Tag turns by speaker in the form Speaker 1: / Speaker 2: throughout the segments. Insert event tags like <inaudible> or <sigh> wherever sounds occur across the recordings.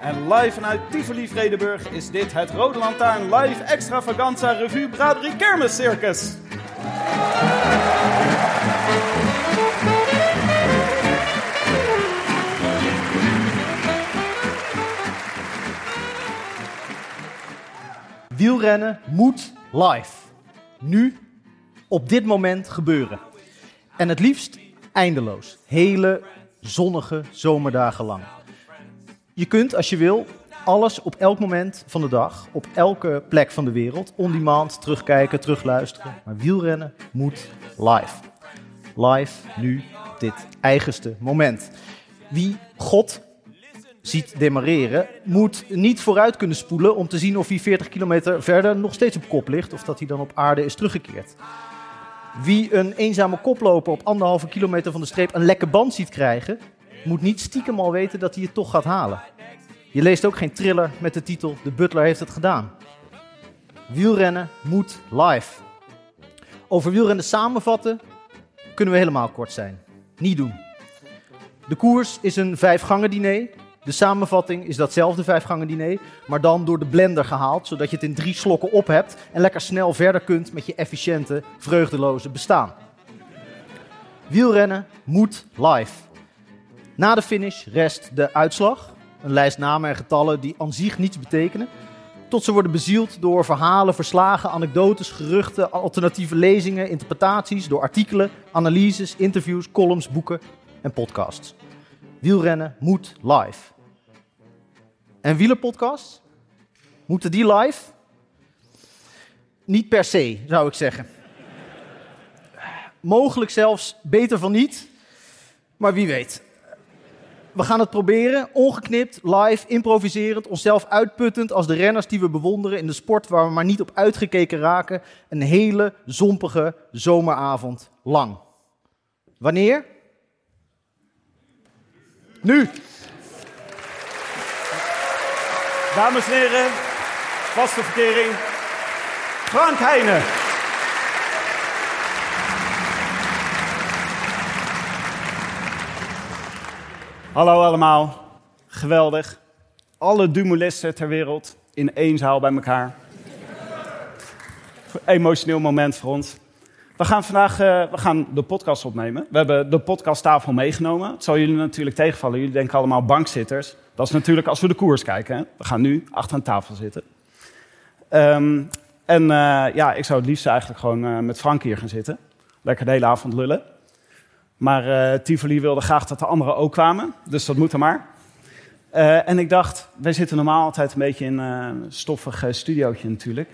Speaker 1: En live vanuit Tivoli Vredenburg is dit het Rode Lantaarn Live Extravaganza Revue Braderie Kermis Circus.
Speaker 2: Wielrennen moet live. Nu, op dit moment gebeuren. En het liefst eindeloos. Hele zonnige zomerdagen lang. Je kunt, als je wil, alles op elk moment van de dag, op elke plek van de wereld, on demand terugkijken, terugluisteren. Maar wielrennen moet live. Live, nu, op dit eigenste moment. Wie God ziet demareren, moet niet vooruit kunnen spoelen om te zien of hij 40 kilometer verder nog steeds op kop ligt of dat hij dan op aarde is teruggekeerd. Wie een eenzame koploper op anderhalve kilometer van de streep een lekke band ziet krijgen, moet niet stiekem al weten dat hij het toch gaat halen. Je leest ook geen thriller met de titel De Butler heeft het gedaan. Wielrennen moet live. Over wielrennen samenvatten kunnen we helemaal kort zijn. Niet doen. De koers is een vijfgangen diner. De samenvatting is datzelfde vijfgangen diner, maar dan door de blender gehaald, zodat je het in drie slokken op hebt en lekker snel verder kunt met je efficiënte, vreugdeloze bestaan. Wielrennen moet live. Na de finish rest de uitslag, een lijst namen en getallen die aan zich niets betekenen, tot ze worden bezield door verhalen, verslagen, anekdotes, geruchten, alternatieve lezingen, interpretaties, door artikelen, analyses, interviews, columns, boeken en podcasts. Wielrennen moet live. En wielerpodcasts? Moeten die live? Niet per se, zou ik zeggen. Mogelijk zelfs beter van niet, maar wie weet. We gaan het proberen, ongeknipt, live, improviserend, onszelf uitputtend als de renners die we bewonderen in de sport waar we maar niet op uitgekeken raken. Een hele zompige zomeravond lang. Wanneer? Nu!
Speaker 1: Dames en heren, vaste verkering. Frank Heijnen. Hallo allemaal. Geweldig. Alle dumulisten ter wereld in één zaal bij elkaar. Emotioneel moment voor ons. We gaan vandaag eh, we gaan de podcast opnemen. We hebben de podcasttafel meegenomen. Het zal jullie natuurlijk tegenvallen. Jullie denken allemaal bankzitters. Dat is natuurlijk als we de koers kijken. Hè? We gaan nu achter een tafel zitten. Ehm, en eh, ja, ik zou het liefst eigenlijk gewoon eh, met Frank hier gaan zitten. Lekker de hele avond lullen. Maar eh, Tivoli wilde graag dat de anderen ook kwamen. Dus dat moet er maar. Eh, en ik dacht, wij zitten normaal altijd een beetje in eh, een stoffig eh, studiootje natuurlijk.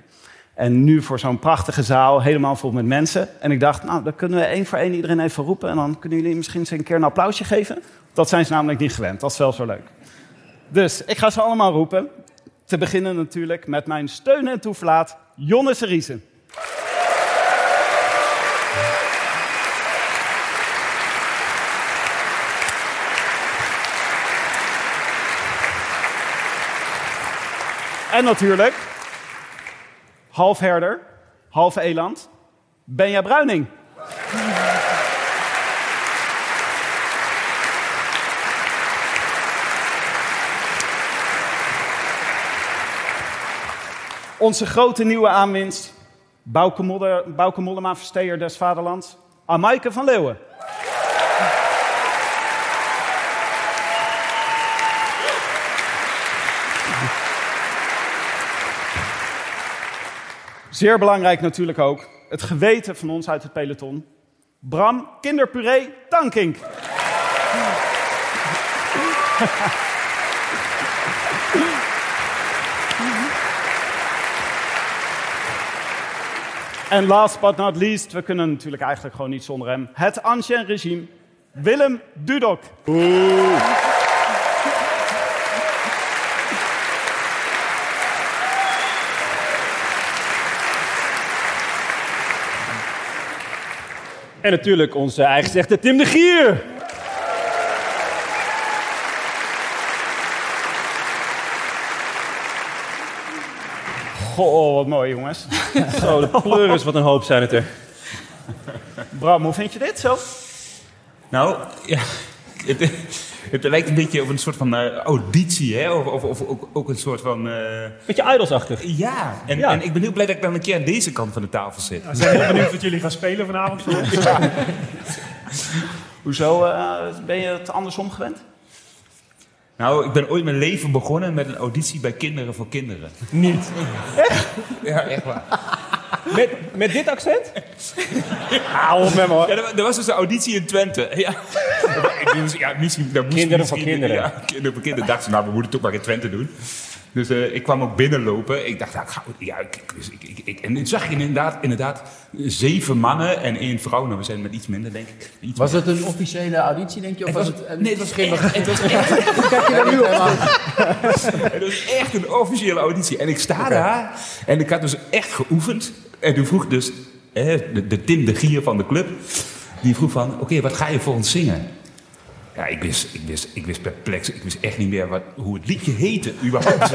Speaker 1: En nu voor zo'n prachtige zaal, helemaal vol met mensen. En ik dacht, nou, dan kunnen we één voor één iedereen even roepen. En dan kunnen jullie misschien eens een keer een applausje geven. Dat zijn ze namelijk niet gewend. Dat is wel zo leuk. Dus ik ga ze allemaal roepen. Te beginnen natuurlijk met mijn steun en toeverlaat, Jonne Seriesen. En natuurlijk, half herder, half eland, Benja Bruining.
Speaker 3: Onze grote nieuwe aanwinst. Bouke, Modder, Bouke Mollema, versteer des vaderlands. Amaike van Leeuwen. Zeer belangrijk natuurlijk ook. Het geweten van ons uit het peloton. Bram Kinderpuree Tankink. En last but not least, we kunnen natuurlijk eigenlijk gewoon niet zonder hem. Het ancien regime, Willem Dudok.
Speaker 4: En natuurlijk onze eigen zegt Tim de Gier.
Speaker 3: Goh, wat mooi jongens.
Speaker 4: <laughs> Zo, de pleuris, wat een hoop zijn het er.
Speaker 3: Bram, hoe vind je dit zo?
Speaker 5: Nou, ja, het, het lijkt een beetje op een soort van eh, auditie, hè? Of, of, of ook, ook een soort van... eh,
Speaker 4: Beetje idolsachtig.
Speaker 5: ja. En,
Speaker 4: Ja.
Speaker 5: en ik ben heel blij dat ik dan een keer aan deze kant van de tafel zit.
Speaker 1: We zijn heel benieuwd wat jullie gaan spelen vanavond. voor ons.
Speaker 3: Hoezo eh, ben je het andersom gewend?
Speaker 5: Nou, ik ben ooit mijn leven begonnen met een auditie bij Kinderen voor Kinderen.
Speaker 4: Niet.
Speaker 5: Ja, echt waar.
Speaker 4: Met, met dit accent?
Speaker 5: Ja, er, wa- er was dus een auditie in Twente. <laughs> Ja, Ik moest- ja, misschien, daar moest
Speaker 4: Kinderen
Speaker 5: misschien-
Speaker 4: voor kinderen.
Speaker 5: Ja, kinderen voor kinderen. Dacht ze, nou, we moeten het ook maar in Twente doen. Dus eh, ik kwam ook binnenlopen. Ik dacht, nou, ik ga- ja, ik, ik- dus ik, ik, ik- en toen zag ik inderdaad, inderdaad zeven mannen en één vrouw. Nou, we zijn met iets minder, denk ik. Iets
Speaker 6: Was het een officiële auditie, denk je? Of
Speaker 5: Het
Speaker 6: was
Speaker 5: was,
Speaker 6: het een
Speaker 5: nee, het was, echt, het, was echt,
Speaker 6: Kijk je daar nu op aan?
Speaker 5: <laughs> het was echt een officiële auditie. En ik sta daar en ik had dus echt geoefend. En toen vroeg dus hè, de, de Tim de Gier van de club, die vroeg van, oké, wat ga je voor ons zingen? Ja, ik wist, ik wist, ik wist perplex, ik wist echt niet meer wat, hoe het liedje heette, überhaupt.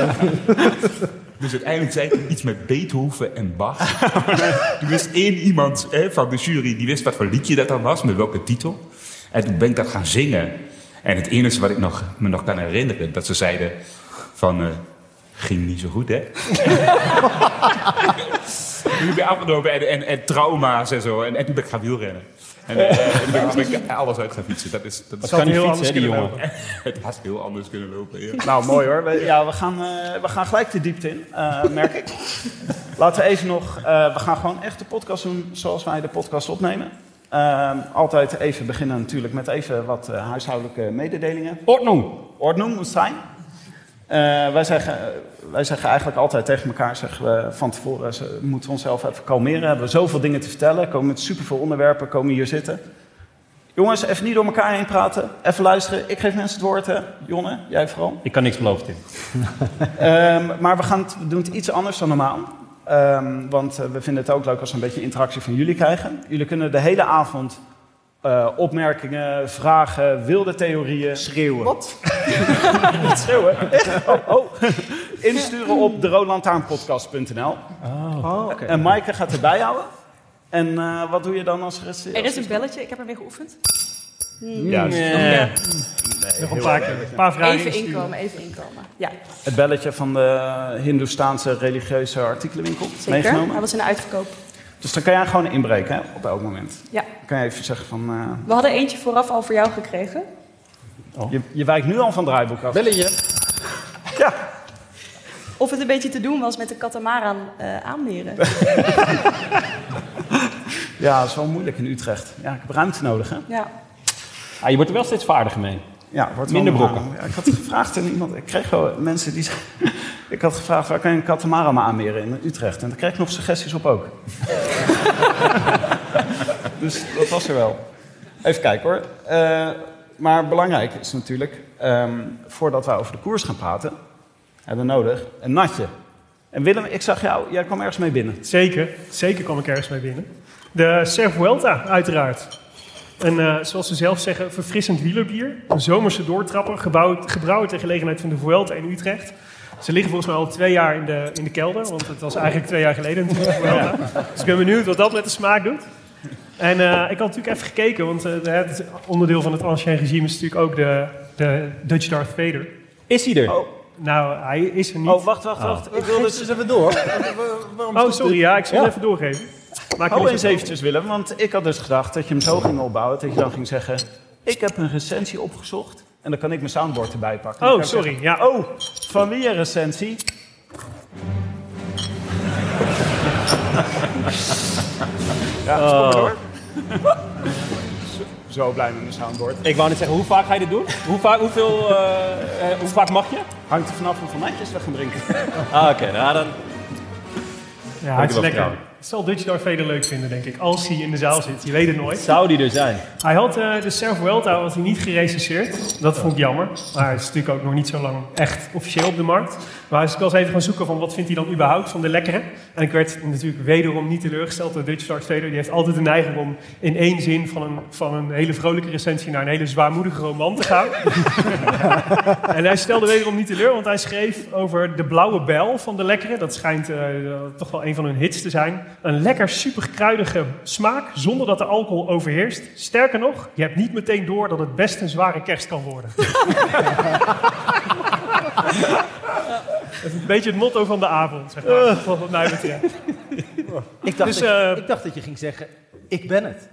Speaker 5: dus uiteindelijk zei ik iets met Beethoven en Bach. <laughs> Toen wist één iemand hè, van de jury, die wist wat voor liedje dat dan was, met welke titel. En toen ben ik dat gaan zingen. En het enige wat ik nog, me nog kan herinneren, dat ze zeiden van, eh, ging niet zo goed, hè? <laughs> toen ben ik afgenomen en, en, en trauma's en zo. En, en toen ben ik gaan wielrennen. En, eh, en toen ben ik- ben ik alles uit gaan fietsen. Dat is, dat is,
Speaker 4: Kan niet
Speaker 1: heel
Speaker 4: fietsen,
Speaker 1: anders
Speaker 4: hè, die
Speaker 1: kunnen
Speaker 4: jongen.
Speaker 5: <laughs> het had heel anders kunnen lopen. ja.
Speaker 3: Nou, mooi hoor. We, <laughs> ja, we gaan, eh, we gaan gelijk de diepte in, eh, merk <laughs> ik. Laten we even nog... eh, we gaan gewoon echt de podcast doen zoals wij de podcast opnemen. Ehm, altijd even beginnen natuurlijk met even wat eh, huishoudelijke mededelingen.
Speaker 4: Ordnung.
Speaker 3: Ordnung moet zijn. Eh, wij, zeggen, wij zeggen eigenlijk altijd tegen elkaar, zeggen we van tevoren, ze- moeten we onszelf even kalmeren. Hebben we zoveel dingen te vertellen, komen met superveel onderwerpen, komen hier zitten. Jongens, even niet door elkaar heen praten, even luisteren. Ik geef mensen het woord, hè. Jonne, jij vooral.
Speaker 4: Ik kan niks beloven, Tim.
Speaker 3: Ehm, maar we, gaan het, we doen het iets anders dan normaal. Ehm, want eh, we vinden het ook leuk als we een beetje interactie van jullie krijgen. Jullie kunnen de hele avond eh, opmerkingen, vragen, wilde theorieën...
Speaker 7: Schreeuwen.
Speaker 3: Wat? <laughs> Niet schreeuwen. Oh, oh. Insturen op de
Speaker 7: Oh, oké.
Speaker 3: En Maaike gaat erbij houden. En eh, wat doe je dan als er is...
Speaker 8: Er is een belletje, ik heb ermee geoefend.
Speaker 1: Nog een paar, een paar vragen.
Speaker 8: Even
Speaker 1: insturen.
Speaker 8: inkomen, even inkomen. Ja,
Speaker 3: Het belletje van de Hindoestaanse religieuze artikelenwinkel
Speaker 8: zeker. Hij
Speaker 3: meegenomen.
Speaker 8: was in de uitverkoop.
Speaker 3: Dus dan kan jij gewoon inbreken hè, op elk moment.
Speaker 8: Ja.
Speaker 3: Dan kan je even zeggen van... eh,
Speaker 8: We hadden eentje vooraf al voor jou gekregen.
Speaker 3: Je, je wijkt nu al van het draaiboek af.
Speaker 6: Belletje.
Speaker 8: Of het een beetje te doen was met de katamaran eh aanmeren.
Speaker 3: Ja, dat is wel moeilijk in Utrecht. Ja, ik heb ruimte nodig, hè?
Speaker 8: Ja.
Speaker 4: Ah, je wordt er wel steeds vaardiger mee.
Speaker 3: Ja, wordt
Speaker 4: Minder
Speaker 3: wel- eh,
Speaker 4: brokken.
Speaker 3: Ja, ik had gevraagd aan iemand... Ik kreeg wel mensen die... zeiden- <laughs> Ik had gevraagd, waar kan je een katamaran aanmeren in Utrecht? En daar kreeg ik nog suggesties op ook. <laughs> dus dat was er wel. Even kijken, hoor. Eh, maar belangrijk is natuurlijk... ehm, voordat wij over de koers gaan praten... hebben we nodig een natje. En Willem, ik zag jou... Jij kwam ergens mee binnen.
Speaker 1: Zeker, zeker kwam ik ergens mee binnen. De Surf Vuelta, uiteraard. En eh, zoals ze zelf zeggen, verfrissend wielerbier. Een zomerse doortrapper, gebouwd, gebrouwen ter gelegenheid van de Vuelta in Utrecht. Ze liggen volgens mij al twee jaar in de, in de kelder, want het was eigenlijk twee jaar geleden <laughs> natuurlijk de Vuelta. Dus ik ben benieuwd wat dat met de smaak doet. En eh, ik had natuurlijk even gekeken, want eh, het onderdeel van het ancien regime is natuurlijk ook de, de Dutch Darth Vader.
Speaker 4: Is hij er?
Speaker 3: Oh, Nou, hij is er niet. Ah.
Speaker 9: Oh, wacht, wacht, wacht. Ik wil dus eens even
Speaker 1: <laughs>
Speaker 9: door. Waarom
Speaker 3: Oh, sorry, ja, ik zal het even doorgeven.
Speaker 9: Maak
Speaker 3: jullie
Speaker 1: Hou
Speaker 3: zo
Speaker 1: eens
Speaker 3: door.
Speaker 1: eventjes, Willem, want ik had dus gedacht dat je hem zo ging opbouwen. Dat je dan ging zeggen, ik heb een recensie opgezocht. En dan kan ik mijn soundboard erbij pakken. Dan
Speaker 3: Oh,
Speaker 1: kan ik
Speaker 3: sorry,
Speaker 1: zeggen, Oh, van wie een
Speaker 3: <laughs>
Speaker 1: recensie? ja, stop maar
Speaker 3: <laughs>
Speaker 1: door. Zo blij met mijn soundboard.
Speaker 9: Ik wou net zeggen, hoe vaak ga je dit doen? Hoe vaak, hoeveel, eh, eh, hoe vaak mag je?
Speaker 1: Hangt er vanaf hoeveel netjes we gaan drinken.
Speaker 9: Ah, oké. nou, dan...
Speaker 3: Ja, het is lekker. Het zal Dutch Darth Vader leuk vinden, denk ik. Als hij in de zaal zit. Je weet het nooit.
Speaker 9: Zou die er zijn?
Speaker 3: Hij had eh, de Serve Vuelta was hij niet gerecenseerd. Dat vond ik jammer. Maar hij is natuurlijk ook nog niet zo lang echt officieel op de markt. Maar hij is ook wel eens even gaan zoeken van wat vindt hij dan überhaupt van de lekkere. En ik werd natuurlijk wederom niet teleurgesteld door Dutch Darth Vader. Die heeft altijd de neiging om in één zin van een, van een hele vrolijke recensie naar een hele zwaarmoedige roman te gaan. En hij stelde wederom niet teleur, want hij schreef over de blauwe bel van de lekkere. Dat schijnt eh, toch wel een van hun hits te zijn. Een lekker superkruidige smaak, zonder dat de alcohol overheerst. Sterker nog, je hebt niet meteen door dat het best een zware kerst kan worden. Dat is een beetje het motto van de avond, zeg maar, wat mij betreft.
Speaker 2: Ik dacht, dat
Speaker 3: Dus,
Speaker 2: je,
Speaker 3: eh,
Speaker 2: ik dacht dat je ging zeggen, ik ben het.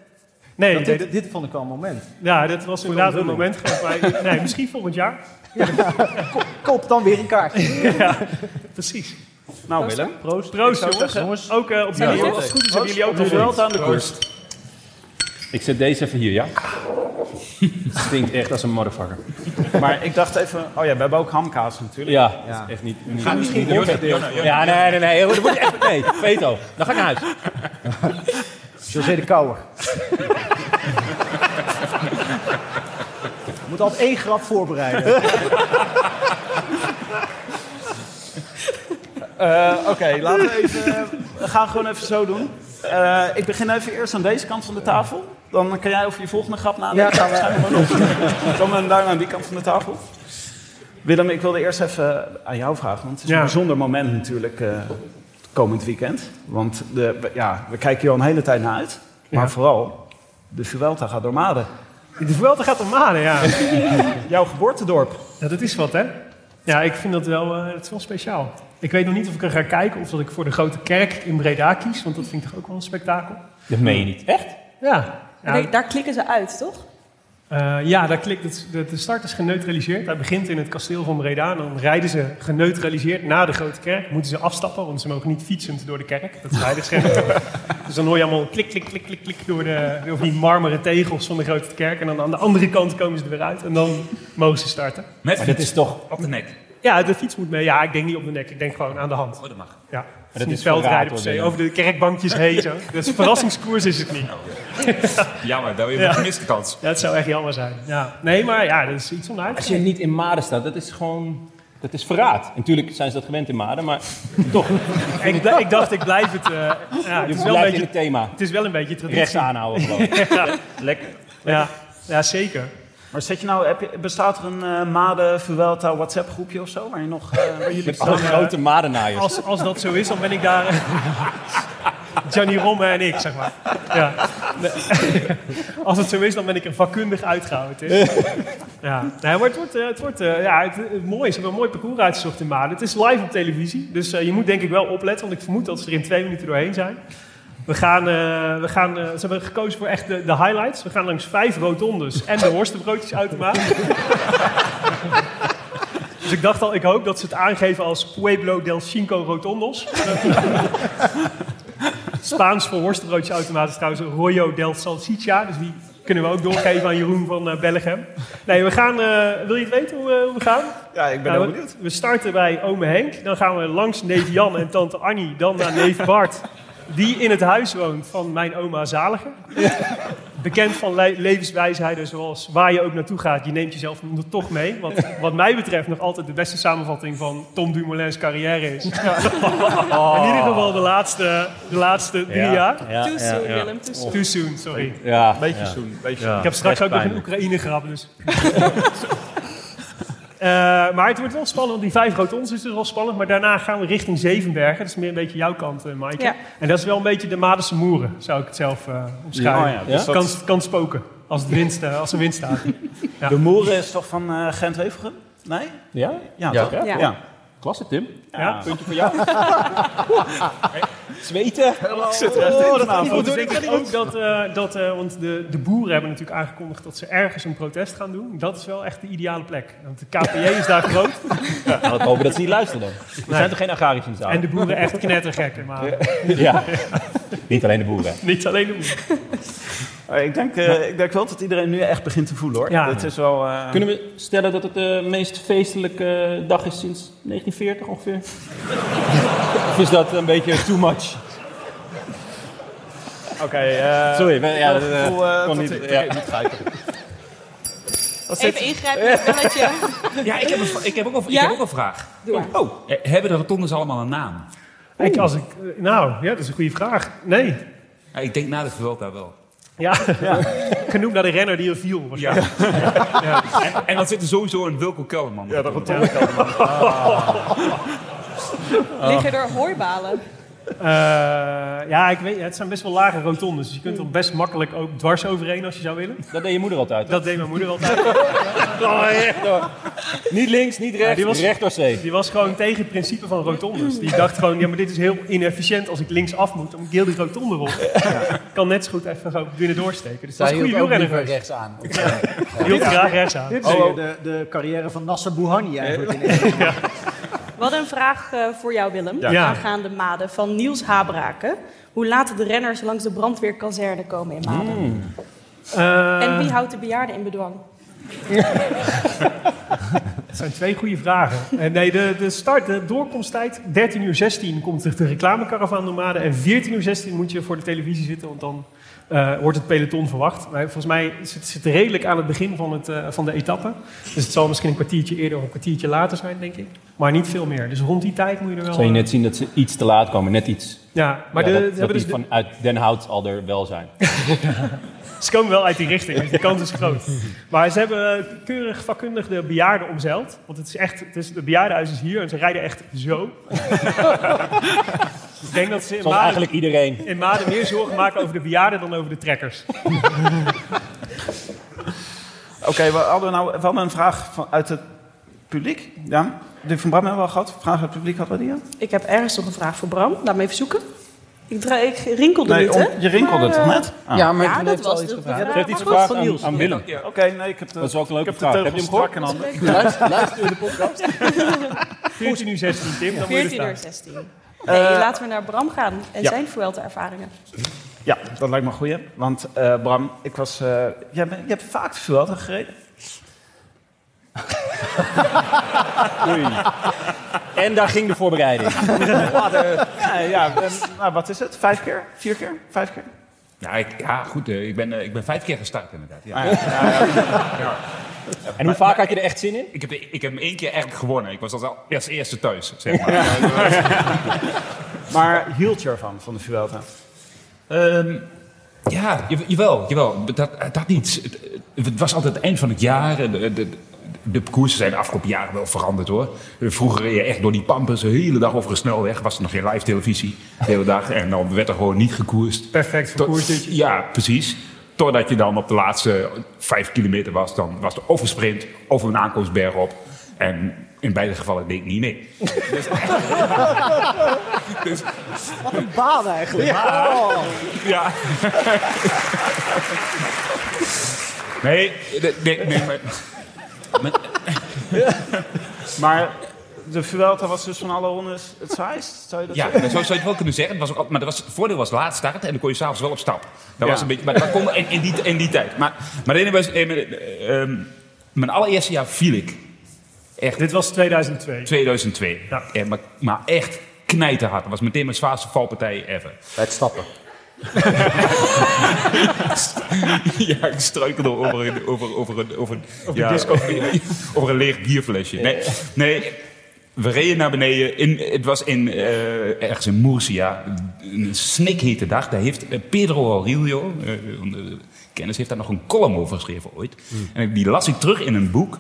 Speaker 3: Nee,
Speaker 2: Want
Speaker 3: nee,
Speaker 2: dit, dit vond ik wel een moment.
Speaker 3: ja, dat was inderdaad een moment. geweest, maar- Nee, misschien volgend jaar.
Speaker 2: Koop dan weer een kaartje.
Speaker 3: Precies.
Speaker 1: Nou, Willem.
Speaker 3: Proost, Proost jongens.
Speaker 2: Jongens,
Speaker 3: Ook eh, op jullie.
Speaker 9: Ja,
Speaker 3: Als het goed is, hebben jullie ook nog wel.
Speaker 1: wel aan de koers.
Speaker 9: Ik zet deze even hier, ja? Het stinkt echt als een motherfucker.
Speaker 1: Maar ik dacht even, oh ja, we hebben ook hamkaas natuurlijk.
Speaker 9: Ja,
Speaker 2: Ja.
Speaker 9: echt niet... niet-
Speaker 2: misschien
Speaker 9: Ja, nee, nee, nee. Dat wordt echt... Nee, veto. Dan ga ik naar huis.
Speaker 2: José de Kouwer. Je moet altijd één grap voorbereiden.
Speaker 1: Eh, Oké, laten we even. we gaan gewoon even zo doen. Eh, ik begin even eerst aan deze kant van de tafel. Dan kan jij over je volgende grap nadenken.
Speaker 2: Ja, gaan we-
Speaker 1: we. Dan en daarna aan die kant van de tafel. Willem, ik wilde eerst even aan jou vragen. Want het is
Speaker 3: Ja.
Speaker 1: een bijzonder moment natuurlijk. eh, komend weekend. Want de, we- ja, we kijken hier al een hele tijd naar uit. Maar vooral, de Vuelta gaat door Maden.
Speaker 3: De Vuelta gaat om Maden, ja.
Speaker 1: Jouw geboortedorp.
Speaker 3: Ja, dat is wat, hè? Ja, ik vind dat wel, eh, het is wel speciaal. Ik weet nog niet of ik er ga kijken of dat ik voor de grote kerk in Breda kies, want dat vind ik toch ook wel een spektakel.
Speaker 9: Dat meen je niet. Echt?
Speaker 3: Ja, ja,
Speaker 8: Daar- Daar klikken ze uit, toch?
Speaker 3: eh, ja daar klikt het, de, de start is geneutraliseerd. Hij begint in het kasteel van Breda en dan rijden ze geneutraliseerd naar de grote kerk. Moeten ze afstappen, want ze mogen niet fietsend door de kerk. Dat is rijderscherm.
Speaker 9: <laughs>
Speaker 3: dus dan hoor je allemaal klik, klik, klik, klik, klik door, de, door die marmeren tegels van de grote kerk. En dan aan de andere kant komen ze er weer uit en dan mogen ze starten.
Speaker 5: Met
Speaker 9: Dat
Speaker 5: fiets
Speaker 9: is toch...
Speaker 5: op de nek.
Speaker 3: Ja, de fiets moet mee. Ja, ik denk niet op de nek. Ik denk gewoon aan de hand.
Speaker 5: Oh, dat mag.
Speaker 3: Ja,
Speaker 9: dat
Speaker 3: dat
Speaker 9: is
Speaker 3: is
Speaker 9: verraad,
Speaker 3: veldrijden per
Speaker 9: hoor, Oh.
Speaker 3: se.
Speaker 9: Willem.
Speaker 3: Over de kerkbankjes
Speaker 9: <laughs>
Speaker 3: heen zo. Dus een verrassingskoers is het niet.
Speaker 5: Jammer, daar weer
Speaker 3: Ja.
Speaker 5: een gemiste kans.
Speaker 3: Dat zou echt jammer zijn. Ja. Nee, maar ja, dat is iets om naar uit te
Speaker 9: Als je
Speaker 3: kijken.
Speaker 9: niet in Maden staat, dat is gewoon... Dat is verraad. En natuurlijk zijn ze dat gewend in Maden, maar toch.
Speaker 3: Ik, bl- ik dacht, ik blijf het... eh, ja, het,
Speaker 9: Je
Speaker 3: is wel een
Speaker 9: blijft in
Speaker 3: beetje,
Speaker 9: het thema.
Speaker 3: het is wel een beetje traditie.
Speaker 9: Rechts aanhouden gewoon.
Speaker 3: <laughs> Ja, ja zeker.
Speaker 1: Maar zet je nou, heb je, bestaat er een eh Maden Vuelta WhatsApp groepje of zo? Waar je nog. eh, waar jullie
Speaker 9: Alle grote madenaaiers.
Speaker 3: Als, als dat zo is, dan ben ik daar... Johnny Romme en ik, zeg maar. Ja. Nee. Als het zo is, dan ben ik er vakkundig uitgehouden. Het is- Ja. Nee, maar het wordt, eh, het wordt eh, ja, het, het mooie is, we hebben een mooi parcours uitgezocht in Maden. Het is live op televisie, dus eh, je moet denk ik wel opletten, want ik vermoed dat ze er in twee minuten doorheen zijn. We gaan, eh, we gaan, eh, ze hebben gekozen voor echt de, de highlights. We gaan langs vijf rotondes en de worstenbroodjesautomaat. <laughs> dus ik dacht al, ik hoop dat ze het aangeven als Pueblo del Cinco Rotondos. <laughs> Spaans voor worstenbroodjesautomaat is trouwens Royo del Salsicha. Dus die kunnen we ook doorgeven aan Jeroen van eh, Bellegem. Nee, we gaan... eh, wil je het weten hoe, eh, hoe we gaan?
Speaker 1: Ja, ik ben
Speaker 3: Nou,
Speaker 1: heel
Speaker 3: we-
Speaker 1: benieuwd.
Speaker 3: We starten bij ome Henk. Dan gaan we langs neef Jan en tante Annie. Dan naar neef Bart. Die in het huis woont van mijn oma Zaliger. Bekend van le- levenswijsheden zoals waar je ook naartoe gaat. Je neemt jezelf toch mee. Wat, wat mij betreft nog altijd de beste samenvatting van Tom Dumoulin's carrière is. In ieder geval de laatste, de laatste drie jaar.
Speaker 9: Ja,
Speaker 8: Too
Speaker 9: ja,
Speaker 8: soon,
Speaker 9: ja.
Speaker 8: Willem, too soon.
Speaker 3: Too soon, sorry.
Speaker 9: Ja,
Speaker 1: Beetje
Speaker 9: ja.
Speaker 1: zoen, beetje
Speaker 9: Ja.
Speaker 3: Ik heb straks
Speaker 9: Echt
Speaker 3: ook nog een
Speaker 9: pijnlijk.
Speaker 3: Oekraïne grap, dus. <laughs> Eh, maar het wordt wel spannend, want die vijf rotondes is dus wel spannend. Maar daarna gaan we richting Zevenbergen. Dat is meer een beetje jouw kant, eh, Maaike.
Speaker 8: Ja.
Speaker 3: En dat is wel een beetje de Madense Moeren, zou ik het zelf eh omschrijven.
Speaker 1: Ja, oh ja, dus
Speaker 3: kan, kan spoken, als, het winst, eh, als er winst staat.
Speaker 1: De Moeren is toch van eh Gent-Wevergem? Nee?
Speaker 9: Ja?
Speaker 1: Ja,
Speaker 9: ja.
Speaker 1: toch, hè?
Speaker 9: ja.
Speaker 1: Ja.
Speaker 9: Klasse, Tim.
Speaker 1: Ja.
Speaker 9: Puntje voor
Speaker 3: <laughs>
Speaker 9: jou. Hey, Zweten.
Speaker 3: Oh,
Speaker 9: Ik zit er echt in
Speaker 3: dat gaat niet
Speaker 9: vanavond.
Speaker 3: goed. Dus ik denk ook dat, eh, dat eh, want de, de boeren hebben natuurlijk aangekondigd dat ze ergens een protest gaan doen. Dat is wel echt de ideale plek. Want de KPJ is daar groot.
Speaker 9: Ja, laten we hopen dat ze niet luisteren dan. Er
Speaker 3: Nee.
Speaker 9: zijn toch geen agrariërs in de zaal?
Speaker 3: En de boeren echt knettergek in Malen.
Speaker 9: Ah. Ja. <laughs> Niet alleen de boeren.
Speaker 3: Niet alleen de boeren.
Speaker 1: Maar ik, denk, eh, ik denk wel dat iedereen nu echt begint te voelen hoor.
Speaker 3: Ja.
Speaker 1: Dat is wel, eh,
Speaker 9: Kunnen we stellen dat het de meest feestelijke eh, dag is sinds 1940 ongeveer? of is dat een beetje too much?
Speaker 1: Oké, eh,
Speaker 9: Sorry, maar ja,
Speaker 1: dat
Speaker 9: dat, eh,
Speaker 1: gevoel, eh,
Speaker 9: kon
Speaker 1: dat-
Speaker 9: niet,
Speaker 1: oké,
Speaker 9: ja.
Speaker 1: niet grijpen.
Speaker 8: Even ingrijpen met het belletje.
Speaker 5: Ja, ik heb, een, ik heb, ook, een,
Speaker 8: Ja?
Speaker 5: ik heb ook een vraag. Oh, eh, hebben de rotondes allemaal een naam?
Speaker 3: Ik, als ik, eh, nou, ja, dat is een goede vraag. Nee.
Speaker 5: Ja, ik denk na de Vuelta wel.
Speaker 3: Ja, <laughs> genoemd naar de renner die er viel. waarschijnlijk.
Speaker 5: En, en dan zit er sowieso een Wilco Kellerman. Ja, dat
Speaker 8: Liggen er hooibalen?
Speaker 3: Eh, ja, ik weet, het zijn best wel lage rotondes. Dus je kunt er best makkelijk ook dwars overheen als je zou willen.
Speaker 9: Dat deed je moeder altijd. hè? Oh,
Speaker 3: Dat deed mijn moeder
Speaker 9: <laughs>
Speaker 3: altijd.
Speaker 9: Niet links, niet rechts,
Speaker 3: Ja, die was-
Speaker 9: recht door zee.
Speaker 3: Die was gewoon tegen het principe van rotondes. Die dacht gewoon, ja, maar dit is heel inefficiënt. Als ik linksaf moet, dan moet ik heel die rotonde rond. Ik kan net zo goed even gewoon binnen doorsteken. Dus dat
Speaker 10: Zij
Speaker 3: is een
Speaker 10: hield
Speaker 3: goede
Speaker 10: ook
Speaker 3: wielrenner
Speaker 10: liever
Speaker 3: geweest.
Speaker 10: rechts aan.
Speaker 3: Die hield graag rechts aan.
Speaker 2: Dit is weer de, de carrière van Nasser Bouhanni eigenlijk. in één.
Speaker 8: We hadden een vraag eh, voor jou, Willem.
Speaker 3: Ja.
Speaker 8: Aangaande Maden van Niels Habraken. Hoe laten de renners langs de brandweerkazerne komen in Maden?
Speaker 3: Eh,
Speaker 8: En wie houdt de bejaarden in bedwang?
Speaker 3: dat zijn twee goede vragen. Eh, nee, de, de start, de doorkomsttijd, 13 uur 16 komt de- de reclamecaravan Nomade. En 14 uur 16 moet je voor de televisie zitten, want dan eh, wordt het peloton verwacht. Maar volgens mij zit het redelijk aan het begin van, het, eh, van de etappe. Dus het zal misschien een kwartiertje eerder of een kwartiertje later zijn, denk ik. Maar niet veel meer. Dus rond die tijd moet je er wel...
Speaker 9: Zal je
Speaker 3: eh,
Speaker 9: net zien dat ze iets te laat komen, net iets.
Speaker 3: Ja, maar
Speaker 9: Ja,
Speaker 3: de,
Speaker 9: dat,
Speaker 3: ze,
Speaker 9: dat
Speaker 3: hebben dus
Speaker 9: die vanuit Den Hout al er wel zijn.
Speaker 3: de- ze komen wel uit die richting, dus de kans is groot. Maar ze hebben eh, keurig vakkundig de bejaarden omzeild. Want het is echt, het is, de bejaardenhuis is hier en ze rijden echt zo. Ik denk dat ze in
Speaker 9: Zoals
Speaker 3: Maden,
Speaker 9: eigenlijk iedereen.
Speaker 3: in Maden meer zorgen maken over de bejaarden dan over de trekkers.
Speaker 1: Oké, we hadden nou we hadden een vraag van, uit het publiek. Ja, die van Bram hebben we al gehad. Vraag uit het publiek hadden we die al?
Speaker 8: Ik heb ergens nog een vraag voor Bram. Laat me even zoeken. Ik, dra- ik rinkelde niet,
Speaker 1: om-
Speaker 8: hè?
Speaker 1: je rinkelde
Speaker 8: Maar,
Speaker 1: het toch net? Ah.
Speaker 10: Ja, maar
Speaker 8: Ja,
Speaker 10: toen
Speaker 8: dat
Speaker 10: heeft ze
Speaker 8: was
Speaker 10: al iets
Speaker 8: de
Speaker 10: gevraagd.
Speaker 8: vraag.
Speaker 9: Geeft iets
Speaker 8: Maar goed,
Speaker 9: gevraagd aan, aan Willem.
Speaker 1: Oké, nee, ik heb de,
Speaker 9: Dat is ook een leuke
Speaker 1: ik heb de
Speaker 9: vraag. Heb je
Speaker 1: teugels
Speaker 9: hem gehoord?
Speaker 1: strak in handen.
Speaker 10: Luister, luister in de podcast.
Speaker 3: 14 uur 16, Tim, dan moet je er
Speaker 8: 14
Speaker 3: staan.
Speaker 8: uur 16. Nee, laten we naar Bram gaan en
Speaker 1: ja.
Speaker 8: zijn Vuelta-ervaringen.
Speaker 1: Ja, dat lijkt me een goeie. Want eh, Bram, ik was... eh, jij, bent- je hebt vaak de Vuelta
Speaker 9: <laughs>
Speaker 1: gereden.
Speaker 9: En daar ging de voorbereiding.
Speaker 1: <laughs> Ja, ja en, nou, wat is het? Vijf keer? Vier keer? Vijf keer?
Speaker 5: Ja, ik, ja goed. eh, ik, ben, eh, ik ben vijf keer gestart inderdaad. Ja.
Speaker 9: En hoe vaak had je er echt zin in?
Speaker 5: Ik, heb, ik heb hem één keer echt gewonnen. Ik was als, al- als eerste thuis, zeg maar.
Speaker 1: Maar hield je ervan, van de Vuelta?
Speaker 5: Ehm, ja, je- jawel, jawel. Dat, dat niet. Het, het was altijd het eind van het jaar. en De, de, de parcoursen zijn de afgelopen jaren wel veranderd hoor. Vroeger reed je echt door die pampers de hele dag over een snelweg. Was er nog geen live televisie de hele dag. En dan werd er gewoon niet gekoerst.
Speaker 3: Perfect
Speaker 5: Tot-
Speaker 3: verkoers dit.
Speaker 5: Ja, precies. Totdat je dan op de laatste vijf kilometer was, dan was er of een sprint of een aankomstberg op. En in beide gevallen deed ik niet mee.
Speaker 2: Wat een baan eigenlijk. Oh.
Speaker 5: Ja. <laughs> Nee, nee, nee, nee, maar-
Speaker 1: Maar de Vuelta was dus van alle rondes het saaist, zou je dat
Speaker 5: ja,
Speaker 1: zeggen?
Speaker 5: zo zou je het wel kunnen zeggen. Het was ook, al- maar dat was, het voordeel was laat starten en dan kon je s'avonds wel op stap. Dat
Speaker 1: Ja.
Speaker 5: was een beetje, maar dat kon in, in, die, in die tijd. Maar, maar de ene was, eh, mijn, eh, ehm, mijn allereerste jaar viel ik.
Speaker 3: Dit was 2002.
Speaker 5: 2002.
Speaker 3: Ja.
Speaker 5: Eh, maar, maar echt knijterhard. Dat was meteen mijn zwaarste valpartij ever.
Speaker 10: Bij het stappen.
Speaker 5: <laughs> ja, ik struikelde over een, over, over een, over een, ja, over- <laughs> over een leeg bierflesje. Nee, nee, we reden naar beneden. In, het was in, eh, ergens in Murcia. Een snikhete dag. Daar heeft eh, Pedro Aurelio, eh, een, eh, kennis, heeft daar nog een column over geschreven ooit. En die las ik terug in een boek.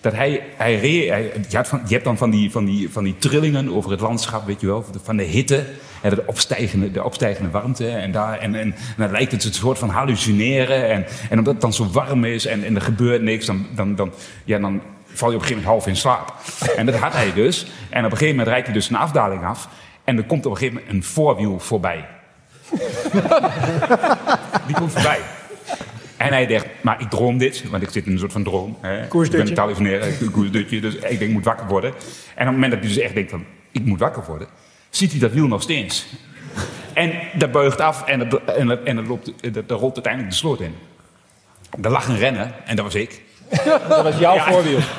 Speaker 5: Dat hij, hij, reed, hij- je, had van, je hebt dan van die, van, die, van die trillingen over het landschap, weet je wel, van de hitte en de opstijgende, de opstijgende warmte. En, daar, en, en, en dan lijkt het een soort van hallucineren. En, en omdat het dan zo warm is en, en er gebeurt niks, dan, dan, dan, ja, dan val je op een gegeven moment half in slaap. En dat had hij dus. En op een gegeven moment rijdt hij dus een afdaling af. En er komt op een gegeven moment een voorwiel voorbij. <laughs> Die komt voorbij. En hij dacht, maar ik droom dit, want ik zit in een soort van droom. Hè.
Speaker 11: Koersdutje.
Speaker 5: Ik ben Talifoneer, een koersdutje, dus ik denk, ik moet wakker worden. En op het moment dat hij dus echt denkt van, ik moet wakker worden, ziet hij dat wiel nog steeds. En dat buigt af en, dat, en, dat- en dat, loopt, dat, dat rolt uiteindelijk de sloot in. Er lag een renner, en dat was ik.
Speaker 9: Dat was jouw voorwiel.
Speaker 5: <laughs>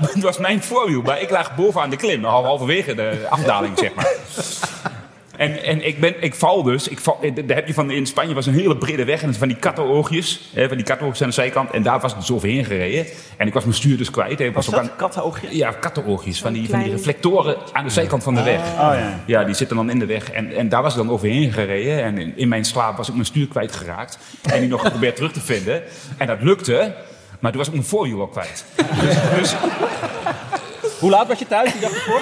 Speaker 5: Het was mijn voorwiel, maar ik lag bovenaan de klim, nog halverwege de afdaling, zeg maar. En, en ik, ben, ik val dus. Ik val, eh, daar heb je van, in Spanje was een hele brede weg. En het van die kattenoogjes. Hè, van die kattenoogjes aan de zijkant. En daar was ik dus overheen gereden. En ik was mijn stuur dus kwijt. En ik was ook aan-
Speaker 9: kattenoogjes?
Speaker 5: Ja, kattenoogjes. Van die, van die
Speaker 9: klein-
Speaker 5: reflectoren aan de zijkant van de weg. Ah. Oh, ja. die zitten dan in de weg. En, en daar was ik dan overheen gereden. En in, in mijn slaap was ik mijn stuur kwijtgeraakt. En die nog geprobeerd terug te vinden. En dat lukte. Maar toen was ik mijn voorwiel al kwijt. Dus,
Speaker 9: Hoe laat was je thuis die dag ervoor?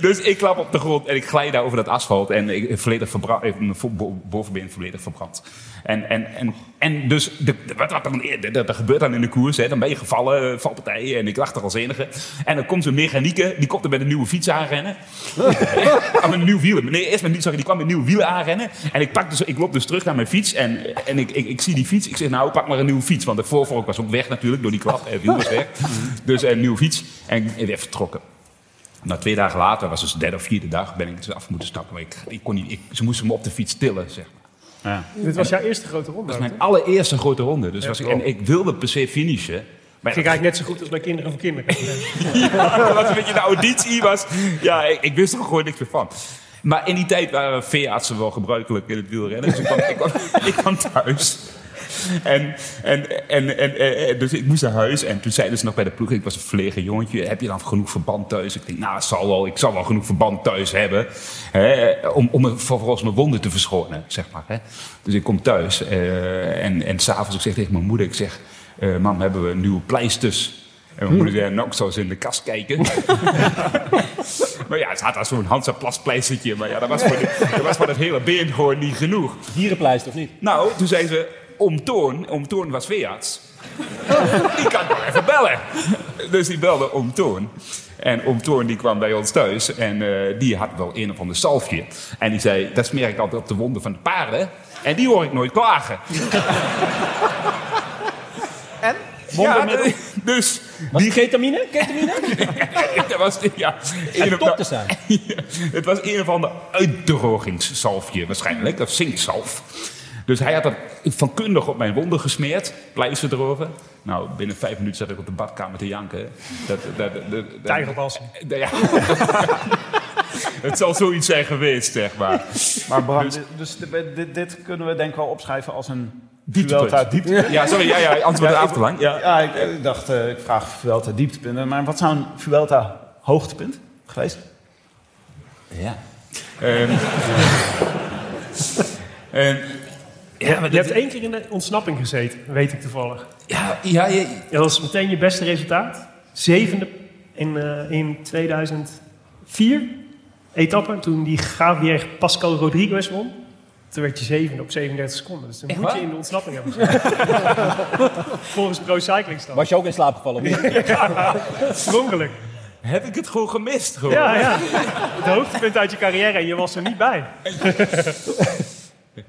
Speaker 5: Dus ik klap op de grond en ik glij daar over dat asfalt. En ik volledig verbrand, mijn vo- bo- bovenbeen volledig verbrand. En, en, en, en dus, de, de- wat, wat dan, de- de- dat gebeurt dan in de koers. Hè. Dan ben je gevallen, eh, valpartijen. En ik lag er als enige. En dan komt zo'n mechanieke, die komt er met een nieuwe fiets aanrennen. Ah, met een nieuw wielen. Nee, eerst met, niet- sorry, die kwam met nieuwe wielen aanrennen. En ik, pak dus, ik loop dus terug naar mijn fiets. En, en ik, ik, ik zie die fiets. Ik zeg, nou, pak maar een nieuwe fiets. Want de voorvork was ook weg natuurlijk, door die klap. Het wiel was weg. Dus eh, een nieuwe fiets. En ik werd vertrokken. Nou, twee dagen later, was dus de derde of vierde dag, ben ik dus af moeten stappen. Maar ik, ik kon niet, ik, ze moesten me op de fiets tillen, zeg maar.
Speaker 3: Dit was jouw eerste grote ronde.
Speaker 5: Dat was
Speaker 3: ook,
Speaker 5: mijn allereerste grote ronde. Dus
Speaker 3: Ja,
Speaker 5: was ik,
Speaker 3: cool.
Speaker 5: en ik wilde per se finishen.
Speaker 3: hè?
Speaker 5: Maar
Speaker 3: Ging eigenlijk net zo goed als bij Kinderen voor Kinderen.
Speaker 5: ja, <laughs> dat was een beetje de auditie was. Ja, ik, ik wist er gewoon niks meer van. Maar in die tijd waren veeartsen wel gebruikelijk in het wielrennen. Dus ik kwam, ik kwam, <laughs> ik kwam thuis. En, en, en, en, en- en- dus ik moest naar huis. En toen zeiden ze nog bij de ploeg, ik was een verlegen jongetje. Heb je dan genoeg verband thuis? Ik denk, nou, het zal wel, ik zal wel genoeg verband thuis hebben. Hè, om, om me- vervolgens mijn wonden te verschonen, zeg maar. Hè. Dus ik kom thuis. eh, en en s'avonds, ik zeg tegen mijn moeder, ik zeg... eh, mam, hebben we nieuwe pleisters? En mijn moeder zei, nou, ik zou eens in de kast kijken. maar ja, ze had daar zo'n Hansa Plaspleistertje. Maar ja, dat was, voor de- dat was voor het hele been gewoon niet genoeg.
Speaker 9: Dierenpleister of niet?
Speaker 5: Nou, toen zei ze, om Toorn, om Toorn was veearts. die kan <laughs> ik wel even bellen. Dus die belde om Toorn. En om Toorn die kwam bij ons thuis. En eh, die had wel een of ander salfje. En die zei, dat smeer ik altijd op de wonden van de paarden. En die hoor ik nooit klagen.
Speaker 9: Wondermiddel?
Speaker 5: Ja, dus...
Speaker 9: Die ketamine? Ketamine?
Speaker 5: dat was, <laughs> ja, een
Speaker 9: En
Speaker 5: of
Speaker 9: top
Speaker 5: ander-
Speaker 9: te zijn.
Speaker 5: <laughs> het was een of ander uitdrogingszalfje waarschijnlijk, of zinkzalf. Dus hij had dat vankundig op mijn wonden gesmeerd, pleister erover. Nou, binnen vijf minuten zat ik op de badkamer te janken. Dat, dat, dat, dat-
Speaker 3: Tijgerbalsem.
Speaker 5: Ja. <laughs> het zal zoiets zijn geweest, zeg maar.
Speaker 1: Maar Bram, dus, dit- dit, dit kunnen we denk ik wel opschrijven als een
Speaker 5: Dieptepunt.
Speaker 1: Vuelta dieptepunt.
Speaker 5: Ja, sorry, ja, ja, anders wordt het
Speaker 1: ik-
Speaker 5: avond te lang.
Speaker 1: Ja,
Speaker 5: Ja.
Speaker 1: ik, ik dacht, eh, ik vraag Vuelta dieptepunten. Maar wat zou een Vuelta hoogtepunt geweest?
Speaker 5: Ja. Ehm, ehm, ja, maar
Speaker 3: Je hebt
Speaker 5: dit,
Speaker 3: één keer in de ontsnapping gezeten, weet ik toevallig.
Speaker 5: ja, ja, ja,
Speaker 3: Dat was meteen je beste resultaat. Zevende in, eh, in 2004 etappe, toen die Javier Pascal Rodriguez won. Toen werd je zevende op 37 seconden. Dus dan moet je in de ontsnapping
Speaker 5: <laughs>
Speaker 3: hebben gezeten. Volgens Pro Cycling Stats.
Speaker 9: Was je ook in slaap gevallen? of niet?
Speaker 3: <laughs> Per ongeluk.
Speaker 5: heb ik het gewoon gemist? Gewoon?
Speaker 3: Ja, ja. Het hoogtepunt uit je carrière en je was er niet bij.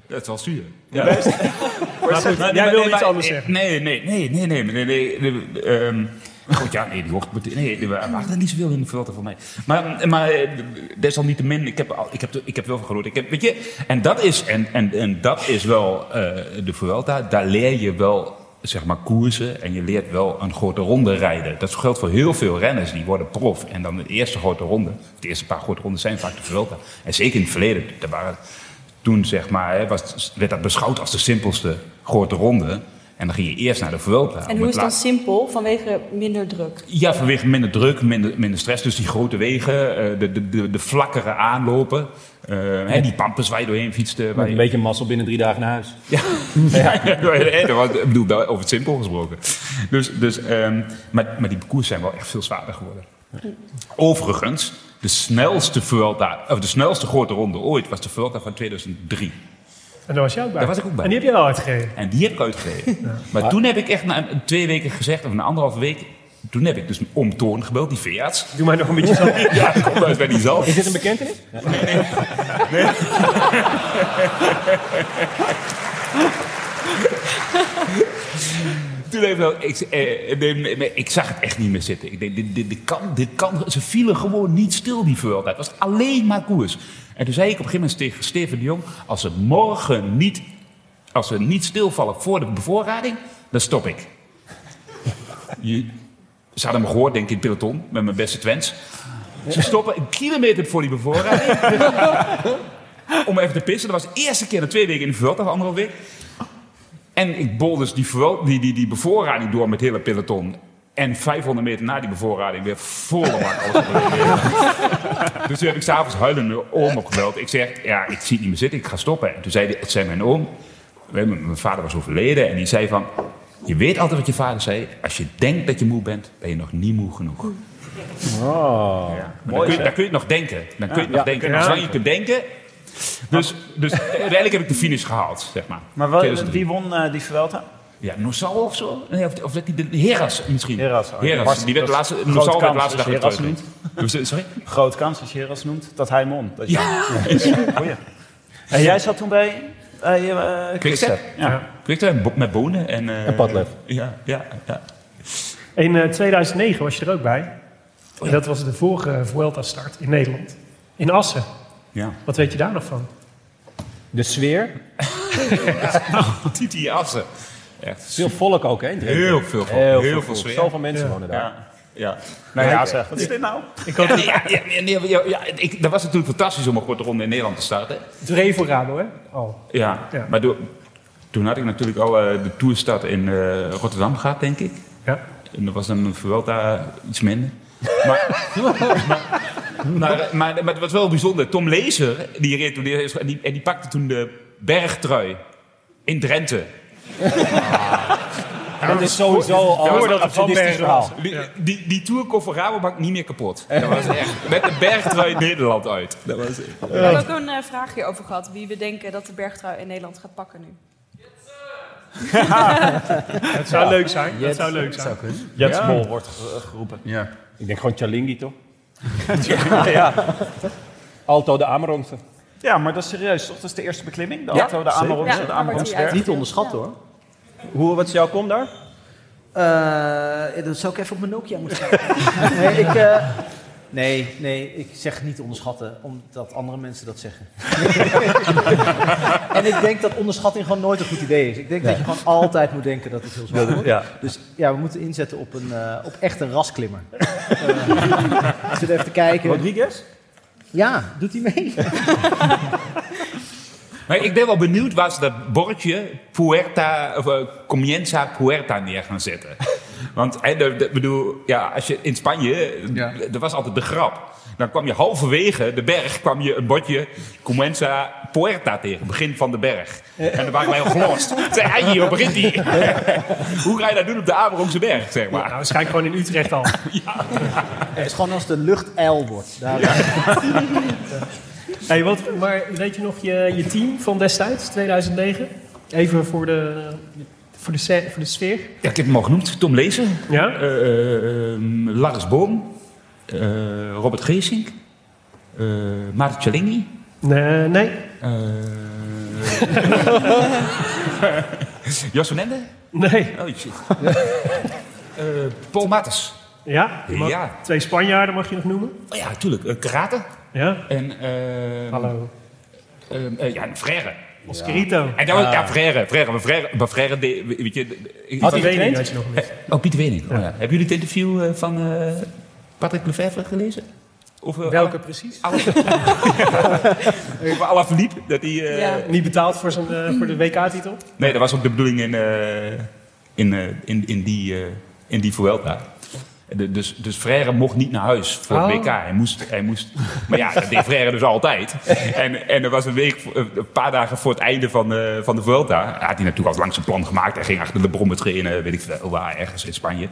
Speaker 5: Dat is wel zuur. Ja.
Speaker 3: Maar goed,
Speaker 5: Maar-
Speaker 3: jij
Speaker 5: maar-
Speaker 3: wil
Speaker 5: nee,
Speaker 3: iets
Speaker 5: maar-
Speaker 3: anders zeggen.
Speaker 5: Nee, nee, nee, nee, nee, nee, nee. nee, ehm, goed, ja, nee, die hoort... moet- Nee, er waren niet zoveel in de verwachting van mij. Maar, maar eh, desalniettemin, ik heb, al- ik heb, de- ik heb wel van gehoord. Ik heb, weet je, en dat is, en, en, en dat is wel eh, de Vuelta. Daar leer je wel, zeg maar, koersen. En je leert wel een grote ronde rijden. Dat geldt voor heel veel renners. Die worden prof. En dan de eerste grote ronde. De eerste paar grote ronden zijn vaak de Vuelta. En zeker in het verleden, er waren toen zeg maar, hè, was, werd dat beschouwd als de simpelste grote ronde. En dan ging je eerst naar de Vuelta. om
Speaker 8: En hoe
Speaker 5: het
Speaker 8: is dan
Speaker 5: laatst-
Speaker 8: simpel? Vanwege minder druk.
Speaker 5: Ja, vanwege minder druk, minder, minder stress. Dus die grote wegen, eh, de, de, de, de vlakkere aanlopen. eh, hè, die pampers waar je doorheen fietste. Waar
Speaker 9: Met
Speaker 5: je- <laughs>
Speaker 9: een beetje mazzel binnen drie dagen naar huis.
Speaker 5: ja, ja, dat was- ik bedoel, daar- over het simpel gesproken. Dus, dus, ehm, maar, maar die parcours zijn wel echt veel zwaarder geworden. Overigens, de snelste, Vuelta, of de snelste grote ronde ooit was de Vuelta van 2003.
Speaker 3: En daar was jij ook bij.
Speaker 5: Daar was ik ook bij.
Speaker 3: En die heb je wel uitgegeven.
Speaker 5: En die heb ik uitgereden. Maar toen heb ik echt na een- twee weken gezegd, of na anderhalve week... Toen heb ik dus om Toorn gebeld, die veearts.
Speaker 3: Doe maar nog een beetje zelf.
Speaker 5: <laughs> ja, kom uit bij die zelf.
Speaker 3: Is dit een bekentenis?
Speaker 5: <laughs> Toen heeft wel, ik, eh, nee, nee, ik zag het echt niet meer zitten. Ik denk, dit, dit, dit kan, dit kan, ze vielen gewoon niet stil, die Vuelta. Het was alleen maar koers. En toen zei ik op een gegeven moment tegen Steven de Jong... als ze morgen niet, als ze niet stilvallen voor de bevoorrading, dan stop ik. Je, ze hadden me gehoord, denk ik, in het peloton, met mijn beste Twents. Ze stoppen een kilometer voor die bevoorrading. om even te pissen. Dat was de eerste keer in twee weken in de Vuelta, of anderhalf week. En ik bol dus die, verwel- die, die, die bevoorrading door met het hele peloton. En 500 meter na die bevoorrading weer volle bak alles op de
Speaker 1: <laughs>
Speaker 5: weer. Dus toen heb ik s'avonds huilend mijn oom opgebeld. Ik zeg, ja, ik zie het niet meer zitten, ik ga stoppen. En toen zei, die- het zei mijn oom, mijn mijn vader was overleden. En die zei van, je weet altijd wat je vader zei. Als je denkt dat je moe bent, ben je nog niet moe genoeg.
Speaker 12: Oh.
Speaker 5: Maar dan, kun je, dan kun je het nog denken. Dan kun je het nog denken.
Speaker 3: kun je
Speaker 5: Dan zou je
Speaker 3: nog
Speaker 5: kunnen denken. Dus, dus uiteindelijk heb ik de finish gehaald, zeg maar.
Speaker 1: Maar wel,
Speaker 5: 2003.
Speaker 1: wie won eh, die Vuelta?
Speaker 5: Ja, Nosal of zo? Nee, of, of dat die de Heras misschien.
Speaker 1: Heras. oh,
Speaker 5: Heras,
Speaker 1: Bas-
Speaker 5: die werd de
Speaker 1: dat is
Speaker 5: laatste,
Speaker 1: een
Speaker 5: Nosal
Speaker 1: grote
Speaker 5: werd de
Speaker 1: kans
Speaker 5: laatste dag
Speaker 1: als je Heras
Speaker 5: getrokken. Dus, Sorry?
Speaker 1: Groot kans als je Heras noemt, dat hij won. Dat je-
Speaker 5: Ja.
Speaker 1: Goeie. En jij zat toen bij... bij, eh,
Speaker 5: Quickstep.
Speaker 1: Ja.
Speaker 5: Quickstep bo- met bonen en... eh,
Speaker 10: En Padlef.
Speaker 5: Ja, ja, <laughs> ja.
Speaker 3: In eh, 2009 was je er ook bij. En dat was de vorige Vuelta-start in Nederland. In Assen.
Speaker 5: ja.
Speaker 3: Wat weet je daar nog van?
Speaker 10: De sfeer.
Speaker 5: Titi Assen. Echt.
Speaker 10: Veel volk ook, hè? in Drenthe.
Speaker 5: Heel veel volk, heel veel sfeer.
Speaker 10: Zoveel mensen wonen daar.
Speaker 5: Ja. Ja.
Speaker 1: Nou ja, zeg. Wat is dit nou?
Speaker 5: Ja, nee, ja, ja, nee, ja, ja, ja, ik, dat was natuurlijk fantastisch om een korte ronde in Nederland te starten.
Speaker 3: Drevorado, hè? Al.
Speaker 5: Ja,
Speaker 3: Ja.
Speaker 5: maar door- toen had ik natuurlijk al eh, de toerstad in eh, Rotterdam gehad, denk ik.
Speaker 3: Ja.
Speaker 5: En dat was dan een Vuelta iets minder. Maar, <laughs> maar, maar, maar, maar het was wel bijzonder. Tom Lezer, die reed toen, die, en die, en die pakte toen de bergtrui in Drenthe.
Speaker 10: Dat is sowieso al een
Speaker 3: Voordat het van
Speaker 10: absurdistisch
Speaker 3: Bergen
Speaker 10: verhaal.
Speaker 5: Die, die, die tour kon voor Rabobank niet meer kapot. Dat was echt met de bergtrui Nederland uit. Dat was
Speaker 8: We hebben ook een eh, vraagje over gehad. Wie we denken dat de bergtrui in Nederland gaat pakken nu.
Speaker 3: Dat zou leuk zijn. Dat zou leuk zijn.
Speaker 10: Jets Mol wordt ge- geroepen.
Speaker 5: ja.
Speaker 10: Ik denk gewoon Chalingi, toch? ja. Alto de Ameronsen.
Speaker 1: Ja, maar dat is serieus, toch? Dat is de eerste beklimming? De
Speaker 10: Ja,
Speaker 1: auto, de
Speaker 10: zeker.
Speaker 1: Amerongs,
Speaker 8: Ja,
Speaker 1: de
Speaker 8: daar wordt hij
Speaker 1: Ameronsberg.
Speaker 2: Niet onderschat hoor.
Speaker 10: Hoe, wat is jouw kom daar?
Speaker 2: Eh, dat zou ik even op mijn Nokia moeten kijken. <laughs> nee, ik, eh, nee, nee, ik zeg niet onderschatten, omdat andere mensen dat zeggen. <laughs> en ik denk dat onderschatting gewoon nooit een goed idee is. Ik denk dat je gewoon altijd moet denken dat het heel zwaar wordt.
Speaker 10: ja.
Speaker 2: Dus ja, we moeten inzetten op, een, eh, op echt een rasklimmer. <laughs> Eh, ik zit even te kijken.
Speaker 10: Rodriguez?
Speaker 2: Ja, doet hij mee?
Speaker 5: Maar ik ben wel benieuwd waar ze dat bordje Puerta, of, eh, Comienza Puerta neer gaan <laughs> zetten. Want hè, de- de- bedoel, ja, als je in Spanje, d- er was altijd de grap. Dan kwam je halverwege de berg, kwam je een bordje Comienza Puerta tegen, begin van de berg. En dan waren wij al <laughs> gelost. Zeg, hey, hier begint die. <laughs> Hoe ga je dat doen op de Averongse berg, zeg maar?
Speaker 3: Nou, waarschijnlijk gewoon in Utrecht al.
Speaker 2: Het is gewoon als de lucht ijl wordt. Daar,
Speaker 3: Hey, wat, maar weet je nog je, je team van destijds, 2009? Even voor de, voor de, se- voor de sfeer.
Speaker 5: Ja, ik heb hem al genoemd. Tom Lezen,
Speaker 3: Ja?
Speaker 5: eh, eh, ehm, Lars Boom, eh, Robert Geesink, eh Maarten Cellini.
Speaker 3: Nee, nee.
Speaker 5: Eh Jos van Ende?
Speaker 3: nee.
Speaker 5: Oh shit. Eh, Paul Mattes.
Speaker 3: Ja? je mag-
Speaker 5: Ja.
Speaker 3: Twee Spanjaarden mag je nog noemen.
Speaker 5: Oh ja, natuurlijk. Eh, karate.
Speaker 3: Ja?
Speaker 5: En, eh,
Speaker 3: Hallo.
Speaker 5: eh, eh, ja, en Frère.
Speaker 3: Oscarito.
Speaker 5: En dat was, ja, Frère. Frère. Maar Frère, maar Frère de- weet je... de- ik-
Speaker 10: Had hij
Speaker 5: van-
Speaker 3: Dat weet ik
Speaker 10: getraind?
Speaker 3: weet je nog niet.
Speaker 5: Oh, Pieter Wening. Oh, ja. Hebben jullie het interview eh, van eh, Patrick Lefevre gelezen? Of, eh,
Speaker 10: Welke precies?
Speaker 5: Ala- Over Alaphilippe, dat hij... eh,
Speaker 8: Ja.
Speaker 3: Niet betaald voor, zijn, eh, voor de WK-titel?
Speaker 5: Nee, dat was ook de bedoeling in, eh, in, eh, in, in, die, eh, in die Vuelta. De- dus, dus Frère mocht niet naar huis voor het
Speaker 3: Oh.
Speaker 5: WK. Hij moest, hij moest, maar ja, dat deed Frère dus altijd. En, en er was een week, voor- een paar dagen voor het einde van, eh, van de Vuelta... had hij natuurlijk al lang zijn plan gemaakt. Hij ging achter de brommen trainen, weet ik veel waar, ergens in Spanje.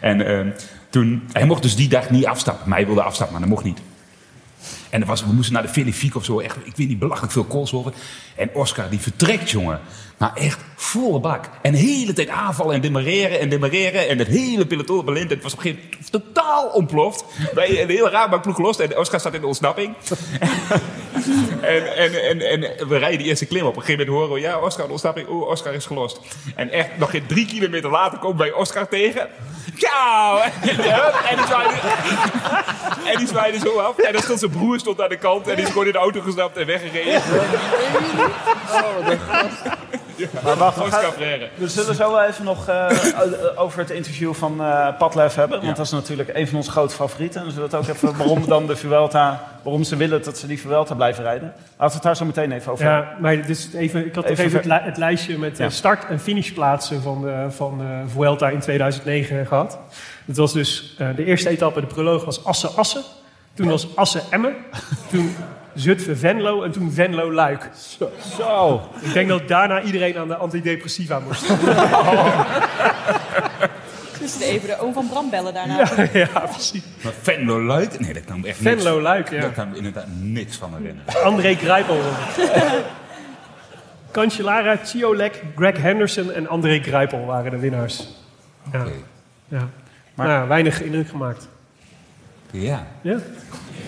Speaker 5: ehm, En eh, toen, hij mocht dus die dag niet afstappen. Maar hij wilde afstappen, maar dat mocht niet. En er was, we moesten naar de Filipijnen of zo. Echt, ik weet niet, belachelijk veel koolzolven. En Oscar die vertrekt, jongen. Maar echt volle bak. En de hele tijd aanvallen en demareren en demareren. En het hele peloton belint. Het was op een gegeven moment totaal ontploft. Bij een hele raar ploeg gelost. En Oscar staat in de ontsnapping. En, en, en, en we rijden die eerste klim op. Op een gegeven moment horen we, ja, Oscar, de ontsnapping. Oeh, Oscar is gelost. En echt, nog geen drie kilometer later komen wij Oscar tegen. Ja! En die zwaaide, en die zwaaide zo af. En dan stond zijn broer stond aan de kant. En die is gewoon in de auto gestapt en weggereden. <laughs>
Speaker 1: Maar wacht, we,
Speaker 5: Oscar
Speaker 1: gaan-
Speaker 5: Freire.
Speaker 1: we zullen zo wel even nog eh, o- over het interview van eh Padlef hebben. Want dat is natuurlijk een van onze grote favorieten. En we zullen het ook even waarom dan de Vuelta, waarom ze willen dat ze die Vuelta blijven rijden. Laten we het daar zo meteen even over hebben.
Speaker 3: Ja, maar dus even, ik had
Speaker 1: eh, Even
Speaker 3: even, even het,
Speaker 1: ver-
Speaker 3: li- het lijstje met eh,
Speaker 1: Ja.
Speaker 3: start- en finishplaatsen van de, van de Vuelta in 2009 gehad. Dat was dus eh, de eerste etappe, de proloog was Assen-Assen. Toen was Assen-Emmen. toen Zutphen-Venlo en toen Venlo-Luik.
Speaker 1: Zo,
Speaker 3: Ik denk dat daarna iedereen aan de antidepressiva moest. <laughs>
Speaker 8: Dus even de oom van Bram bellen daarna.
Speaker 3: ja, precies.
Speaker 5: Maar Venlo Luik? Nee, dat kan echt niks.
Speaker 3: Venlo-Luik, ja.
Speaker 5: Daar kan ik inderdaad niks van herinneren.
Speaker 3: André Grijpel. Cancellara, Ciolek, Greg Henderson en André Grijpel waren de winnaars. Ja. Ja. Maar, nou, ja, weinig indruk gemaakt.
Speaker 5: Ja.
Speaker 3: Ja.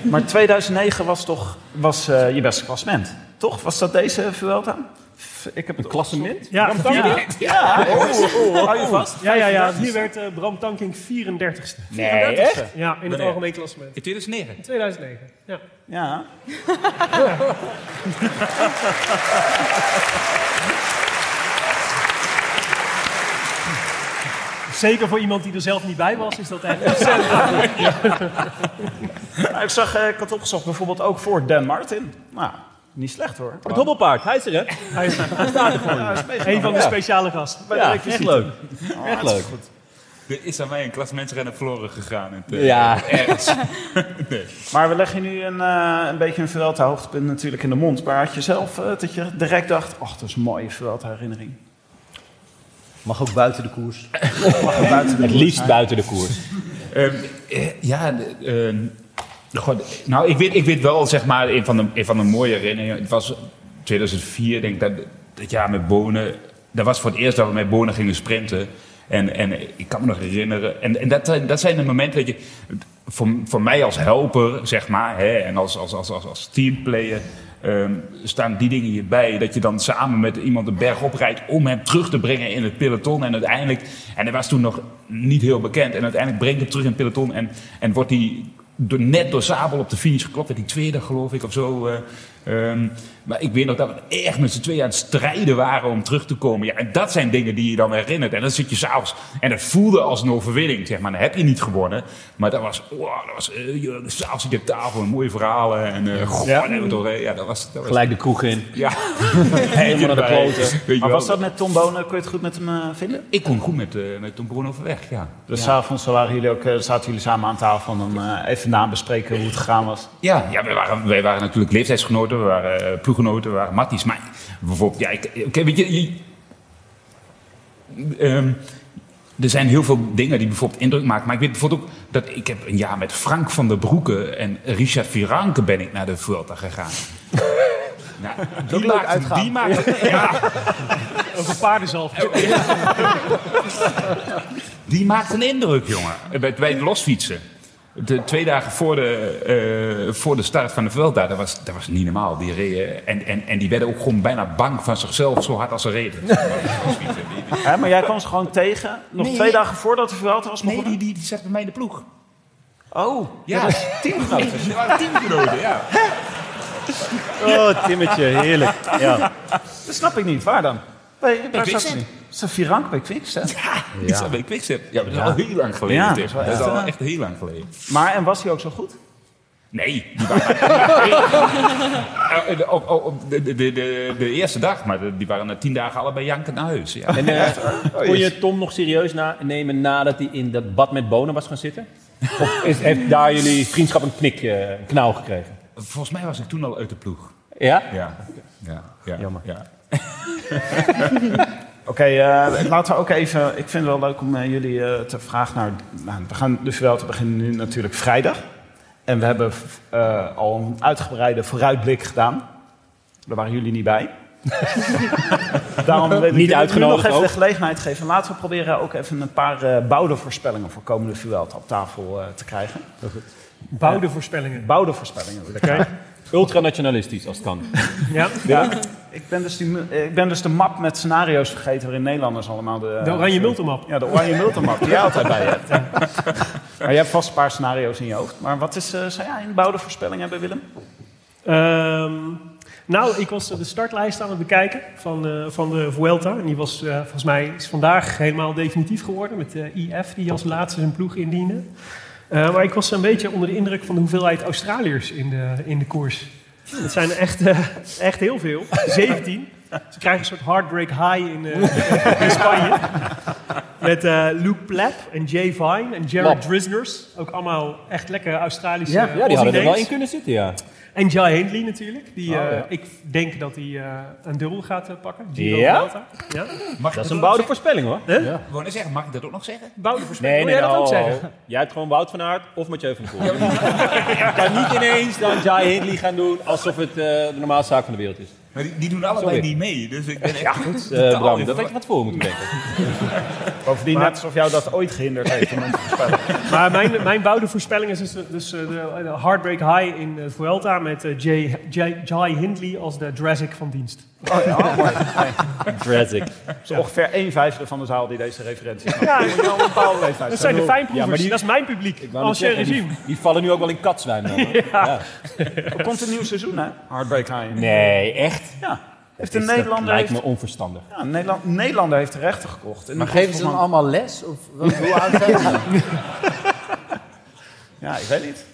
Speaker 1: Maar 2009 was toch was, eh, je beste klassement, toch? Was dat deze Vuelta? F- Ik heb een klassement?
Speaker 3: Ja, vierde.
Speaker 1: Ja,
Speaker 5: Oh,
Speaker 1: hou je vast.
Speaker 3: ja, ja, ja. Hier werd eh, Bram Tankink 34ste.
Speaker 5: Nee, echt?
Speaker 3: Ja, in het
Speaker 5: Wanneer?
Speaker 3: algemeen klassement.
Speaker 5: In 2009.
Speaker 3: 2009. Ja.
Speaker 1: Ja.
Speaker 3: <laughs> Zeker voor iemand die er zelf niet bij was, is dat
Speaker 1: eh,
Speaker 3: echt...
Speaker 1: Nou, Ik zag, eh, ik had opgezocht bijvoorbeeld ook voor Dan Martin. Nou, niet slecht hoor.
Speaker 10: Het hobbelpaard, hij is er, hè?
Speaker 3: Hij is
Speaker 1: Ja, is meegenomen.
Speaker 3: een van de speciale gasten.
Speaker 1: Ja,
Speaker 10: Ja,
Speaker 1: ik
Speaker 10: echt
Speaker 1: wist
Speaker 10: leuk. Echt leuk.
Speaker 5: Er is aan mij een klassementsrenner verloren gegaan. In het, eh,
Speaker 10: Ja.
Speaker 5: ergens.
Speaker 1: het. Maar we leggen nu een, eh, een beetje een Vuelta hoogtepunt natuurlijk in de mond. Maar had je zelf eh, dat je direct dacht, ach, dat is een mooie Vuelta herinnering.
Speaker 2: Mag ook buiten de koers.
Speaker 10: Het liefst buiten de koers.
Speaker 5: Ehm, eh, ja, de- ehm, goh, de- nou, ik weet, ik weet wel, zeg maar, een van de, een van de mooie herinneringen. Het was 2004, denk ik, dat, dat jaar met Bonen. Dat was voor het eerst dat we met Bonen gingen sprinten. En, en ik kan me nog herinneren. En, en dat, zijn- dat zijn de momenten dat je. Voor, voor mij als helper, zeg maar, hè, en als, als, als, als, als teamplayer. ehm, staan die dingen hierbij. Dat je dan samen met iemand de berg oprijdt om hem terug te brengen in het peloton. En uiteindelijk, en hij was toen nog niet heel bekend. En uiteindelijk brengt hem terug in het peloton en, en wordt hij door, net door Zabel op de finish geklopt. Werd hij tweede, geloof ik, of zo. eh, ehm, maar ik weet nog dat we echt met z'n tweeën aan het strijden waren om terug te komen. Ja, en dat zijn dingen die je dan herinnert. En dan zit je s'avonds. En dat voelde als een overwinning, zeg maar. Dan heb je niet gewonnen. Maar dat was, wow, dat was eh, je- s'avonds zit je op tafel, mooie verhalen. En eh goh,
Speaker 10: Ja.
Speaker 5: dat hebben we toch, eh, ja, dat was... Dat was
Speaker 10: Gelijk de kroeg in. <laughs>
Speaker 5: ja. Helemaal
Speaker 10: naar de kloten.
Speaker 1: Maar was dat met Tom Bonen, kon je het goed met hem eh, vinden?
Speaker 5: Ik kon goed met, eh met Tom Broen overweg, ja.
Speaker 1: Dus s'avonds waren jullie ook, eh, zaten jullie samen aan tafel en dan eh, even nabespreken hoe het gegaan was.
Speaker 5: Ja, ja wij, waren, wij waren natuurlijk leeftijdsgenoten, we waren eh, ploeggenoten, we waren matties. Maar bijvoorbeeld, ja, ik, oké, weet je... je- ehm, er zijn heel veel dingen die bijvoorbeeld indruk maken. Maar ik weet bijvoorbeeld ook dat ik heb een jaar met Frank van der Broeke en Richard Viranke ben ik naar de Vuelta gegaan. nou, die
Speaker 2: leuk
Speaker 5: maakten-
Speaker 2: uitgaan.
Speaker 5: Die maakten, ja,
Speaker 3: Over paardenzalf.
Speaker 5: Die maakt een indruk, jongen. Bij, bij het losfietsen. De, twee dagen voor de, eh, voor de start van de Vuelta, dat was, dat was niet normaal. Die reden, en, en, en die werden ook gewoon bijna bang van zichzelf, zo hard als ze reden.
Speaker 1: Hè, maar jij kwam ze gewoon tegen, nog
Speaker 5: Nee.
Speaker 1: twee dagen voordat de Vuelta was
Speaker 5: Nee,
Speaker 1: begonnen?
Speaker 5: die, die, die zat bij mij in de ploeg.
Speaker 1: Oh,
Speaker 5: Ja, <laughs> teamgenoten. Die waren teamgenoten, ja.
Speaker 10: Oh, Timmetje, heerlijk. Ja.
Speaker 1: dat snap ik niet. Waar dan? Bij, waar zat
Speaker 5: Quickstep.
Speaker 1: ze? nu? Is dat Virank bij Quickstep?
Speaker 5: Die zat bij de Quickstep. Ja, maar dat is al heel lang geleden.
Speaker 1: Ja,
Speaker 5: Tim.
Speaker 1: dat is wel
Speaker 5: dat is
Speaker 1: echt,
Speaker 5: al
Speaker 1: eh,
Speaker 5: echt heel lang geleden.
Speaker 1: Maar, en was hij ook zo goed?
Speaker 5: Nee. die waren- <laughs> Eh, de- op- op- op de, de, de, de eerste dag, maar de- die waren na tien dagen allebei jankend naar huis. Ja.
Speaker 10: En eh, kon je Tom nog serieus na nemen nadat hij in dat bad met bonen was gaan zitten? Of is, heeft daar jullie vriendschap een knik, eh, een knauw gekregen?
Speaker 5: Volgens mij was ik toen al uit de ploeg.
Speaker 10: Ja?
Speaker 5: Ja, ja, ja.
Speaker 10: Jammer.
Speaker 5: Ja.
Speaker 1: Oké, eh, laten we ook even. Ik vind dus het wel leuk om eh, jullie eh, te vragen naar. Nou, we gaan de Vuelta beginnen nu natuurlijk vrijdag. En we hebben eh, al een uitgebreide vooruitblik gedaan. Daar waren jullie niet
Speaker 10: <laughs>
Speaker 1: bij. Daarom wil ik jullie nu
Speaker 10: uitgenodigd
Speaker 1: nog even
Speaker 10: ook.
Speaker 1: de gelegenheid geven. Laten we proberen ook even een paar eh bouwde voorspellingen voor komende Vuelta op tafel eh, te krijgen.
Speaker 3: Bouwde voorspellingen.
Speaker 1: Bouwde voorspellingen. wil ik
Speaker 3: Oké.
Speaker 1: graag.
Speaker 10: Ultranationalistisch als het kan. <laughs>
Speaker 3: Ja.
Speaker 1: Ja, ik, ben dus die, mu- eh, ik ben dus de map met scenario's vergeten waarin Nederlanders allemaal de... eh,
Speaker 3: De oranje multimap.
Speaker 1: Ja, de oranje multimap die jij altijd bij je hebt. Maar je hebt vast een paar scenario's in je hoofd. Maar wat is, eh zou jij een bouwde voorspelling hebben, Willem?
Speaker 3: Ehm, nou, ik was de startlijst aan het bekijken van, eh, van de Vuelta. En die was eh, volgens mij is vandaag helemaal definitief geworden met de IF die als laatste zijn ploeg indiende. Eh, maar ik was een beetje onder de indruk van de hoeveelheid Australiërs in de, in de koers. Dat zijn er echt, eh, echt heel veel. 17. Ze krijgen een soort heartbreak high in, eh, in Spanje. Met eh, Luke Plapp en Jay Vine en Jared Drisners. Ook allemaal echt lekkere Australische
Speaker 2: Ja, ja,
Speaker 10: Ja, die hadden er wel
Speaker 3: Aussie-names.
Speaker 10: in kunnen zitten, ja.
Speaker 3: En Jai Hindley natuurlijk. Die,
Speaker 10: Oh,
Speaker 3: eh,
Speaker 10: ja.
Speaker 3: Ik denk dat hij eh, een dubbel gaat eh, pakken.
Speaker 10: Ja?
Speaker 3: Vuelta. ja?
Speaker 10: Dat is een bouwde voorspelling hoor.
Speaker 5: Gewoon eens zeggen, mag ik dat ook nog zeggen?
Speaker 3: Bouwde voorspelling.
Speaker 10: Nee, nee,
Speaker 3: Wil jij dat ook
Speaker 10: oh,
Speaker 3: zeggen?
Speaker 10: oh. Jij hebt gewoon Wout van Aert of Mathieu van der Poel. Je kan niet ineens dan Jai Hindley gaan doen alsof het eh, de normaalste zaak van de wereld is.
Speaker 5: Maar die, die doen allebei
Speaker 10: Sorry.
Speaker 5: niet mee, dus ik ben echt... <laughs> goed.
Speaker 10: Eh, Bram, dat had je wat voor moeten denken.
Speaker 1: Bovendien net alsof jou dat ooit gehinderd heeft om hem te voorspellen.
Speaker 10: oh.
Speaker 3: Maar mijn, mijn bouwde voorspelling is dus, dus eh, de, de Heartbreak High in eh, Vuelta met eh, Jay, Jay, Jai Hindley als de Drazik van dienst.
Speaker 10: Tragic.
Speaker 1: Zo ongeveer een vijfde van de zaal die deze <laughs> referentie snapt. Ja, een bepaalde leeftijd.
Speaker 3: Dat zijn de fijnproevers.
Speaker 10: Ja, maar die-
Speaker 3: Dat is mijn publiek. Ancien regime.
Speaker 10: die, die vallen nu ook wel in katzwijn. man.
Speaker 1: Er komt een nieuw seizoen, hè? Heartbreak High.
Speaker 10: Nee, echt?
Speaker 1: Ja. Heeft
Speaker 10: Is
Speaker 1: een
Speaker 10: dat-
Speaker 1: Nederlander,
Speaker 10: lijkt
Speaker 1: heeft,
Speaker 10: me onverstandig.
Speaker 1: ja, een Nederland, een Nederlander heeft de rechten gekocht. En
Speaker 2: Maar
Speaker 1: die
Speaker 2: geven
Speaker 1: kost
Speaker 2: ze dan
Speaker 1: allemaal-
Speaker 2: allemaal les? Of wat- hoe oud zijn ze?
Speaker 1: <laughs> Ja, ik weet niet.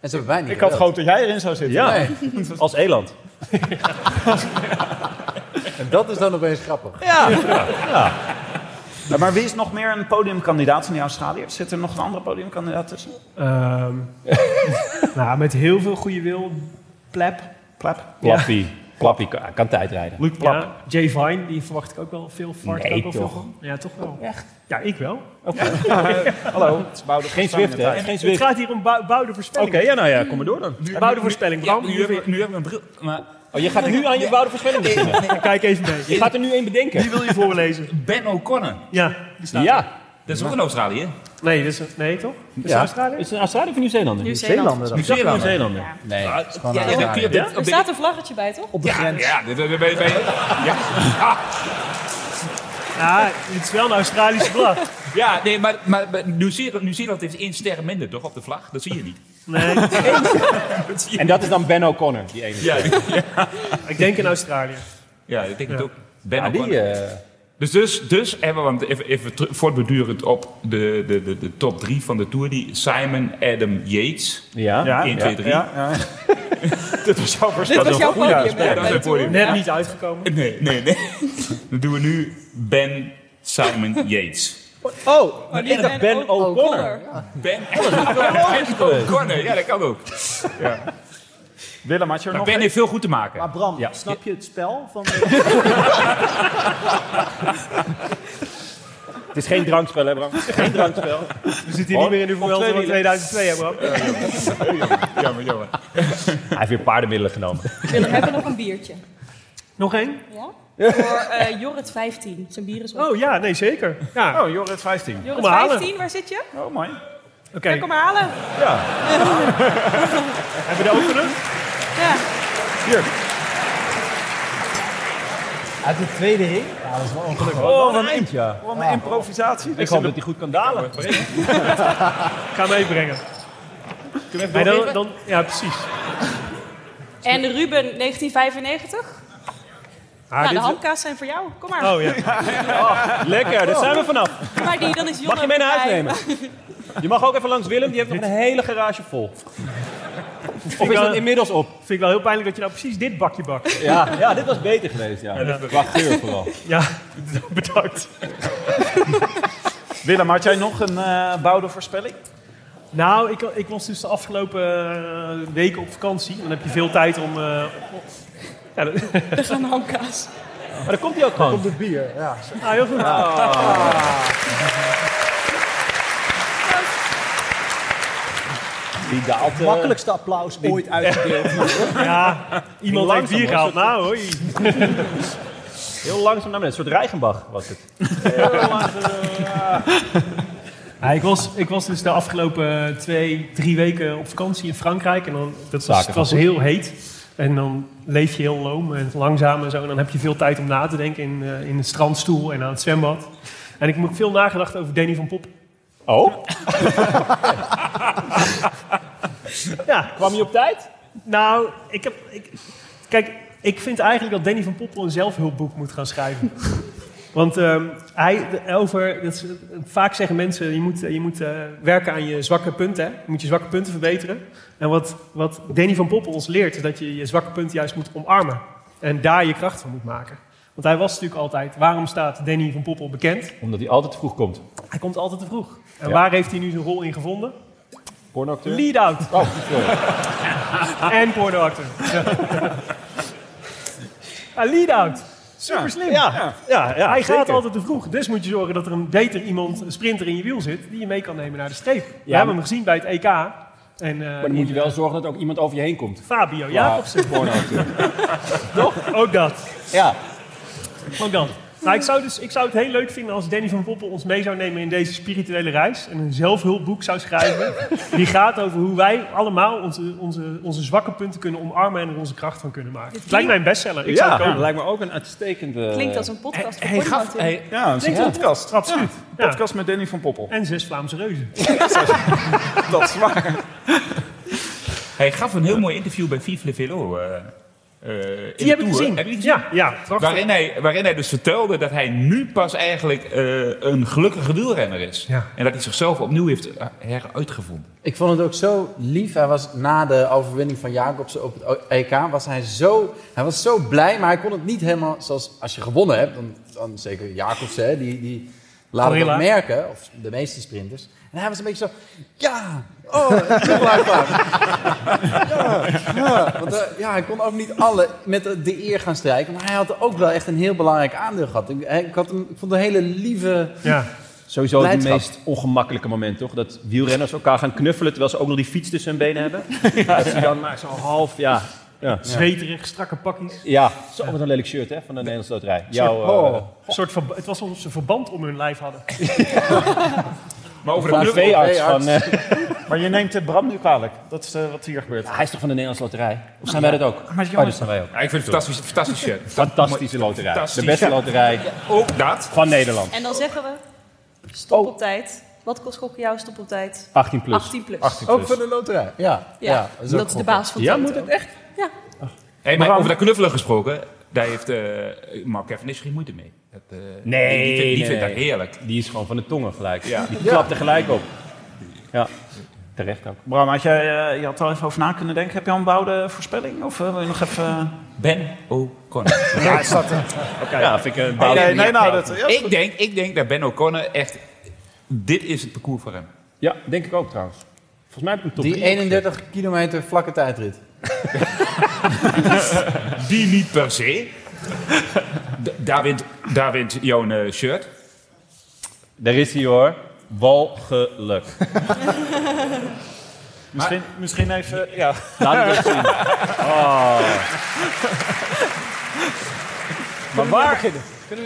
Speaker 2: En ze hebben wij niet.
Speaker 1: Ik had
Speaker 2: gebeld.
Speaker 1: gehoopt dat jij erin zou zitten.
Speaker 10: Ja,
Speaker 2: Nee.
Speaker 10: als Eland.
Speaker 2: <laughs> En dat is dan opeens grappig.
Speaker 1: Ja, Maar wie is nog meer een podiumkandidaat van die Australiërs? Zit er nog een andere podiumkandidaat tussen?
Speaker 3: Ehm, <laughs> nou, met heel veel goede wil. Plap.
Speaker 1: Plap.
Speaker 10: Plappie. Plappie kan, kan tijdrijden.
Speaker 1: Luc Plap.
Speaker 3: Ja, Jay Vine, die verwacht ik ook wel veel. Verwacht ik
Speaker 10: Nee,
Speaker 3: ook wel
Speaker 10: toch?
Speaker 3: Veel van. Ja, toch wel.
Speaker 10: Echt?
Speaker 3: Ja, ik wel.
Speaker 10: <laughs>
Speaker 1: Hallo. Het is Boudewijn.
Speaker 10: Geen Zwift, hè? Geen
Speaker 3: Het
Speaker 10: Zwift.
Speaker 3: gaat hier om bou- bouwde
Speaker 10: Oké,
Speaker 3: voorspelling.
Speaker 10: ja, nou ja, kom maar door dan.
Speaker 3: Bouwde voorspelling,
Speaker 5: Ja,
Speaker 3: Bram.
Speaker 5: nu heb ik- nu heb ik een bril, maar
Speaker 10: Oh, je gaat nu aan je bouwde voorspelling beginnen.
Speaker 3: Kijk even mee.
Speaker 10: Je gaat er nu één bedenken.
Speaker 3: Die wil je voorlezen.
Speaker 5: Ben O'Connor,
Speaker 3: Ja, die staat.
Speaker 10: Ja.
Speaker 5: dat is ook een Australië.
Speaker 3: Nee, dat is, nee toch? Is
Speaker 2: Ja.
Speaker 3: Australië?
Speaker 10: Is het een Australië of een Nieuw-Zeelander?
Speaker 2: Zeelanden dan.
Speaker 10: Nieuw-Zeelander. Nieuw-Zeelander.
Speaker 2: Nee.
Speaker 5: Ja, ja,
Speaker 2: een
Speaker 5: dan kun je op dit-
Speaker 8: Er
Speaker 5: op dit-
Speaker 8: staat een vlaggetje bij, toch?
Speaker 2: Op de grens.
Speaker 5: Ja, dit- dit- dit- dit- dit-
Speaker 3: Ja, het is wel een Australische vlag.
Speaker 5: ja, nee, maar, maar, maar Nieuw-Zeeland Nieuw-Zeeland heeft één ster minder, toch, op de vlag? Dat zie je niet.
Speaker 3: Nee,
Speaker 10: En dat is dan Ben O'Connor, die ene.
Speaker 5: Ja,
Speaker 3: ik denk in Australië.
Speaker 5: ja ik denk het ook. Ben
Speaker 10: Ja, die,
Speaker 5: O'Connor.
Speaker 10: eh,
Speaker 5: Dus, dus, dus hebben we want even, even teru- voortbedurend op de, de, de, de top drie van de Tour. Die Simon, Adam, Yates.
Speaker 10: ja.
Speaker 5: 1, 2, 3.
Speaker 1: Ja, ja.
Speaker 5: <laughs> Dat was jouw
Speaker 8: Dit
Speaker 5: voorspelling.
Speaker 8: was jouw podium. hè,
Speaker 5: Ja, dat
Speaker 8: bij
Speaker 5: is
Speaker 8: de
Speaker 5: het
Speaker 8: Tour.
Speaker 5: podium.
Speaker 3: Net niet uitgekomen.
Speaker 5: Nee, nee, nee. <laughs> Dan doen we nu Ben, Simon, Yates.
Speaker 10: Oh, maar ik dacht Ben O'Connor.
Speaker 8: oh, Connor.
Speaker 5: Ben
Speaker 10: Oh,
Speaker 5: Ben O'Connor. Ja, dat kan ook.
Speaker 1: Willem, had je er
Speaker 5: Maar
Speaker 1: nog
Speaker 5: Ben heeft veel goed te maken.
Speaker 2: Maar Bram,
Speaker 10: Ja.
Speaker 2: snap je het spel van...
Speaker 10: Het is geen drankspel, hè, Bram? Geen drankspel.
Speaker 3: We zitten hier niet meer in de Vuelta van 2002, hè, Bram?
Speaker 5: Jammer, <laughs> jammer.
Speaker 10: Hij heeft weer paardenmiddelen genomen.
Speaker 8: Willem, hebben we nog een biertje?
Speaker 3: Nog één?
Speaker 8: Ja? Voor eh Jorrit 15. Zijn bier is op.
Speaker 3: Oh ja, nee, zeker. Ja,
Speaker 1: Oh, Jorrit 15.
Speaker 8: Jorrit
Speaker 3: kom maar halen.
Speaker 8: 15, waar zit je?
Speaker 1: Oh, mooi.
Speaker 3: oké.
Speaker 8: Ja, kom maar halen.
Speaker 3: Hebben we de openen?
Speaker 8: Ja.
Speaker 2: Uit de tweede ring? Ja, dat is wel ongelukkig.
Speaker 10: Oh, wat een dus eind, ja.
Speaker 1: Wat een improvisatie.
Speaker 10: Ik hoop dat hij goed kan dalen.
Speaker 3: <laughs> Ga meebrengen. Nee, dan, dan, ja, precies.
Speaker 8: En Ruben 1995?
Speaker 3: Ah,
Speaker 8: nou,
Speaker 3: dit
Speaker 8: de
Speaker 3: is-
Speaker 8: handkaas zijn voor jou. Kom maar.
Speaker 10: <laughs>
Speaker 3: Oh ja.
Speaker 10: Lekker, daar zijn we vanaf.
Speaker 8: Doe Maar die, dan is Jorrit
Speaker 10: Mag je mee naar huis
Speaker 8: bij-
Speaker 10: nemen?
Speaker 8: <laughs>
Speaker 10: Je mag ook even langs Willem, die heeft nog een hele garage vol. Of is
Speaker 3: wel-
Speaker 10: dat inmiddels op?
Speaker 3: Vind ik wel heel pijnlijk dat je nou precies dit bakje
Speaker 10: <laughs>
Speaker 3: bakt.
Speaker 10: Ja, ja dit was beter geweest, ja. Qua geur vooral.
Speaker 3: Ja, <laughs> bedankt.
Speaker 1: Willem, had jij nog een eh bouwde voorspelling?
Speaker 3: Nou, ik, ik was dus de afgelopen eh, weken op vakantie. Dan heb je veel tijd om... eh, om- ja, dat-
Speaker 8: Er gaan handkaas.
Speaker 10: <laughs> Maar dan komt hij ook gewoon.
Speaker 2: De bier, ja.
Speaker 3: ah, heel goed.
Speaker 10: Die daalt... eh,
Speaker 2: Makkelijkste applaus ooit uitgedeeld.
Speaker 3: Ja, iemand heeft
Speaker 10: Langzaam,
Speaker 3: bier
Speaker 10: hoor.
Speaker 3: gehaald. Nou, hoi.
Speaker 10: Heel langzaam naar beneden. Een soort Reichenbach was het.
Speaker 3: Ja, ik, was, ik was dus de afgelopen twee, drie weken op vakantie in Frankrijk. En dan, dat was,
Speaker 10: Zaken
Speaker 3: het was
Speaker 10: gaan
Speaker 3: heel heet. En dan leef je heel loom en langzaam en zo. En dan heb je veel tijd om na te denken in, eh, in de strandstoel en aan het zwembad. En ik heb veel nagedacht over Danny van Pop.
Speaker 10: Oh?
Speaker 3: <laughs> Ja,
Speaker 10: Kwam je op tijd?
Speaker 3: nou, ik heb... Ik, kijk, ik vind eigenlijk dat Danny van Poppel een zelfhulpboek moet gaan schrijven. Want ehm, hij, de- over, dat is- vaak zeggen mensen, je moet, je moet eh, werken aan je zwakke punten. hè. Je moet je zwakke punten verbeteren. En wat, wat Danny van Poppel ons leert, is dat je je zwakke punten juist moet omarmen. En daar je kracht van moet maken. Want hij was natuurlijk altijd, waarom staat Danny van Poppel bekend?
Speaker 10: Omdat hij altijd te vroeg komt.
Speaker 3: Hij komt altijd te vroeg. En
Speaker 10: Ja.
Speaker 3: waar heeft hij nu zijn rol in gevonden?
Speaker 10: Pornoacteur?
Speaker 3: Lead-out
Speaker 10: Oh, sorry.
Speaker 3: <laughs> en pornoactor. <laughs> Ja. lead-out. Super slim. Ja, ja.
Speaker 10: Ah,
Speaker 3: Hij gaat altijd te vroeg. Dus moet je zorgen dat er een beter iemand, een sprinter in je wiel zit... die je mee kan nemen naar de streep. We
Speaker 10: maar-
Speaker 3: hebben hem gezien bij het EK. En, eh,
Speaker 10: Maar dan moet je wel zorgen dat er ook iemand over je heen komt.
Speaker 3: Fabio
Speaker 10: <laughs>
Speaker 3: Jacobsen.
Speaker 10: pornoacteur.
Speaker 3: Ook dat.
Speaker 10: Ja.
Speaker 3: Ook dat. Nou, ik, zou dus, ik zou het heel leuk vinden als Danny van Poppel ons mee zou nemen in deze spirituele reis. En een zelfhulpboek
Speaker 10: <laughs>
Speaker 3: zou schrijven. Die gaat over hoe wij allemaal onze, onze, onze zwakke punten kunnen omarmen en er onze kracht van kunnen maken. Het lijkt mij een bestseller. Ik zou het
Speaker 10: Ja,
Speaker 3: kopen.
Speaker 10: lijkt me ook een uitstekende...
Speaker 8: Klinkt als een podcast voor
Speaker 1: Hey, gaf,
Speaker 8: Pornhub.
Speaker 1: hey, ja, een
Speaker 3: Ja.
Speaker 1: podcast.
Speaker 3: Absoluut.
Speaker 1: Ja,
Speaker 3: Ja.
Speaker 1: Podcast met Danny van Poppel. <laughs>
Speaker 3: En zes Vlaamse reuzen.
Speaker 1: Dat is waar.
Speaker 5: Hij gaf een heel mooi interview bij Vive Le Velo. eh, eh, in de
Speaker 3: Die heb ik
Speaker 5: Tour.
Speaker 3: gezien.
Speaker 5: Heb je die gezien?
Speaker 3: Ja, ja prachtig.
Speaker 5: Waarin hij, waarin hij dus vertelde dat hij nu pas eigenlijk eh, een gelukkige wielrenner is.
Speaker 3: Ja.
Speaker 5: En dat hij zichzelf opnieuw heeft eh, heruitgevonden.
Speaker 11: Ik vond het ook zo lief. Hij was na de overwinning van Jacobsen op het EK, was hij, zo, hij was zo blij, maar hij kon het niet helemaal zoals als je gewonnen hebt. Dan, dan zeker Jacobsen, hè, die, die laat
Speaker 3: Gorilla.
Speaker 11: dat merken, of de meeste sprinters. En hij was een beetje zo, ja, oh, heel blij van. Ja, ja, want, eh, ja, hij kon ook niet alle met de- de eer gaan strijken, maar hij had ook wel echt een heel belangrijk aandeel gehad. Ik, eh, ik, had hem, ik vond een hele lieve...
Speaker 3: Ja.
Speaker 10: Sowieso het
Speaker 11: Blijdschap.
Speaker 10: meest ongemakkelijke moment, toch? Dat wielrenners elkaar gaan knuffelen terwijl ze ook nog die fiets tussen hun benen hebben. Dat ze dan maar zo half, ja. Ja,
Speaker 3: Zweterig, strakke pakjes.
Speaker 10: ja. zo wat een lelijk shirt hè, van de Nederlandse loterij. Jouw, eh,
Speaker 3: Een soort verba- het was alsof ze verband om hun lijf hadden.
Speaker 5: Maar over de
Speaker 10: van de
Speaker 5: club...
Speaker 10: veearts van... eh,
Speaker 1: Maar je neemt het Bram nu kwalijk. Dat is eh, wat hier gebeurt.
Speaker 10: hij is toch van de Nederlandse loterij? Of zijn wij dat ook? Maar
Speaker 1: jongens-
Speaker 10: zijn wij ook.
Speaker 5: Ja, ik vind het een fantastisch, fantastisch shirt.
Speaker 10: Fantastische loterij.
Speaker 5: Fantastisch.
Speaker 10: De beste
Speaker 5: Ja.
Speaker 10: loterij
Speaker 5: Ook dat.
Speaker 10: van Nederland.
Speaker 8: En dan zeggen we, stop op tijd. Wat kost gokken jou stop op tijd?
Speaker 10: 18 plus.
Speaker 8: 18 plus.
Speaker 11: Ook van de loterij, ja.
Speaker 8: Ja,
Speaker 11: ja,
Speaker 8: dat,
Speaker 11: ook
Speaker 8: is de
Speaker 11: goed.
Speaker 8: baas van
Speaker 10: Ja,
Speaker 8: Toto.
Speaker 10: moet het echt?
Speaker 5: Hey, maar over dat knuffelen gesproken, daar heeft eh Mark Cavendish geen moeite mee. Dat, eh,
Speaker 10: Nee,
Speaker 5: die, vindt- die
Speaker 10: nee.
Speaker 5: vindt dat heerlijk.
Speaker 10: Die is gewoon van de tongen gelijk.
Speaker 5: Ja.
Speaker 10: Die klapt er gelijk op. Ja, terecht ook.
Speaker 1: Bram, had jij, eh, je had er al even over na kunnen denken. Heb je al een bouwde voorspelling? Of eh, wil je nog even...
Speaker 5: Ben O'Connor.
Speaker 1: Ja, is dat...
Speaker 10: Ja, vind ik een
Speaker 1: Nee,
Speaker 10: bouw-
Speaker 1: nee, nou, dat... ja,
Speaker 5: ik, denk, ik denk dat Ben O'Connor echt... Dit is het parcours voor hem.
Speaker 10: Ja, denk ik ook trouwens. Volgens mij heb ik een top
Speaker 11: Die
Speaker 10: drie opgezet.
Speaker 11: 31 kilometer vlakke tijdrit.
Speaker 5: Die niet per se. D- daar, wint, daar wint jouw eh, shirt.
Speaker 10: Daar is hij hoor. Walgeluk.
Speaker 1: <laughs> misschien, misschien even... Ja.
Speaker 10: Laat het even zien. Oh. Maar waar,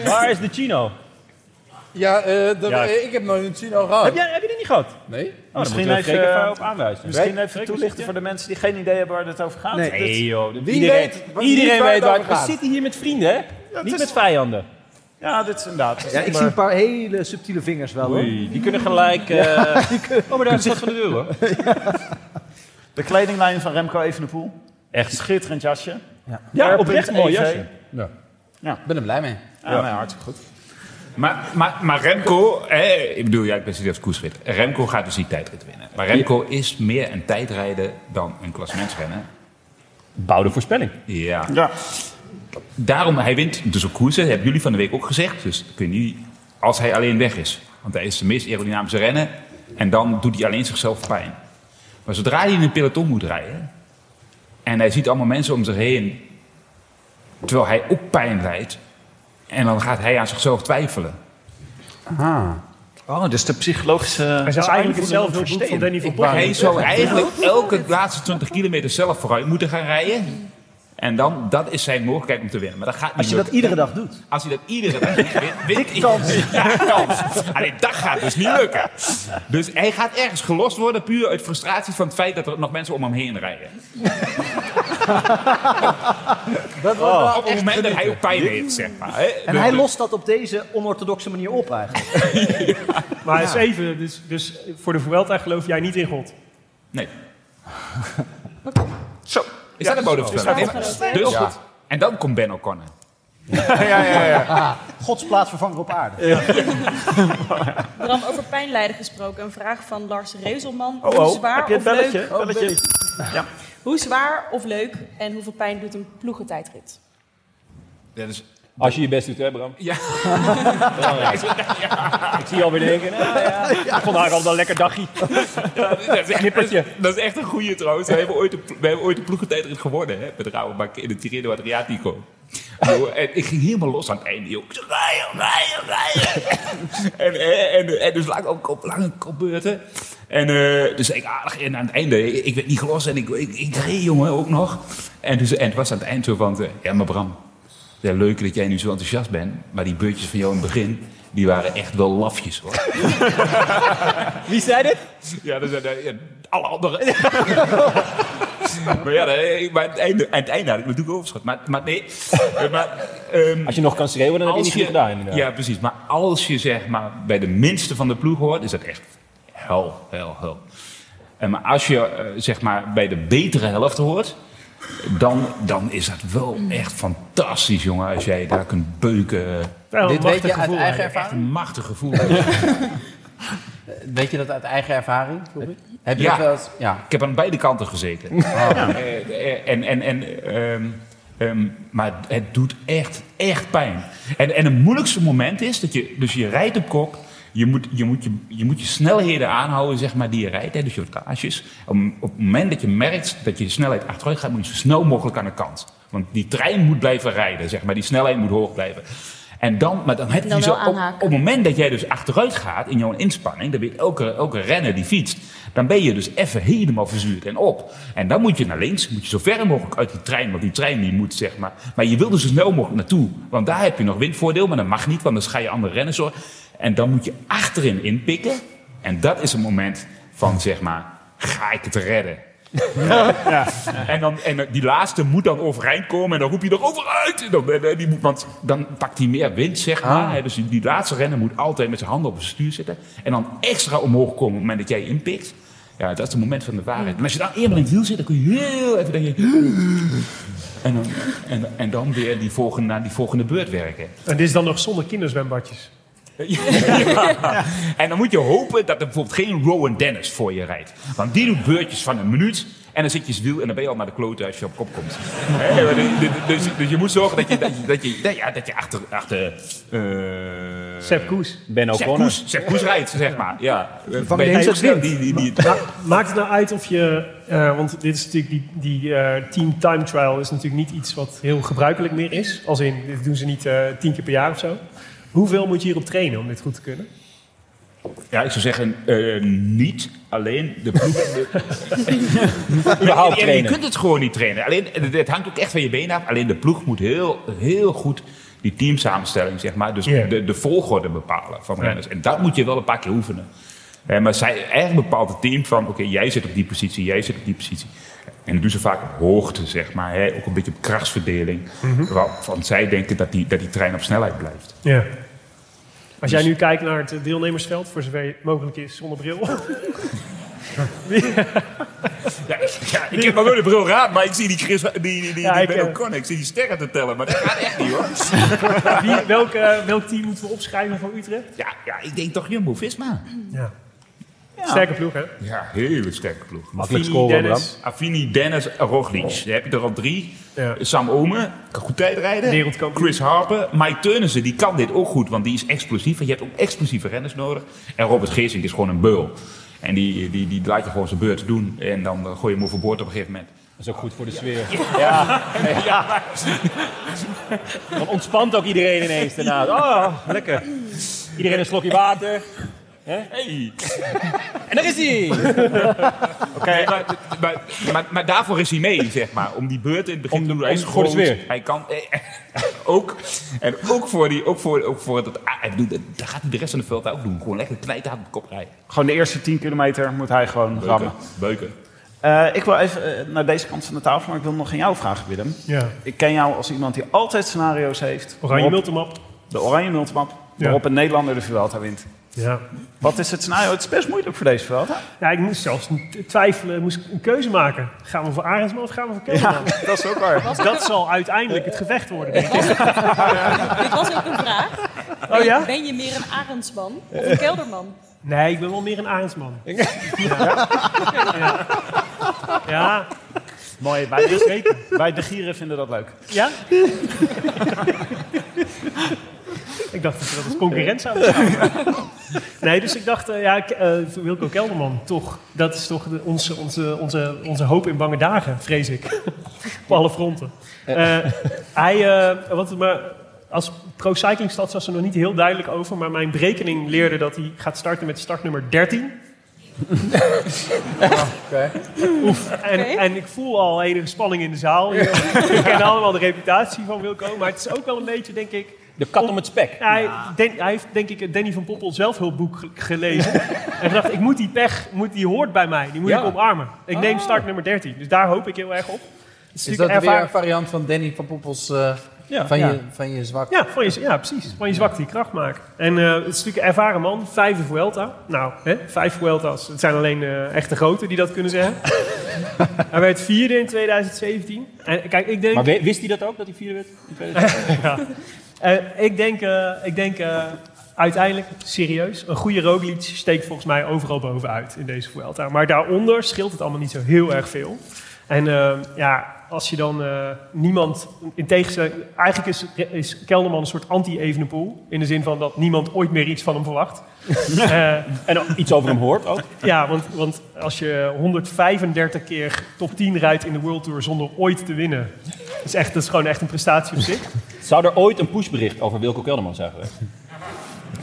Speaker 10: waar is de chino?
Speaker 11: Ja, eh, dat-
Speaker 10: Ja.
Speaker 11: eh, ik heb nooit een Chino gehad.
Speaker 10: Heb, jij, heb je die niet gehad? Oh,
Speaker 11: Nee?
Speaker 10: daar
Speaker 1: Misschien
Speaker 10: moeten we
Speaker 1: even,
Speaker 10: Freek
Speaker 1: eh,
Speaker 10: op aanwijzen.
Speaker 1: Misschien even toelichten voor de mensen die geen idee hebben waar dit over gaat.
Speaker 11: Nee.
Speaker 10: Nee joh. Wie
Speaker 11: weet-
Speaker 10: iedereen
Speaker 11: wie
Speaker 10: iedereen
Speaker 11: weet waar
Speaker 10: weet
Speaker 11: het
Speaker 10: waar
Speaker 11: over
Speaker 10: We
Speaker 11: gaat.
Speaker 10: zitten hier met vrienden hè? niet
Speaker 1: is-
Speaker 10: met vijanden.
Speaker 1: Ja, dit is inderdaad.
Speaker 2: Ja, ik zie een paar hele subtiele vingers wel. hoor.
Speaker 10: Oei, die kunnen gelijk...
Speaker 1: <laughs>
Speaker 10: eh, Oh, maar daar is het van de deur hoor.
Speaker 1: De kledinglijn van Remco Evenepoel.
Speaker 10: Echt.
Speaker 1: Schitterend jasje. E
Speaker 10: Ja,
Speaker 1: R.EV.
Speaker 10: oprecht een mooi jasje.
Speaker 11: Ik ben er blij mee.
Speaker 1: Ja, nou ja, hartstikke goed.
Speaker 5: Maar, maar, maar Remco... Eh, ik bedoel, ja, ik ben serieus koersrit. Remco gaat dus die tijdrit winnen. Maar Remco is meer een tijdrijder dan een klassementsrenner.
Speaker 10: Bouwde voorspelling.
Speaker 5: Ja.
Speaker 1: Ja.
Speaker 5: Daarom, hij wint dus ook koersen. Dat hebben jullie van de week ook gezegd. Dus kun je niet, als hij alleen weg is. Want hij is de meest aerodynamische renner. En dan doet hij alleen zichzelf pijn. Maar zodra hij in een peloton moet rijden. En hij ziet allemaal mensen om zich heen. Terwijl hij ook pijn lijdt. En dan gaat hij aan zichzelf twijfelen.
Speaker 13: Oh, dus de psychologische...
Speaker 3: Hij zou eigenlijk hetzelfde boek van Danny van Poppen.
Speaker 5: Hij zou eigenlijk elke laatste 20 kilometer zelf vooruit moeten gaan rijden. En dan, dat is zijn mogelijkheid om te winnen. Maar dat gaat niet
Speaker 2: Als je dat
Speaker 5: lukken.
Speaker 2: iedere dag doet.
Speaker 5: Als hij dat iedere dag doet, win- wint hij. Kans. <laughs> Ja, kans. Alleen dat gaat dus niet lukken. Dus hij gaat ergens gelost worden puur uit frustratie van het feit dat er nog mensen om hem heen rijden.
Speaker 2: Dat wordt wel
Speaker 5: op het
Speaker 2: echt
Speaker 5: moment dat
Speaker 2: genieten.
Speaker 5: hij ook pijn heeft, zeg maar. hè.
Speaker 2: En
Speaker 5: Dus-
Speaker 2: hij
Speaker 5: dus-
Speaker 2: lost dat op deze onorthodoxe manier op eigenlijk.
Speaker 3: Maar het
Speaker 2: Ja.
Speaker 3: is even, dus, dus voor de Vuelta geloof jij niet in God?
Speaker 5: Nee. Zo, is dat een
Speaker 3: Dus
Speaker 5: bodemverspilling?
Speaker 3: dat
Speaker 5: Dus,
Speaker 3: is
Speaker 5: dus,
Speaker 3: goed. Ja.
Speaker 5: goed. En dan komt Ben O'Connor.
Speaker 2: Gods plaatsvervanger op
Speaker 11: Eh,
Speaker 2: aarde.
Speaker 8: Bram, over pijnlijden gesproken. Een vraag van Lars Reuzelman.
Speaker 2: Oh,
Speaker 8: Hoe
Speaker 2: oh.
Speaker 8: zwaar
Speaker 2: Heb je het
Speaker 8: of
Speaker 2: belletje?
Speaker 8: leuk...
Speaker 2: Oh, belletje.
Speaker 13: Ja.
Speaker 8: Hoe zwaar of leuk en hoeveel pijn doet een ploegentijdrit?
Speaker 10: Als je je best doet, hè Bram?
Speaker 5: Ja.
Speaker 10: Ik zie je alweer denken, nou ja, vandaag al een lekker dagje.
Speaker 5: Dat is, echt, dat, is, dat is echt een goede trouwens. We hebben ooit de, plo- we hebben ooit de ploegentijdrit gewonnen hè, met Rabobank in de Tirreno Adriatico. Joh, en ik ging helemaal los aan het einde. Joh. Ik zei, Rijden, rijden, rijden. <laughs> En, en, en, en dus lang ook op lange kopbeurten. En eh, dus ik aardig en aan het einde, ik, ik werd niet gelost en ik, ik, ik reed jongen ook nog. En, dus, en het was aan het eind zo van, eh, ja maar Bram, ja, leuk dat jij nu zo enthousiast bent. Maar die beurtjes van jou in het begin, die waren echt wel lafjes hoor.
Speaker 13: Wie zei dit?
Speaker 5: Ja, dat zijn eh, ja, alle anderen. maar ja, nee, maar aan het einde, aan het einde had ik natuurlijk overschot. Maar, maar nee. eh, Maar,
Speaker 10: Als je nog kan schreeuwen, dan heb je
Speaker 5: als
Speaker 10: niet goed gedaan inderdaad.
Speaker 5: Ja, precies. Maar als je zeg maar bij de minste van de ploeg hoort, is dat echt hel, hel, hel. En maar als je eh, zeg maar bij de betere helft hoort, dan, dan is dat wel echt fantastisch, jongen. Als jij daar kunt beuken.
Speaker 3: Wel,
Speaker 11: Dit weet je uit
Speaker 5: gevoel,
Speaker 11: eigen
Speaker 5: hè. Echt
Speaker 11: ervaring?
Speaker 5: Een machtig gevoel.
Speaker 11: Weet je dat uit eigen ervaring? Robby? Heb je
Speaker 5: Ja.
Speaker 11: dat wel eens- Ja.
Speaker 5: Ik heb aan beide kanten gezeten. Eh, En, en, en, ehm, ehm, maar het doet echt, echt pijn. En, en het moeilijkste moment is dat je, dus je rijdt op kop. Je moet je, moet je, je moet je snelheden aanhouden zeg maar, die je rijdt, hè, dus je wattages. Op, op het moment dat je merkt dat je snelheid achteruit gaat, moet je zo snel mogelijk aan de kant. Want die trein moet blijven rijden, zeg maar. die snelheid moet hoog blijven. En dan, maar dan heb je
Speaker 14: Dan
Speaker 5: zo
Speaker 14: wel
Speaker 5: op,
Speaker 14: aanhaken.
Speaker 5: op het moment dat jij dus achteruit gaat in jouw inspanning, dat weet elke, elke renner die fietst, dan ben je dus even helemaal verzuurd en op. En dan moet je naar links, moet je zo ver mogelijk uit die trein, want die trein die moet zeg maar. Maar je wil er zo snel mogelijk naartoe, want daar heb je nog windvoordeel, maar dat mag niet, want dan ga je andere renners hoor. En dan moet je achterin inpikken. En dat is het moment van zeg maar, ga ik het redden? En, dan, en die laatste moet dan overeind komen en dan roep je er overuit. En dan, en- en die moet, want dan pakt hij meer wind, zeg maar. hè. Dus die, die laatste renner moet altijd met zijn handen op het stuur zitten. En dan extra omhoog komen op het moment dat jij inpikt. Ja, dat is het moment van de waarheid. Maar als je dan eenmaal in het wiel zit, dan kun je heel even denken... <gasps> En dan, en, en dan weer die volgende, naar die volgende beurt werken.
Speaker 3: En dit is dan nog zonder kinderzwembadjes.
Speaker 5: Ja. <laughs> En dan moet je hopen dat er bijvoorbeeld geen Rowan Dennis voor je rijdt. Want die doet beurtjes van een minuut. En dan zit je wiel en dan ben je al naar de klote als je op kop komt. <laughs> Hè, maar de- de- dus, dus je moet zorgen dat je, dat je, dat je, nou ja, dat je achter... achter eh
Speaker 3: Sepp Koes.
Speaker 10: Ben
Speaker 5: Sepp Koes, Sepp Koes rijdt, zeg maar. Ja. Ben
Speaker 3: Van de
Speaker 5: je
Speaker 3: hele
Speaker 5: zo snel
Speaker 3: wind.
Speaker 5: die, die, die,
Speaker 3: Ma- Maakt het nou uit of je, eh, want dit is natuurlijk die, die eh, team time trial is natuurlijk niet iets wat heel gebruikelijk meer is. Als in, dit doen ze niet eh, tien keer per jaar of zo. Hoeveel moet je hierop trainen om dit goed te kunnen?
Speaker 5: Ja, ik zou zeggen, eh, niet alleen de ploeg.
Speaker 3: <laughs>
Speaker 5: <laughs>
Speaker 10: Überhaupt
Speaker 5: Ja, Je
Speaker 10: trainen.
Speaker 5: kunt het gewoon niet trainen. Alleen, het- het hangt ook echt van je benen af. Alleen de ploeg moet heel, heel goed die teamsamenstelling, zeg maar. Dus
Speaker 3: Ja.
Speaker 5: de, de volgorde bepalen van renners. En dat moet je wel een paar keer oefenen. Eh, maar zij, eigenlijk bepaalt het team van, oké, jij zit op die positie, jij zit op die positie. En dat doen ze vaak op hoogte, zeg maar. Hè? Ook een beetje op krachtsverdeling.
Speaker 3: Mhm.
Speaker 5: Want, want zij denken dat die, dat die trein op snelheid blijft.
Speaker 3: Ja. Dus- Als jij nu kijkt naar het deelnemersveld, voor zover het mogelijk is zonder bril. <laughs>
Speaker 5: Ja, ik- <laughs> ja, ik heb maar wel een bril raad, maar ik zie die, Chris, die, die, die,
Speaker 3: Ja,
Speaker 5: die
Speaker 3: ik,
Speaker 5: Ben
Speaker 3: eh,
Speaker 5: O'Connor, ik zie die sterren te tellen, maar dat gaat echt niet hoor.
Speaker 3: Wie, welk, eh, welk team moeten we opschrijven voor Utrecht?
Speaker 5: Ja, ja ik denk toch Jumbo-Visma.
Speaker 3: Ja. Sterke ploeg, hè?
Speaker 5: Ja, hele sterke ploeg.
Speaker 3: Makkelijk Affini, scoren, Dennis.
Speaker 5: Affini, Dennis, Roglic. Daar heb je er al drie.
Speaker 3: Ja.
Speaker 5: Sam Omen, kan goed tijdrijden.
Speaker 3: Wereldkampioen.
Speaker 5: Chris Harper. Mike Teunissen, die kan dit ook goed, want die is explosief. En je hebt ook explosieve renners nodig. En Robert Geesink is gewoon een beul. En die, die, die laat je gewoon zijn beurt doen. En dan eh, gooi je hem overboord op een gegeven moment.
Speaker 10: Dat is ook goed voor de sfeer. Ja. ja.
Speaker 11: <laughs>
Speaker 10: Ah, Dan ontspant ook iedereen ineens daarna. Oh, lekker. Iedereen een slokje water. Hey. En daar is hij!
Speaker 5: Oké, maar, maar, maar, maar daarvoor is hij mee, zeg maar. Om die beurt in het begin te doen. Hij is
Speaker 10: om Gods
Speaker 5: gewoon-
Speaker 10: weer.
Speaker 5: Hij kan eh, ook. En ook voor, die, ook voor, ook voor dat. ah, ik bedoel, dat dat gaat hij de rest van de veld ook doen. Gewoon lekker knijten aan de kop rijden.
Speaker 1: Gewoon de eerste 10 kilometer moet hij gewoon
Speaker 5: Beuken.
Speaker 1: rammen.
Speaker 5: Beuken.
Speaker 1: Eh, ik wil even eh, naar deze kant van de tafel, maar ik wil nog aan jou vragen, Willem.
Speaker 3: Ja.
Speaker 1: Ik ken jou als iemand die altijd scenario's heeft.
Speaker 3: Oranje
Speaker 1: waarop-
Speaker 3: multimap.
Speaker 1: De oranje multimap, waarop een Nederlander de Vuelta wint.
Speaker 3: Ja.
Speaker 1: Wat is het scenario? Het is best moeilijk voor deze Vuelta.
Speaker 3: Ja, ik moest zelfs t- twijfelen, moest ik een keuze maken. Gaan we voor Arendsman of gaan we voor Kelderman?
Speaker 1: Ja, dat is ook waar.
Speaker 3: <laughs> Dat zal uiteindelijk het gevecht worden, denk ik.
Speaker 8: Dit was ook een vraag.
Speaker 3: Oh
Speaker 8: Ben-
Speaker 3: ja?
Speaker 8: Ben je meer een Arendsman of een Kelderman?
Speaker 3: Nee, ik ben wel meer een Arendsman. Ja. Ja. Ja.
Speaker 1: Mooi, wij de,
Speaker 3: Zeker.
Speaker 1: wij de Gieren vinden dat leuk.
Speaker 3: Ja? <laughs> ik dacht dat ze dat als concurrent zouden zijn. Nee, dus ik dacht, eh, ja, Ke- eh Wilco Kelderman, toch. Dat is toch de- onze, onze, onze, onze hoop in bange dagen, vrees ik. <laughs> Op alle fronten. Eh, hij, eh, wat, maar als Pro Cycling Stads was er nog niet heel duidelijk over, maar mijn berekening leerde dat hij gaat starten met startnummer <laughs> 13. Oef. En, en ik voel al enige spanning in de zaal. hier. <laughs> We kennen allemaal de reputatie van Wilco. Maar het is ook wel een beetje, denk ik...
Speaker 10: De kat om het spek.
Speaker 3: Hij, Den- hij heeft, denk ik, het Danny van Poppel zelfhulpboek ge-
Speaker 10: <laughs>
Speaker 3: gelezen. en gedacht, ik moet die pech, moet, die hoort bij mij. Die moet
Speaker 11: Ja.
Speaker 3: ik omarmen. Ik neem
Speaker 11: Oh.
Speaker 3: start nummer 13. Dus daar hoop ik heel erg op. Het
Speaker 11: Is dat
Speaker 3: natuurlijk
Speaker 11: weer
Speaker 3: ervaar-
Speaker 11: een variant van Danny van Poppels eh,
Speaker 3: Ja,
Speaker 11: van,
Speaker 3: ja.
Speaker 11: Je, van je zwak?
Speaker 3: Ja, van je, ja, precies. Van je zwakte je kracht maken. En eh, het is natuurlijk een ervaren man. Vijf Vuelta. Nou, hè, vijf Vuelta's. Het zijn alleen eh, echte groten die dat kunnen
Speaker 10: <laughs>
Speaker 3: zeggen. hij werd vierde in 2017. En kijk, ik denk...
Speaker 10: Maar we- wist hij dat ook, dat hij vierde werd? in 2017?
Speaker 3: ja. Eh, ik denk, eh, ik denk eh, uiteindelijk, serieus, een goede Roglic steekt volgens mij overal bovenuit in deze Vuelta. Maar daaronder scheelt het allemaal niet zo heel erg veel. En eh, ja, als je dan eh, niemand in tegenstelling... Eigenlijk is, is Kelderman een soort anti-Evenepoel. In de zin van dat niemand ooit meer iets van hem
Speaker 10: <laughs>
Speaker 3: verwacht. Eh, en dan-
Speaker 10: Iets over hem hoort ook.
Speaker 3: ja, want, want als je 135 keer top 10 rijdt in de World Tour zonder ooit te winnen. Dat is, echt, dat is gewoon echt een prestatie op zich.
Speaker 10: Zou er ooit een pushbericht over Wilco Kelderman zijn geweest?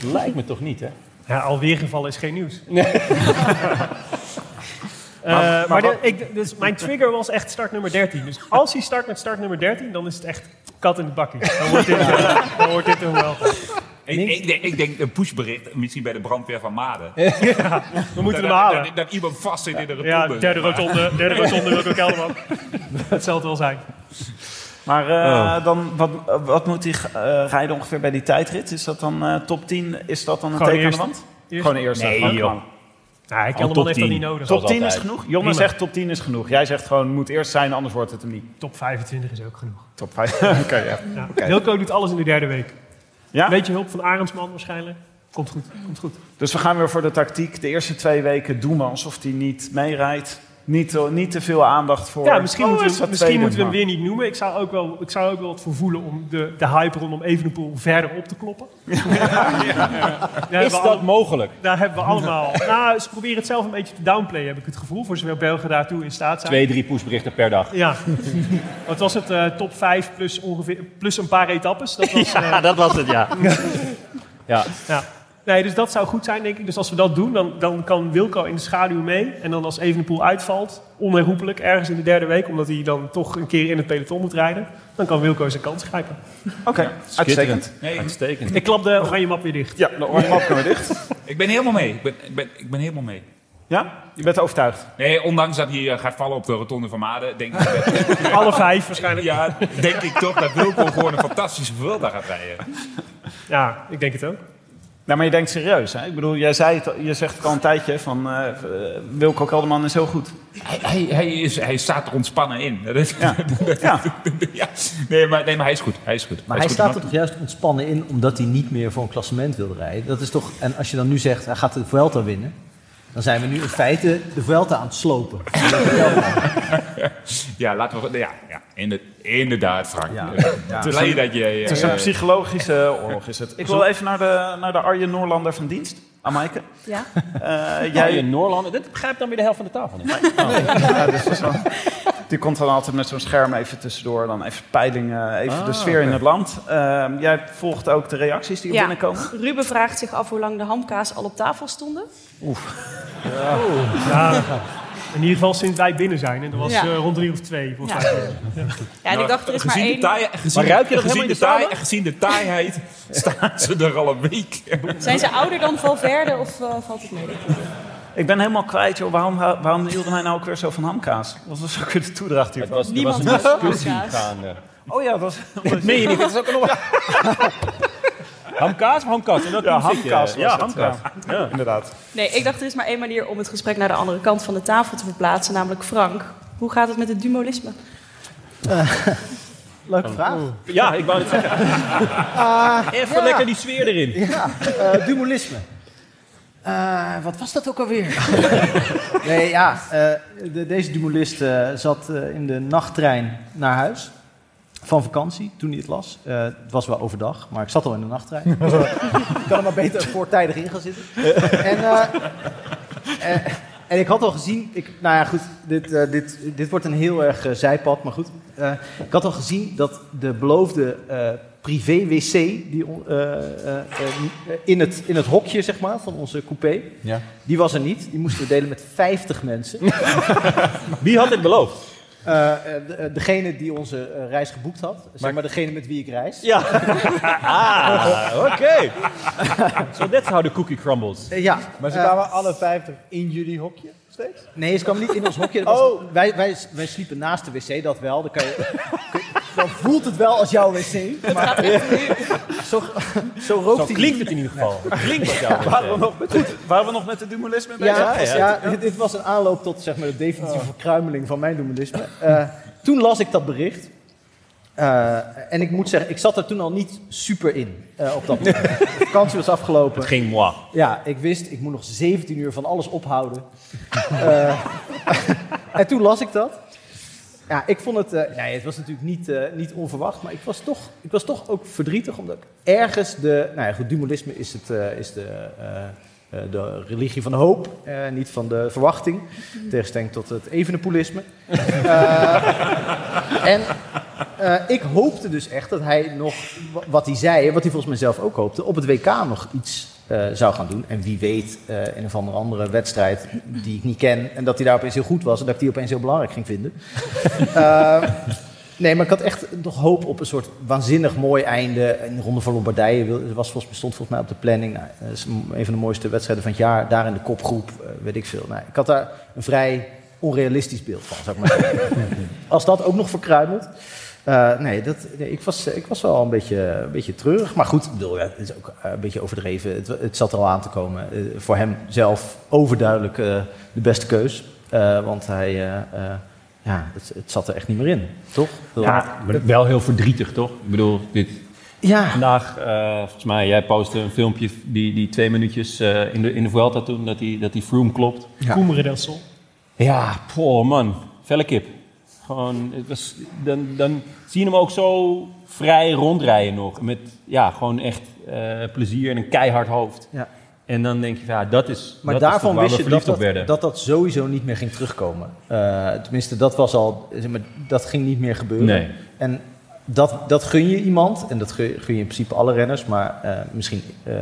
Speaker 10: Dat lijkt me toch niet, hè?
Speaker 3: Ja, alweer gevallen is geen nieuws. <laughs> Eh,
Speaker 10: Maar-
Speaker 3: maar
Speaker 10: maar
Speaker 3: de-
Speaker 10: wat-
Speaker 3: ik, dus mijn trigger was echt start nummer 13. Dus als hij start met start nummer 13, dan is het echt kat in de bakkie. Dan
Speaker 10: <laughs>
Speaker 3: wordt dit, eh, dan wordt dit een wel.
Speaker 5: Ik, ik, denk, ik denk een pushbericht, misschien bij de brandweer van Maden.
Speaker 3: We moeten hem
Speaker 5: Dat-
Speaker 3: halen.
Speaker 5: Dat, dat iemand vast zit in de rotonde.
Speaker 3: Ja, derde rotonde, derde rotonde Wilco Kelderman. Dat zal het wel zijn.
Speaker 1: Maar eh,
Speaker 3: Oh.
Speaker 1: dan, wat, wat moet hij eh, rijden ongeveer bij die tijdrit? Is dat dan eh, top 10? Is dat dan een
Speaker 3: Gewoon
Speaker 1: teken aan de
Speaker 3: eerste.
Speaker 1: wand?
Speaker 3: Eerste.
Speaker 1: Gewoon de eerste.
Speaker 3: Nee,
Speaker 1: Gewoon
Speaker 3: joh.
Speaker 1: gewoon.
Speaker 3: Nee, Kelderman
Speaker 1: Oh, top
Speaker 3: heeft dat
Speaker 1: 10.
Speaker 3: niet
Speaker 1: Top
Speaker 3: nodig. Zoals
Speaker 1: 10 is
Speaker 3: altijd.
Speaker 1: genoeg? Jonne
Speaker 3: Prima.
Speaker 1: zegt top 10 is genoeg. Jij zegt gewoon, moet eerst zijn, anders wordt het hem niet.
Speaker 3: Top 25 is ook genoeg.
Speaker 1: Top 5. <laughs> Oké, ja.
Speaker 3: Ja.
Speaker 1: Oké.
Speaker 3: Wilco doet alles in de derde week.
Speaker 1: Ja?
Speaker 3: Beetje hulp van Arendsman waarschijnlijk. Komt goed, komt goed.
Speaker 1: Dus we gaan weer voor de tactiek. De eerste twee weken doen we alsof hij niet meerijdt. Niet, te- niet te veel aandacht voor...
Speaker 3: Ja, misschien
Speaker 1: Oh,
Speaker 3: moeten we,
Speaker 1: is dat
Speaker 3: hem- misschien
Speaker 1: tweede,
Speaker 3: moeten we
Speaker 1: maar-
Speaker 3: hem weer niet noemen. Ik zou ook wel, ik zou ook wel wat voor voelen om de, de hype rondom Evenepoel verder op te
Speaker 10: <laughs>
Speaker 3: kloppen.
Speaker 10: Is dat mogelijk?
Speaker 3: Daar hebben we allemaal... Nou, ze proberen het zelf een beetje te downplayen, heb ik het gevoel. Voor zover Belgen daartoe in staat zijn.
Speaker 10: Twee, drie pushberichten per dag. <laughs>
Speaker 3: Ja. Wat was het? eh, top 5 plus, ongeveer, plus een paar etappes? Dat was,
Speaker 10: Ja,
Speaker 3: eh,
Speaker 10: dat was het, ja. Ja.
Speaker 3: ja. Nee, dus dat zou goed zijn, denk ik. Dus als we dat doen, dan, dan kan Wilco in de schaduw mee. En dan als Evenepoel uitvalt, onherroepelijk, ergens in de derde week... omdat hij dan toch een keer in het peloton moet rijden... dan kan Wilco zijn kans grijpen.
Speaker 1: Oké, uitstekend.
Speaker 5: Nee,
Speaker 10: uitstekend.
Speaker 3: Ik klap de oranje map weer dicht.
Speaker 1: Ja, de oranje map kunnen we dicht.
Speaker 5: Ik ben helemaal mee. Ik ben, ik ben, ik ben helemaal mee.
Speaker 1: Ja? Je bent overtuigd?
Speaker 5: Nee, ondanks dat hij eh, gaat vallen op de rotonde van Maden, denk ik...
Speaker 3: Alle vijf waarschijnlijk.
Speaker 5: Ja, denk ik toch dat Wilco gewoon een fantastische Vuelta gaat rijden.
Speaker 3: Ja, ik denk het ook.
Speaker 1: Nou, maar je denkt serieus, hè? Ik bedoel, jij zei het, al- je zegt het al een tijdje van... eh Wilco Kelderman is heel goed.
Speaker 5: Hij, hij, hij, is, hij staat er ontspannen in. Dat is- <laughs>
Speaker 1: Ja. ja.
Speaker 5: Nee, maar, nee, maar hij is goed. Hij is goed.
Speaker 2: Maar
Speaker 5: is
Speaker 2: hij
Speaker 5: goed.
Speaker 2: staat er toch juist ontspannen in omdat hij niet meer voor een klassement wil rijden. Dat is toch, en als je dan nu zegt hij gaat de Vuelta winnen, dan zijn we nu in feite de Vuelta aan het slopen.
Speaker 5: Ja, laten we... Ja, ja inder- inderdaad, Frank. Ja.
Speaker 1: Ja.
Speaker 5: Blij dat je...
Speaker 1: Het is
Speaker 5: eh,
Speaker 1: een psychologische oorlog, is het. Ik wil even naar de, naar de Arjen Noorlander van dienst. Amaike.
Speaker 8: Ja.
Speaker 1: Eh,
Speaker 10: jij...
Speaker 1: jij-
Speaker 10: Noorlander, dit begrijpt dan weer de helft van de tafel. niet.
Speaker 1: Ja, dus dat is wel- Die komt dan altijd met zo'n scherm even tussendoor. Dan even peilingen, even de
Speaker 9: Ah,
Speaker 1: sfeer in
Speaker 9: oké.
Speaker 1: het land. Ehm, jij volgt ook de reacties die er binnenkomen?
Speaker 8: Ruben vraagt zich af hoe lang de hamkaas al op tafel stonden.
Speaker 1: Oef.
Speaker 3: Ja. In ieder geval sinds wij binnen zijn. En dat was
Speaker 8: Ja.
Speaker 3: eh, rond drie of twee, volgens
Speaker 8: Ja.
Speaker 3: mij.
Speaker 8: Ja, en ik dacht, er is maar
Speaker 5: Nou, gezien
Speaker 8: één.
Speaker 5: de taai, gezien,
Speaker 3: Maar ruik je
Speaker 5: gezien
Speaker 3: dat helemaal
Speaker 5: de
Speaker 3: in de
Speaker 5: taai-
Speaker 3: sauna?
Speaker 5: Gezien de taaiheid <laughs> staan ze er al een week.
Speaker 8: Zijn ze ouder dan Valverde of eh, valt het mee?
Speaker 1: Ik ben helemaal kwijt, joh. Waarom, waarom hielden wij nou ook weer zo van hamkaas? Wat was ook weer de toedracht hiervan?
Speaker 10: was- er Niemand was een houdt van discussie hamkaas. gaande.
Speaker 1: Oh ja, dat was...
Speaker 10: Dat meen je niet, dat is ook een
Speaker 1: <laughs>
Speaker 10: nog. Hamkaas of hamkaas? In welk
Speaker 1: Ja,
Speaker 10: team zit je?
Speaker 1: hamkaas was
Speaker 10: Ja,
Speaker 1: het,
Speaker 10: hamkaas.
Speaker 1: ja. Inderdaad.
Speaker 8: Nee, ik dacht, er is maar één manier om het gesprek naar de andere kant van de tafel te verplaatsen, namelijk Frank. Hoe gaat het met het dumolisme?
Speaker 2: Leuke vraag.
Speaker 10: Ja, ik wou het
Speaker 1: <laughs>
Speaker 10: zeggen. Even
Speaker 2: ja.
Speaker 10: lekker die sfeer erin.
Speaker 2: Ja, eh, dualisme. Eh, wat was dat ook alweer? <laughs> nee, ja, eh, de- deze dualist eh, zat eh, in de nachttrein naar huis. Van vakantie, toen hij het las. Eh, het was wel overdag, maar ik zat al in de nachttrein. ik <laughs> kan er maar beter voortijdig in gaan zitten. en, eh, eh, en ik had al gezien... Ik, nou ja, goed, dit, eh, dit, dit wordt een heel erg eh, zijpad, maar goed. Eh, ik had al gezien dat de beloofde eh, privé-wc... die on- eh, eh, eh, in, het, in het hokje, zeg maar, van onze coupé...
Speaker 11: Ja.
Speaker 2: Die was er niet. Die moesten we delen met 50 mensen. Eh,
Speaker 10: Wie had dit beloofd?
Speaker 2: eh, degene die onze eh, reis geboekt had. Zeg maar, degene met wie ik reis.
Speaker 10: Ja. Ah, oké.
Speaker 1: <laughs>
Speaker 10: So that's how the cookie crumbles.
Speaker 2: Eh, ja.
Speaker 11: Maar ze
Speaker 2: Eh,
Speaker 11: kwamen alle 50 in jullie hokje steeds?
Speaker 2: Nee, ze kwamen niet in ons hokje. Dat
Speaker 10: Oh.
Speaker 2: was- wij, wij, wij sliepen naast de wc, dat wel. Dan, kan je, <laughs> dan voelt het wel als jouw wc. Maar zo, zo rookt
Speaker 10: Zo
Speaker 2: hij
Speaker 10: klinkt het in ieder geval. Klinkt het
Speaker 1: Ja,
Speaker 10: jou.
Speaker 1: waren, we nog met, goed, waren we nog met het dualisme bezig?
Speaker 2: Ja, ja, dit, dit was een aanloop tot zeg maar, de
Speaker 10: Oh.
Speaker 2: definitieve verkruimeling van mijn dualisme. toen las ik dat bericht. Eh, en ik moet zeggen, ik zat er toen al niet super in eh, op dat moment.
Speaker 10: <laughs>
Speaker 2: De vakantie was afgelopen.
Speaker 10: Het ging moi.
Speaker 2: Ja, ik wist, ik moet nog 17 uur van alles ophouden. <laughs> Eh, <laughs> en toen las ik dat. Ja, ik vond het, eh, nee, het was natuurlijk niet, eh, niet onverwacht, maar ik was, toch, ik was toch ook verdrietig omdat ik ergens de, nou ja, goed, dualisme is, het, eh, is de, eh, eh, de religie van de hoop, eh, niet van de verwachting, in tegenstelling tot het evenepoelisme. <laughs> Eh, en eh, ik hoopte dus echt dat hij nog, wa- wat hij zei, en wat hij volgens mij zelf ook hoopte, op het WK nog iets eh, zou gaan doen. En wie weet, eh in een of andere wedstrijd die ik niet ken, en dat hij daar opeens heel goed was en dat ik die opeens heel belangrijk ging vinden. Eh, nee, maar ik had echt nog hoop op een soort waanzinnig mooi einde. In de Ronde van Lombardije wil- was, volgens, stond volgens mij op de planning. Nou, dat is m- een van de mooiste wedstrijden van het jaar. Daar in de kopgroep, eh, weet ik veel. Nou, ik had daar een vrij onrealistisch beeld van, zou ik maar zeggen. Als dat ook nog verkruimelt. eh, nee, dat, nee, ik, was, eh, ik was wel een beetje, een beetje treurig. Maar goed, ik bedoel, ja, het is ook eh, een beetje overdreven. Het, het zat er al aan te komen. Eh, voor hem zelf overduidelijk eh, de beste keus. Eh, want hij, eh, eh, ja, het, het zat er echt niet meer in, toch?
Speaker 10: Ja, maar wel heel verdrietig, toch? Ik bedoel, dit...
Speaker 2: Ja.
Speaker 10: Vandaag, eh, volgens mij, jij postte een filmpje die, die twee minuutjes eh, in, de, in de Vuelta toen, dat die, dat die Froome klopt.
Speaker 3: Koemeren del Sol.
Speaker 10: Ja, poh, man. Felle kip. Gewoon, het was, dan, dan zie je hem ook zo vrij rondrijden nog. Met ja, gewoon echt eh, plezier en een keihard hoofd.
Speaker 2: Ja.
Speaker 10: En dan denk je, van, ja, dat is.
Speaker 2: Maar
Speaker 10: dat is toch
Speaker 2: daarvan
Speaker 10: waar
Speaker 2: wist
Speaker 10: we
Speaker 2: je dat
Speaker 10: verliefd op
Speaker 2: dat,
Speaker 10: werden.
Speaker 2: dat dat sowieso niet meer ging terugkomen. Eh, tenminste, dat was al, zeg maar, dat ging niet meer gebeuren.
Speaker 10: Nee.
Speaker 2: En dat, dat gun je iemand, en dat gun, gun je in principe alle renners, maar eh, misschien eh,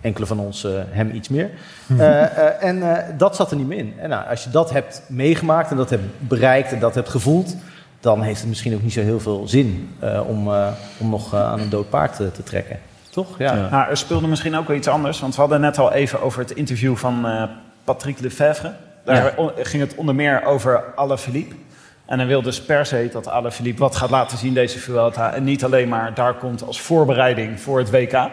Speaker 2: enkele van ons eh, hem iets meer. Eh, eh, en eh, dat zat er niet meer in. En nou, als je dat hebt meegemaakt en dat hebt bereikt en dat hebt gevoeld, dan heeft het misschien ook niet zo heel veel zin eh, om, eh, om nog eh, aan een dood paard eh, te trekken. Toch? Ja.
Speaker 1: Nou, er speelde misschien ook wel iets anders. Want we hadden net al even over het interview van eh, Patrick Lefevre. Daar
Speaker 2: Ja.
Speaker 1: on- ging het onder meer over Alaphilippe. En hij wil dus per se dat Alaphilippe wat gaat laten zien deze Vuelta. En niet alleen maar daar komt als voorbereiding voor het WK.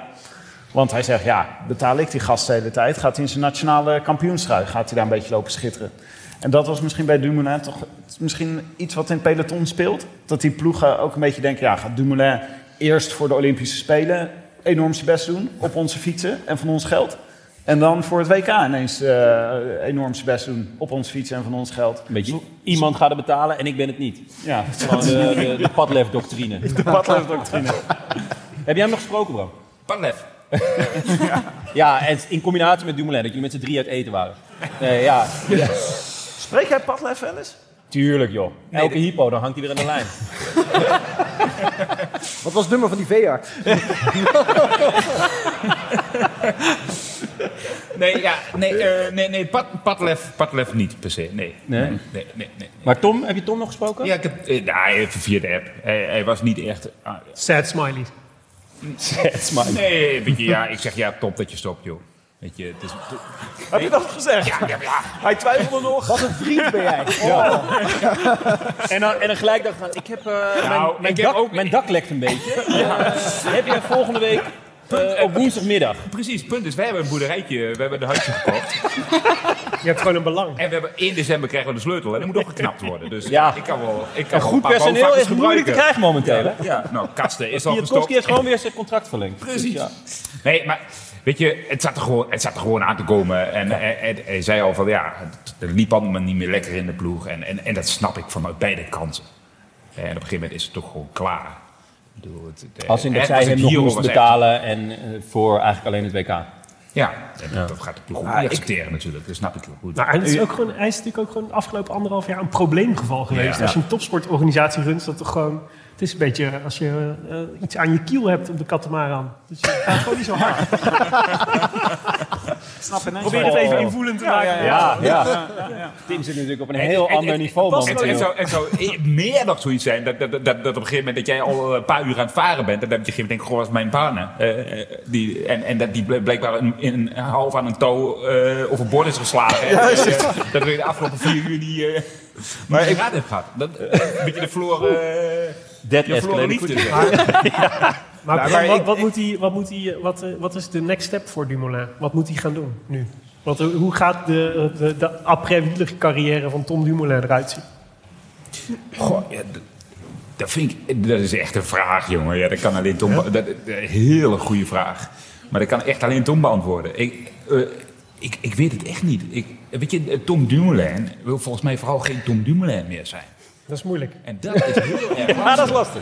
Speaker 1: Want hij zegt, ja, betaal ik die gast de hele tijd. Gaat hij in zijn nationale kampioenstrui, gaat hij daar een beetje lopen schitteren. En dat was misschien bij Dumoulin toch misschien iets wat in het peloton speelt. Dat die ploegen ook een beetje denken, ja, gaat Dumoulin eerst voor de Olympische Spelen enorm zijn best doen op onze fietsen en van ons geld. En dan voor het WK ineens eh, enorm zijn best doen op onze fietsen en van ons geld.
Speaker 10: Weet je, iemand gaat het betalen en ik ben het niet.
Speaker 1: Ja. <laughs>
Speaker 10: Gewoon de, de, de padlef-doctrine.
Speaker 1: De padlefdoctrine.
Speaker 10: Heb jij hem nog gesproken, Bram?
Speaker 5: Padlef.
Speaker 10: <laughs> ja, en in combinatie met Dumoulin, dat jullie met z'n drie uit eten waren. Nee, ja.
Speaker 1: Spreek jij Padlef wel eens?
Speaker 10: Tuurlijk, joh. Elke hypo, dan hangt hij weer in de lijn.
Speaker 2: Wat was het nummer van die veearts?
Speaker 5: Nee, ja, nee, eh, nee, nee Pat, Patlef, Patlef niet per se. Nee.
Speaker 10: Nee?
Speaker 5: Nee, nee, nee, nee.
Speaker 10: Maar Tom, heb je Tom nog gesproken?
Speaker 5: Ja, ik heb, eh, nou, even via de app. Hij, hij was niet echt... ah, ja.
Speaker 3: Sad smiley.
Speaker 10: Sad
Speaker 3: smiley.
Speaker 5: Nee, weet je, ja, ik zeg ja, top dat je stopt, joh. Weet je, het is...
Speaker 1: Heb je dat gezegd?
Speaker 5: Ja, ja, ja.
Speaker 1: Hij twijfelde nog.
Speaker 2: Wat een vriend ben
Speaker 10: <laughs>
Speaker 2: jij.
Speaker 10: En, dan, en dan gelijk dacht ik van, ik heb, eh,
Speaker 5: Nou,
Speaker 10: mijn, mijn
Speaker 5: ik heb
Speaker 10: dak, mijn dak lekt een
Speaker 5: <laughs>
Speaker 10: beetje. Eh, heb je volgende week eh, op woensdagmiddag?
Speaker 5: Precies, punt is, wij hebben een boerderijtje, we hebben een huisje
Speaker 10: <laughs>
Speaker 5: gekocht.
Speaker 3: Je hebt gewoon een belang.
Speaker 5: En we hebben, in december krijgen we de sleutel en dat moet nog geknapt worden. Dus
Speaker 10: Ja.
Speaker 5: ik kan wel ik kan
Speaker 10: En
Speaker 5: wel
Speaker 10: goed
Speaker 5: een paar
Speaker 10: personeel
Speaker 5: bouwvakkers
Speaker 10: is moeilijk te
Speaker 5: gebruiken.
Speaker 10: krijgen momenteel. hè?
Speaker 5: Ja, nou, kasten is al gestopt.
Speaker 10: Piotkowski heeft gewoon weer zijn contract verlengd.
Speaker 5: Precies.
Speaker 10: Dus ja.
Speaker 5: Nee, maar weet je, het zat er gewoon, het zat er gewoon aan te komen. En hij, hij- hij zei al van ja, het, het liep allemaal niet meer lekker in de ploeg. En, en, en dat snap ik vanuit beide kanten. En op een gegeven moment is het toch gewoon klaar. Ik bedoel, het- het-
Speaker 10: Als in dat
Speaker 5: het
Speaker 10: zij
Speaker 5: was
Speaker 10: hem
Speaker 5: een
Speaker 10: nog
Speaker 5: hero,
Speaker 10: moesten
Speaker 5: was echt-
Speaker 10: betalen en eh, voor eigenlijk alleen het WK.
Speaker 5: Ja, en dat- dat gaat de ploeg ook niet accepteren natuurlijk. Dat snap ik heel goed.
Speaker 3: Nou, en het is ook gewoon, hij is natuurlijk ook gewoon de afgelopen anderhalf jaar een probleemgeval geweest.
Speaker 5: Ja.
Speaker 3: Als je een topsportorganisatie runt, is dat toch gewoon... Het is een beetje als je eh, eh, iets aan je kiel hebt op de katamaran. Dus je gaat gewoon niet zo
Speaker 5: <laughs>
Speaker 3: hard.
Speaker 1: Snap ineens.
Speaker 3: Probeer het even invoelend te maken.
Speaker 10: Ja, ja.
Speaker 1: ja, ja.
Speaker 10: Tim zit natuurlijk op een
Speaker 5: En-
Speaker 10: heel
Speaker 5: en-
Speaker 10: ander
Speaker 5: en-
Speaker 10: niveau
Speaker 5: en- en- en
Speaker 10: momenteel.
Speaker 5: zou- En zou e- meer nog zoiets zijn, dat, dat, dat, dat op een gegeven moment dat jij al eh, een paar uur aan het varen bent. En dat je op een gegeven moment denkt, goh, wat is mijn partner? Eh, eh, die, en, en dat die bl- blijkbaar een, in, een- half aan een touw eh over boord is geslagen. En, dat je- eh, dat we de afgelopen vier uur niet, eh maar ik raad hebt gehad. Dat, een beetje de Floor, eh
Speaker 10: Dead
Speaker 5: de Floor
Speaker 10: escalated
Speaker 5: liefde.
Speaker 10: quickly.
Speaker 3: Maar,
Speaker 5: Nou,
Speaker 3: wat-
Speaker 5: maar
Speaker 3: wat,
Speaker 5: ik-
Speaker 3: wat moet hij, wat, moet hij, wat, eh, wat is de next step voor Dumoulin? Wat moet hij gaan doen nu? Want eh, hoe gaat de, de, de après-wielige carrière van Tom Dumoulin eruit zien?
Speaker 5: Goh, ja, d- dat, vind ik, eh, dat is echt een vraag, jongen. Ja, dat kan alleen Tom... be- Dat, dat- een hele goede vraag. Maar dat kan echt alleen Tom beantwoorden. Ik, eh, ik, ik weet het echt niet. Ik, weet je, eh, Tom Dumoulin wil volgens mij vooral geen Tom Dumoulin meer zijn.
Speaker 3: Dat is moeilijk.
Speaker 5: En dat is
Speaker 10: <laughs>
Speaker 5: heel erg
Speaker 10: Ja, dat is lastig.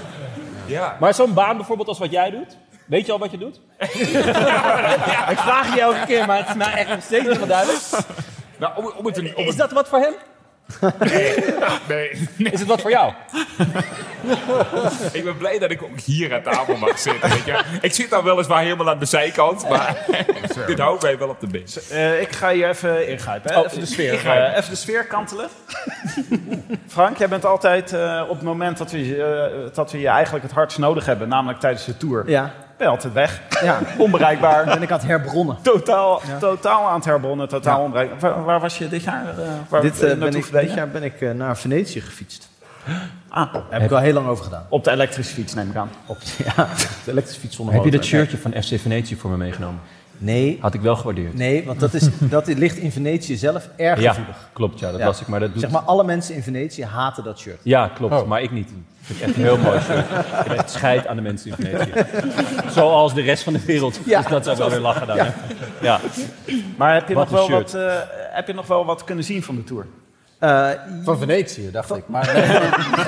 Speaker 5: Ja.
Speaker 10: Maar zo'n baan bijvoorbeeld als wat jij doet, weet je al wat je
Speaker 5: <laughs>
Speaker 10: doet? Ik vraag het je elke keer, maar het is mij echt nog steeds niet duidelijk.
Speaker 5: Nou, om, om het, een- om
Speaker 10: Is
Speaker 5: het,
Speaker 10: dat wat voor hem?
Speaker 5: nee,
Speaker 10: Is het wat voor jou?
Speaker 5: ik ben blij dat ik ook hier aan tafel mag zitten. Weet je. Ik zit dan weliswaar helemaal aan de zijkant, maar dit houdt mij wel op de been.
Speaker 1: Eh, ik ga hier even ingrijpen. Hè?
Speaker 5: Oh,
Speaker 1: even, de sfeer,
Speaker 5: ingrijpen.
Speaker 1: eh, even de sfeer kantelen. <laughs> Frank, jij bent altijd eh, op het moment dat we, je, eh, dat we je eigenlijk het hardst nodig hebben, namelijk tijdens de tour,
Speaker 2: Ja,
Speaker 1: ben je altijd weg.
Speaker 2: ja. <laughs>
Speaker 1: Onbereikbaar.
Speaker 2: Ben ik aan het herbronnen.
Speaker 1: Totaal, totaal aan het herbonnen, totaal onbereikbaar. Waar, waar was je dit jaar? eh, waar
Speaker 2: Dit, eh, ben
Speaker 1: naartoe
Speaker 2: ik,
Speaker 1: verleden
Speaker 2: dit
Speaker 1: jaar?
Speaker 2: jaar ben ik eh, naar Venetië gefietst.
Speaker 1: Ah,
Speaker 2: Daar heb ik al heel lang over gedaan.
Speaker 1: op de elektrische fiets neem ik aan.
Speaker 2: Op, ja, de elektrische fiets zonder
Speaker 10: Heb je
Speaker 2: motor.
Speaker 10: dat shirtje van FC Venetië voor me meegenomen?
Speaker 2: Nee,
Speaker 10: Had ik wel gewaardeerd.
Speaker 2: nee want
Speaker 10: <laughs>
Speaker 2: dat, is, dat ligt in Venetië zelf erg
Speaker 10: Ja,
Speaker 2: gevoelig.
Speaker 10: klopt. Ja, dat
Speaker 2: Ja.
Speaker 10: las ik. Maar dat doet...
Speaker 2: Zeg maar, alle mensen in Venetië haten dat shirt.
Speaker 10: Ja, klopt. Maar ik niet. Ik vind het echt een heel mooi shirt. Ik ben echt scheid aan de mensen in Venetië. Zoals de rest van de wereld.
Speaker 2: Ja.
Speaker 10: Dus dat zou ik wel weer lachen dan. hè. Ja.
Speaker 1: Maar heb je, nog
Speaker 10: Wat
Speaker 1: wel
Speaker 10: een
Speaker 1: wat, eh, heb je nog wel wat kunnen zien van de tour?
Speaker 2: Eh,
Speaker 11: Van Venetië, dacht ik. Maar eh,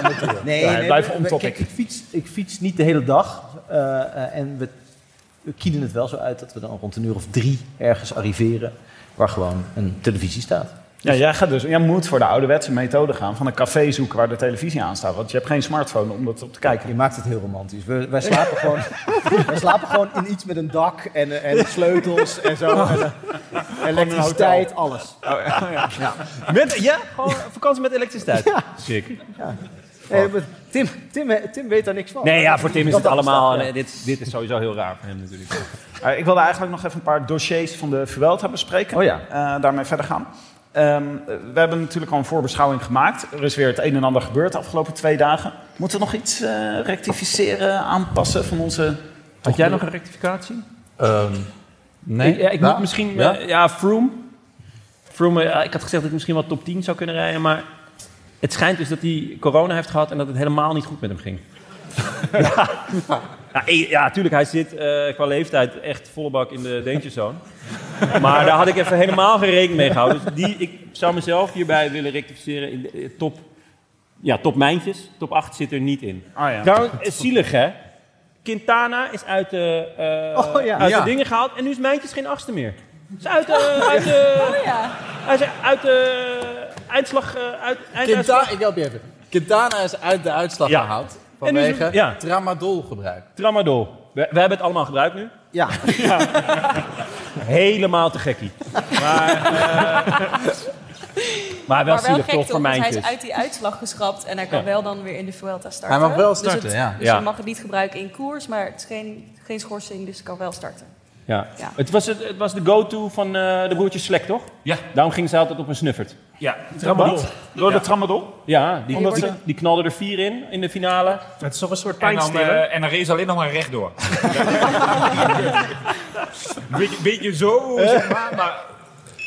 Speaker 11: nee,
Speaker 2: Nee,
Speaker 1: Ja,
Speaker 2: nee,
Speaker 1: blijf
Speaker 2: we-
Speaker 1: on
Speaker 2: we-
Speaker 1: topic.
Speaker 2: Kijk, ik fiets, ik fiets niet de hele dag. eh, eh, en we, we kienen het wel zo uit dat we dan rond een uur of drie ergens arriveren. Waar gewoon een televisie staat.
Speaker 1: Ja, jij, gaat dus, jij moet voor de ouderwetse methode gaan van een café zoeken waar de televisie aan staat. Want je hebt geen smartphone om dat op te kijken.
Speaker 2: Je maakt het heel romantisch. We, wij, slapen gewoon,
Speaker 11: <laughs>
Speaker 2: wij slapen gewoon in iets met een dak en, eh, en sleutels en zo.
Speaker 11: Oh.
Speaker 2: En, eh, elektriciteit, alles.
Speaker 10: Ah, Met, ja, gewoon vakantie met
Speaker 1: <laughs>
Speaker 10: elektriciteit. Sick.
Speaker 11: Oh.
Speaker 2: Eh, maar Tim, Tim, eh, Tim weet daar niks van.
Speaker 10: Nee, ja, voor Tim is
Speaker 2: Dat
Speaker 10: het allemaal... eh,
Speaker 2: bestaat,
Speaker 10: nee, dit, dit is sowieso heel raar voor hem natuurlijk.
Speaker 1: Eh, ik wilde eigenlijk nog even een paar dossiers van de Vuelta bespreken.
Speaker 2: Oh ja.
Speaker 1: Eh, daarmee verder gaan. Ehm, eh, we hebben natuurlijk al een voorbeschouwing gemaakt. Er is weer het een en ander gebeurd de afgelopen twee dagen. Moeten we nog iets eh, rectificeren, aanpassen van onze...
Speaker 10: Had jij nog een rectificatie?
Speaker 11: Ehm, nee.
Speaker 10: Ik, ja, ik moet misschien...
Speaker 11: Ja?
Speaker 10: Ja, ja Froome. Froome, eh, ik had gezegd dat ik misschien wel top 10 zou kunnen rijden, maar... Het schijnt dus dat hij corona heeft gehad en dat het helemaal niet goed met hem
Speaker 11: <laughs>
Speaker 10: ging. ja. Ja, eh, ja, tuurlijk, hij zit eh, qua leeftijd echt volle bak in de danger zone. Maar daar had ik even helemaal geen rekening mee gehouden. Dus die, ik zou mezelf hierbij willen rectificeren in de, eh, top... Ja, top mijntjes. Top 8 zit er niet in.
Speaker 1: Ah ja.
Speaker 10: Trouwens, eh, zielig hè. Quintana is uit de, eh,
Speaker 2: Oh, ja.
Speaker 10: uit
Speaker 11: Ja.
Speaker 10: de dingen gehaald en nu is eh,
Speaker 8: Oh
Speaker 10: Mijntjes geen achtste meer. Is uit de, uit de,
Speaker 8: Ja.
Speaker 10: hij is uit de,
Speaker 11: uitslag... eh, uit,
Speaker 5: Quintana,
Speaker 11: einduitslag?
Speaker 5: ik help je even. Quintana is uit de uitslag
Speaker 11: Ja.
Speaker 5: gehaald.
Speaker 11: En nu is het-
Speaker 5: Vanwege
Speaker 11: ja.
Speaker 5: tramadol gebruik.
Speaker 11: Tramadol. We, we hebben het allemaal gebruikt nu. <laughs>
Speaker 5: Ja.
Speaker 11: Helemaal te gekkie. Maar, eh, maar wel
Speaker 8: maar wel
Speaker 11: zielig
Speaker 8: gek
Speaker 11: toch
Speaker 8: toch,
Speaker 11: voor
Speaker 8: want hij
Speaker 11: mijntjes.
Speaker 8: is uit die uitslag geschrapt en hij kan
Speaker 11: Ja.
Speaker 8: wel dan weer in de Vuelta starten.
Speaker 11: Hij mag wel
Speaker 8: Dus het-
Speaker 11: starten, ja.
Speaker 8: Dus
Speaker 11: Ja.
Speaker 8: je mag het niet gebruiken in koers, maar het is geen, geen schorsing, dus hij kan wel starten.
Speaker 11: Ja.
Speaker 8: Ja.
Speaker 11: Het, was het, het was de go-to van eh, de broertjes Slek, toch? Ja. Daarom gingen ze altijd op een snuffert.
Speaker 15: Ja, tramadol. Door de tramadol?
Speaker 11: Ja, die,
Speaker 15: Omdat
Speaker 11: die,
Speaker 15: ze-
Speaker 11: die knalden er vier in, in de finale.
Speaker 3: Het is toch een soort
Speaker 16: En dan, eh, en dan race alleen nog maar
Speaker 5: <laughs>
Speaker 16: rechtdoor. beetje, beetje zo, zeg maar, maar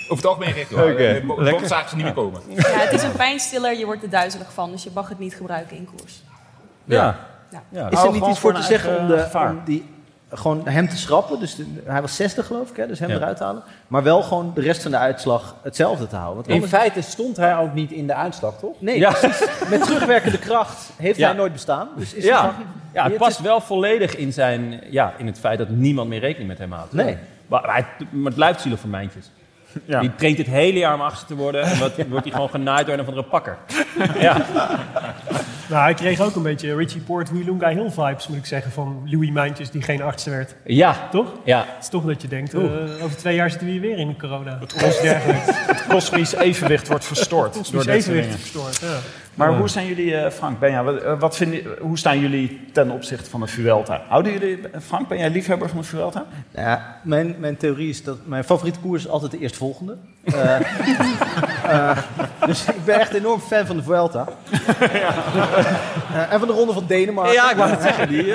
Speaker 16: over het algemeen rechtdoor.
Speaker 11: Oké,
Speaker 5: Eh,
Speaker 16: Okay.
Speaker 11: lekker.
Speaker 16: zagen ze niet meer komen.
Speaker 8: Ja, het is een pijnstiller, je wordt er duizelig van, dus je mag het niet gebruiken in koers.
Speaker 11: Ja.
Speaker 8: Ja.
Speaker 2: Is er
Speaker 11: Hou
Speaker 2: niet
Speaker 11: gewoon
Speaker 2: iets voor
Speaker 11: een
Speaker 2: te zeggen om,
Speaker 11: eigen eh,
Speaker 2: de,
Speaker 11: gevaar.
Speaker 2: om die, gewoon hem te schrappen? Dus de- hij was 60 geloof ik, hè? dus hem
Speaker 5: Ja.
Speaker 2: eruit te halen. Maar wel gewoon de rest van de uitslag hetzelfde te houden. Want
Speaker 5: In
Speaker 2: anders-
Speaker 5: feite stond hij ook niet in de uitslag, toch?
Speaker 2: Nee, precies. Met terugwerkende kracht heeft
Speaker 11: Ja.
Speaker 2: hij nooit bestaan. Dus is
Speaker 11: ja.
Speaker 2: het gewoon-
Speaker 11: ja, het past wel volledig in, zijn, ja, in het feit dat niemand meer rekening met hem houdt.
Speaker 2: Nee.
Speaker 11: Maar, maar het, maar het blijft zielig voor mijntjes.
Speaker 15: Ja.
Speaker 11: Die traint het hele jaar om achter te worden en wat, wordt hij gewoon genaaid door een of andere pakker. Ja.
Speaker 3: Nou, hij kreeg ook een beetje Richie Port, Wilunga Hill vibes, moet ik zeggen, van Louis Mijntjes die geen arts werd.
Speaker 11: Ja.
Speaker 3: Toch?
Speaker 11: Ja.
Speaker 3: Het is toch dat je denkt, eh,
Speaker 11: Oeh.
Speaker 3: over twee jaar zitten we hier weer in de corona. Het
Speaker 1: Of dergelijks. Het kosmisch evenwicht wordt verstoord.
Speaker 3: Het
Speaker 1: door
Speaker 3: kosmisch
Speaker 1: dit soort
Speaker 3: evenwicht
Speaker 1: dingen.
Speaker 3: verstoord, ja.
Speaker 1: Maar
Speaker 3: Ja.
Speaker 1: hoe zijn jullie, eh, Frank, Benja, wat, eh, wat vinden, hoe staan jullie ten opzichte van de Vuelta? Houden jullie, eh, Frank, ben jij liefhebber van de Vuelta?
Speaker 2: Nou ja, mijn, mijn theorie is dat mijn favoriete koers is altijd de eerstvolgende.
Speaker 11: <laughs>
Speaker 2: Eh eh, dus ik ben echt enorm fan van de Vuelta. Eh, en van de Ronde van Denemarken.
Speaker 11: Ja, ik wou het zeggen, die,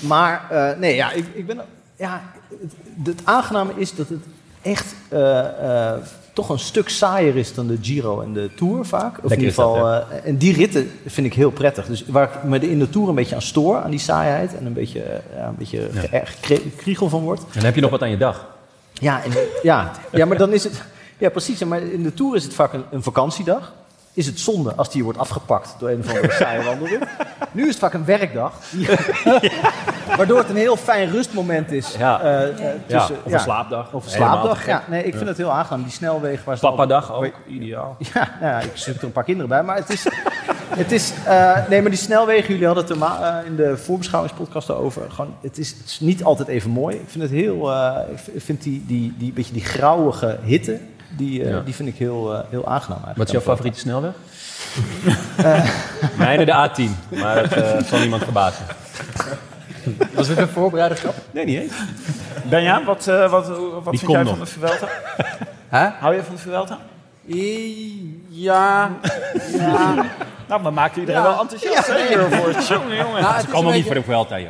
Speaker 2: Maar eh, nee, ja, ik, ik ben. Ja, het, het aangename is dat het echt eh, eh, toch een stuk saaier is dan de Giro en de Tour vaak. Of
Speaker 11: Lekker
Speaker 2: in ieder
Speaker 11: is dat,
Speaker 2: geval. eh, en die ritten vind ik heel prettig. Dus waar ik me de- in de Tour een beetje aan stoor, aan die saaiheid en een beetje, eh, ja, een beetje
Speaker 11: Ja.
Speaker 2: ge- gekre- kriegel van wordt.
Speaker 11: Dan heb je nog wat aan je dag.
Speaker 2: Ja, en, ja, ja, maar dan is het. Ja, precies. En Maar in de Tour is het vaak een, een vakantiedag. Is het zonde als die hier wordt afgepakt door een of andere saaie wandeling. Nu is het vaak een werkdag. Waardoor het een heel fijn rustmoment is.
Speaker 11: Ja.
Speaker 2: eh, eh,
Speaker 11: Ja,
Speaker 2: tussen-
Speaker 11: of een slaapdag.
Speaker 2: Of een
Speaker 11: Helemaal
Speaker 2: slaapdag,
Speaker 11: te
Speaker 2: ja.
Speaker 11: gek.
Speaker 2: Nee, ik vind
Speaker 11: Ja.
Speaker 2: het heel aangenaam. Die snelwegen waar ze...
Speaker 11: Papadag ook, ideaal.
Speaker 2: Ja, nou ja, ik zit er een paar kinderen bij. Maar het is... <laughs> Het is eh, nee, maar die snelwegen, jullie hadden het er ma- eh, in de voorbeschouwingspodcast over. Gewoon, het, is, het is niet altijd even mooi. Ik vind het heel... eh, ik v- ik vind die, die, die beetje die grauwige hitte, die, eh,
Speaker 11: Ja.
Speaker 2: die vind ik heel, eh, heel aangenaam eigenlijk.
Speaker 11: Wat is jouw favoriete snelweg? Mijne de A10, maar dat eh, zal niemand verbazen.
Speaker 5: Was dit een voorbereide grap?
Speaker 11: Nee, niet eens.
Speaker 1: Benja, wat, eh, wat, wat vind
Speaker 11: komt
Speaker 1: jij
Speaker 11: nog.
Speaker 1: van de
Speaker 5: <laughs>
Speaker 1: Vuelta? Hou je van de Vuelta?
Speaker 5: Ja. ja.
Speaker 1: Nou, maar maken iedereen
Speaker 5: Ja.
Speaker 1: wel enthousiast
Speaker 5: Ja,
Speaker 1: hè,
Speaker 5: nee.
Speaker 1: hiervoor. Jongen, jongen.
Speaker 5: Nou, het is
Speaker 11: Allemaal
Speaker 5: een
Speaker 11: niet voor
Speaker 5: beetje-
Speaker 11: de Vuelta, joh.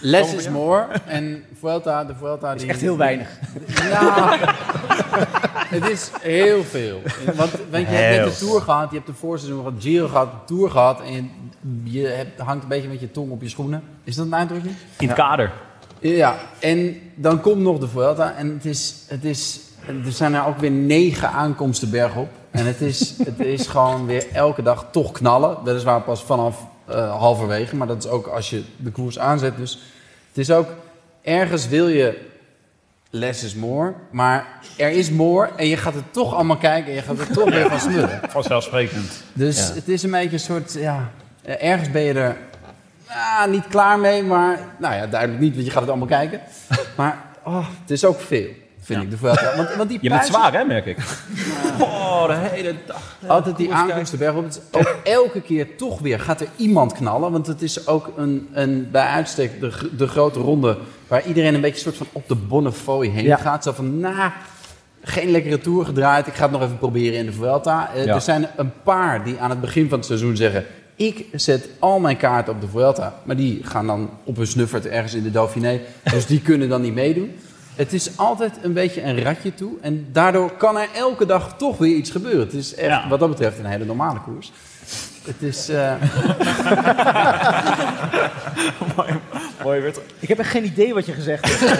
Speaker 5: Less is more. En Vuelta, de Vuelta... die-
Speaker 2: echt heel weinig.
Speaker 5: Ja. het is heel veel. Want weet je, je hebt
Speaker 2: Heel
Speaker 5: net de Tour gehad, je hebt de voorseizoen gehad, Giro gehad, de Tour gehad. En je, je hebt, hangt een beetje met je tong op je schoenen. Is dat een uitdrukking?
Speaker 11: In het kader.
Speaker 5: Ja, en dan komt nog de Vuelta. En het is, het is, er zijn er ook weer negen aankomsten bergop. En het is, het is gewoon weer elke dag toch knallen. Dat is waar pas vanaf eh, halverwege. Maar dat is ook als je de koers aanzet. Dus het is ook, ergens wil je less is more. Maar er is more. En je gaat het toch allemaal kijken. En je gaat er toch weer van smullen.
Speaker 1: Vanzelfsprekend.
Speaker 5: Dus het is een beetje een soort, ja, eh, ergens ben je er ah, niet klaar mee, maar nou ja, duidelijk niet, want je gaat het allemaal kijken. Maar oh, het is ook veel, vind ik. De Vuelta. want, want die
Speaker 11: Je bent
Speaker 5: prijzen-
Speaker 11: zwaar, hè,
Speaker 5: <laughs>
Speaker 11: merk ik. Oh, de hele dag.
Speaker 5: Altijd die aankomsten bergop. Het is ook elke keer toch weer gaat er iemand knallen. Want het is ook een, een bij uitstek de, gr- de grote ronde... waar iedereen een beetje soort van op de Bonnefoy heen
Speaker 2: Ja.
Speaker 5: gaat. Zo van, na, geen lekkere tour gedraaid. Ik ga het nog even proberen in de Vuelta. Eh,
Speaker 11: Ja.
Speaker 5: Er zijn een paar die aan het begin van het seizoen zeggen... ik zet al mijn kaarten op de Vuelta. Maar die gaan dan op hun snuffert ergens in de Dauphiné. Dus die kunnen dan niet meedoen. Het is altijd een beetje een ratje toe. En daardoor kan er elke dag toch weer iets gebeuren. Het is echt, wat dat betreft, een hele normale koers. Het is... eh,
Speaker 1: Mooi werd.
Speaker 2: Ik heb echt geen idee wat je gezegd hebt.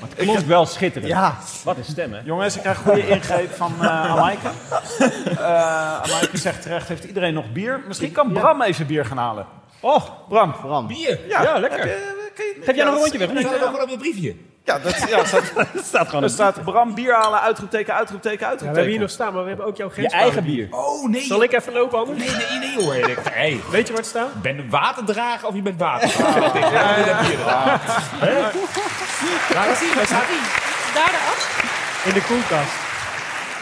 Speaker 11: Het klonk wel schitterend.
Speaker 2: Ja.
Speaker 11: Wat een stem, hè?
Speaker 1: Jongens, ik krijg een goede ingreep van eh Amaike. Eh, Amaike zegt terecht, heeft iedereen nog bier? Misschien kan Bram even bier gaan halen. Oh, Bram.
Speaker 2: Bram.
Speaker 16: Bier?
Speaker 1: Ja,
Speaker 11: Ja, lekker.
Speaker 1: Heb je-
Speaker 11: Geef jij nog een rondje weg?
Speaker 16: Ik nog wel op een briefje.
Speaker 1: Ja, dat ja, dat staat,
Speaker 16: <laughs>
Speaker 10: staat
Speaker 1: Er staat Bram bier halen, uitroepteken, uitroepteken,
Speaker 3: we
Speaker 1: uitroepteken.
Speaker 3: hebben hier nog staan, maar we hebben ook jouw grens.
Speaker 1: eigen bier.
Speaker 5: Oh nee.
Speaker 3: Zal ik even lopen, anders?
Speaker 5: Nee, nee, nee hoor. Erik. Hey.
Speaker 3: Weet je wat staat?
Speaker 5: Ik ben een waterdrager of je bent water. Ja, dat heb je gedaan. Hè? Laat zien, waar staat die?
Speaker 14: Daar de af.
Speaker 3: In de koelkast.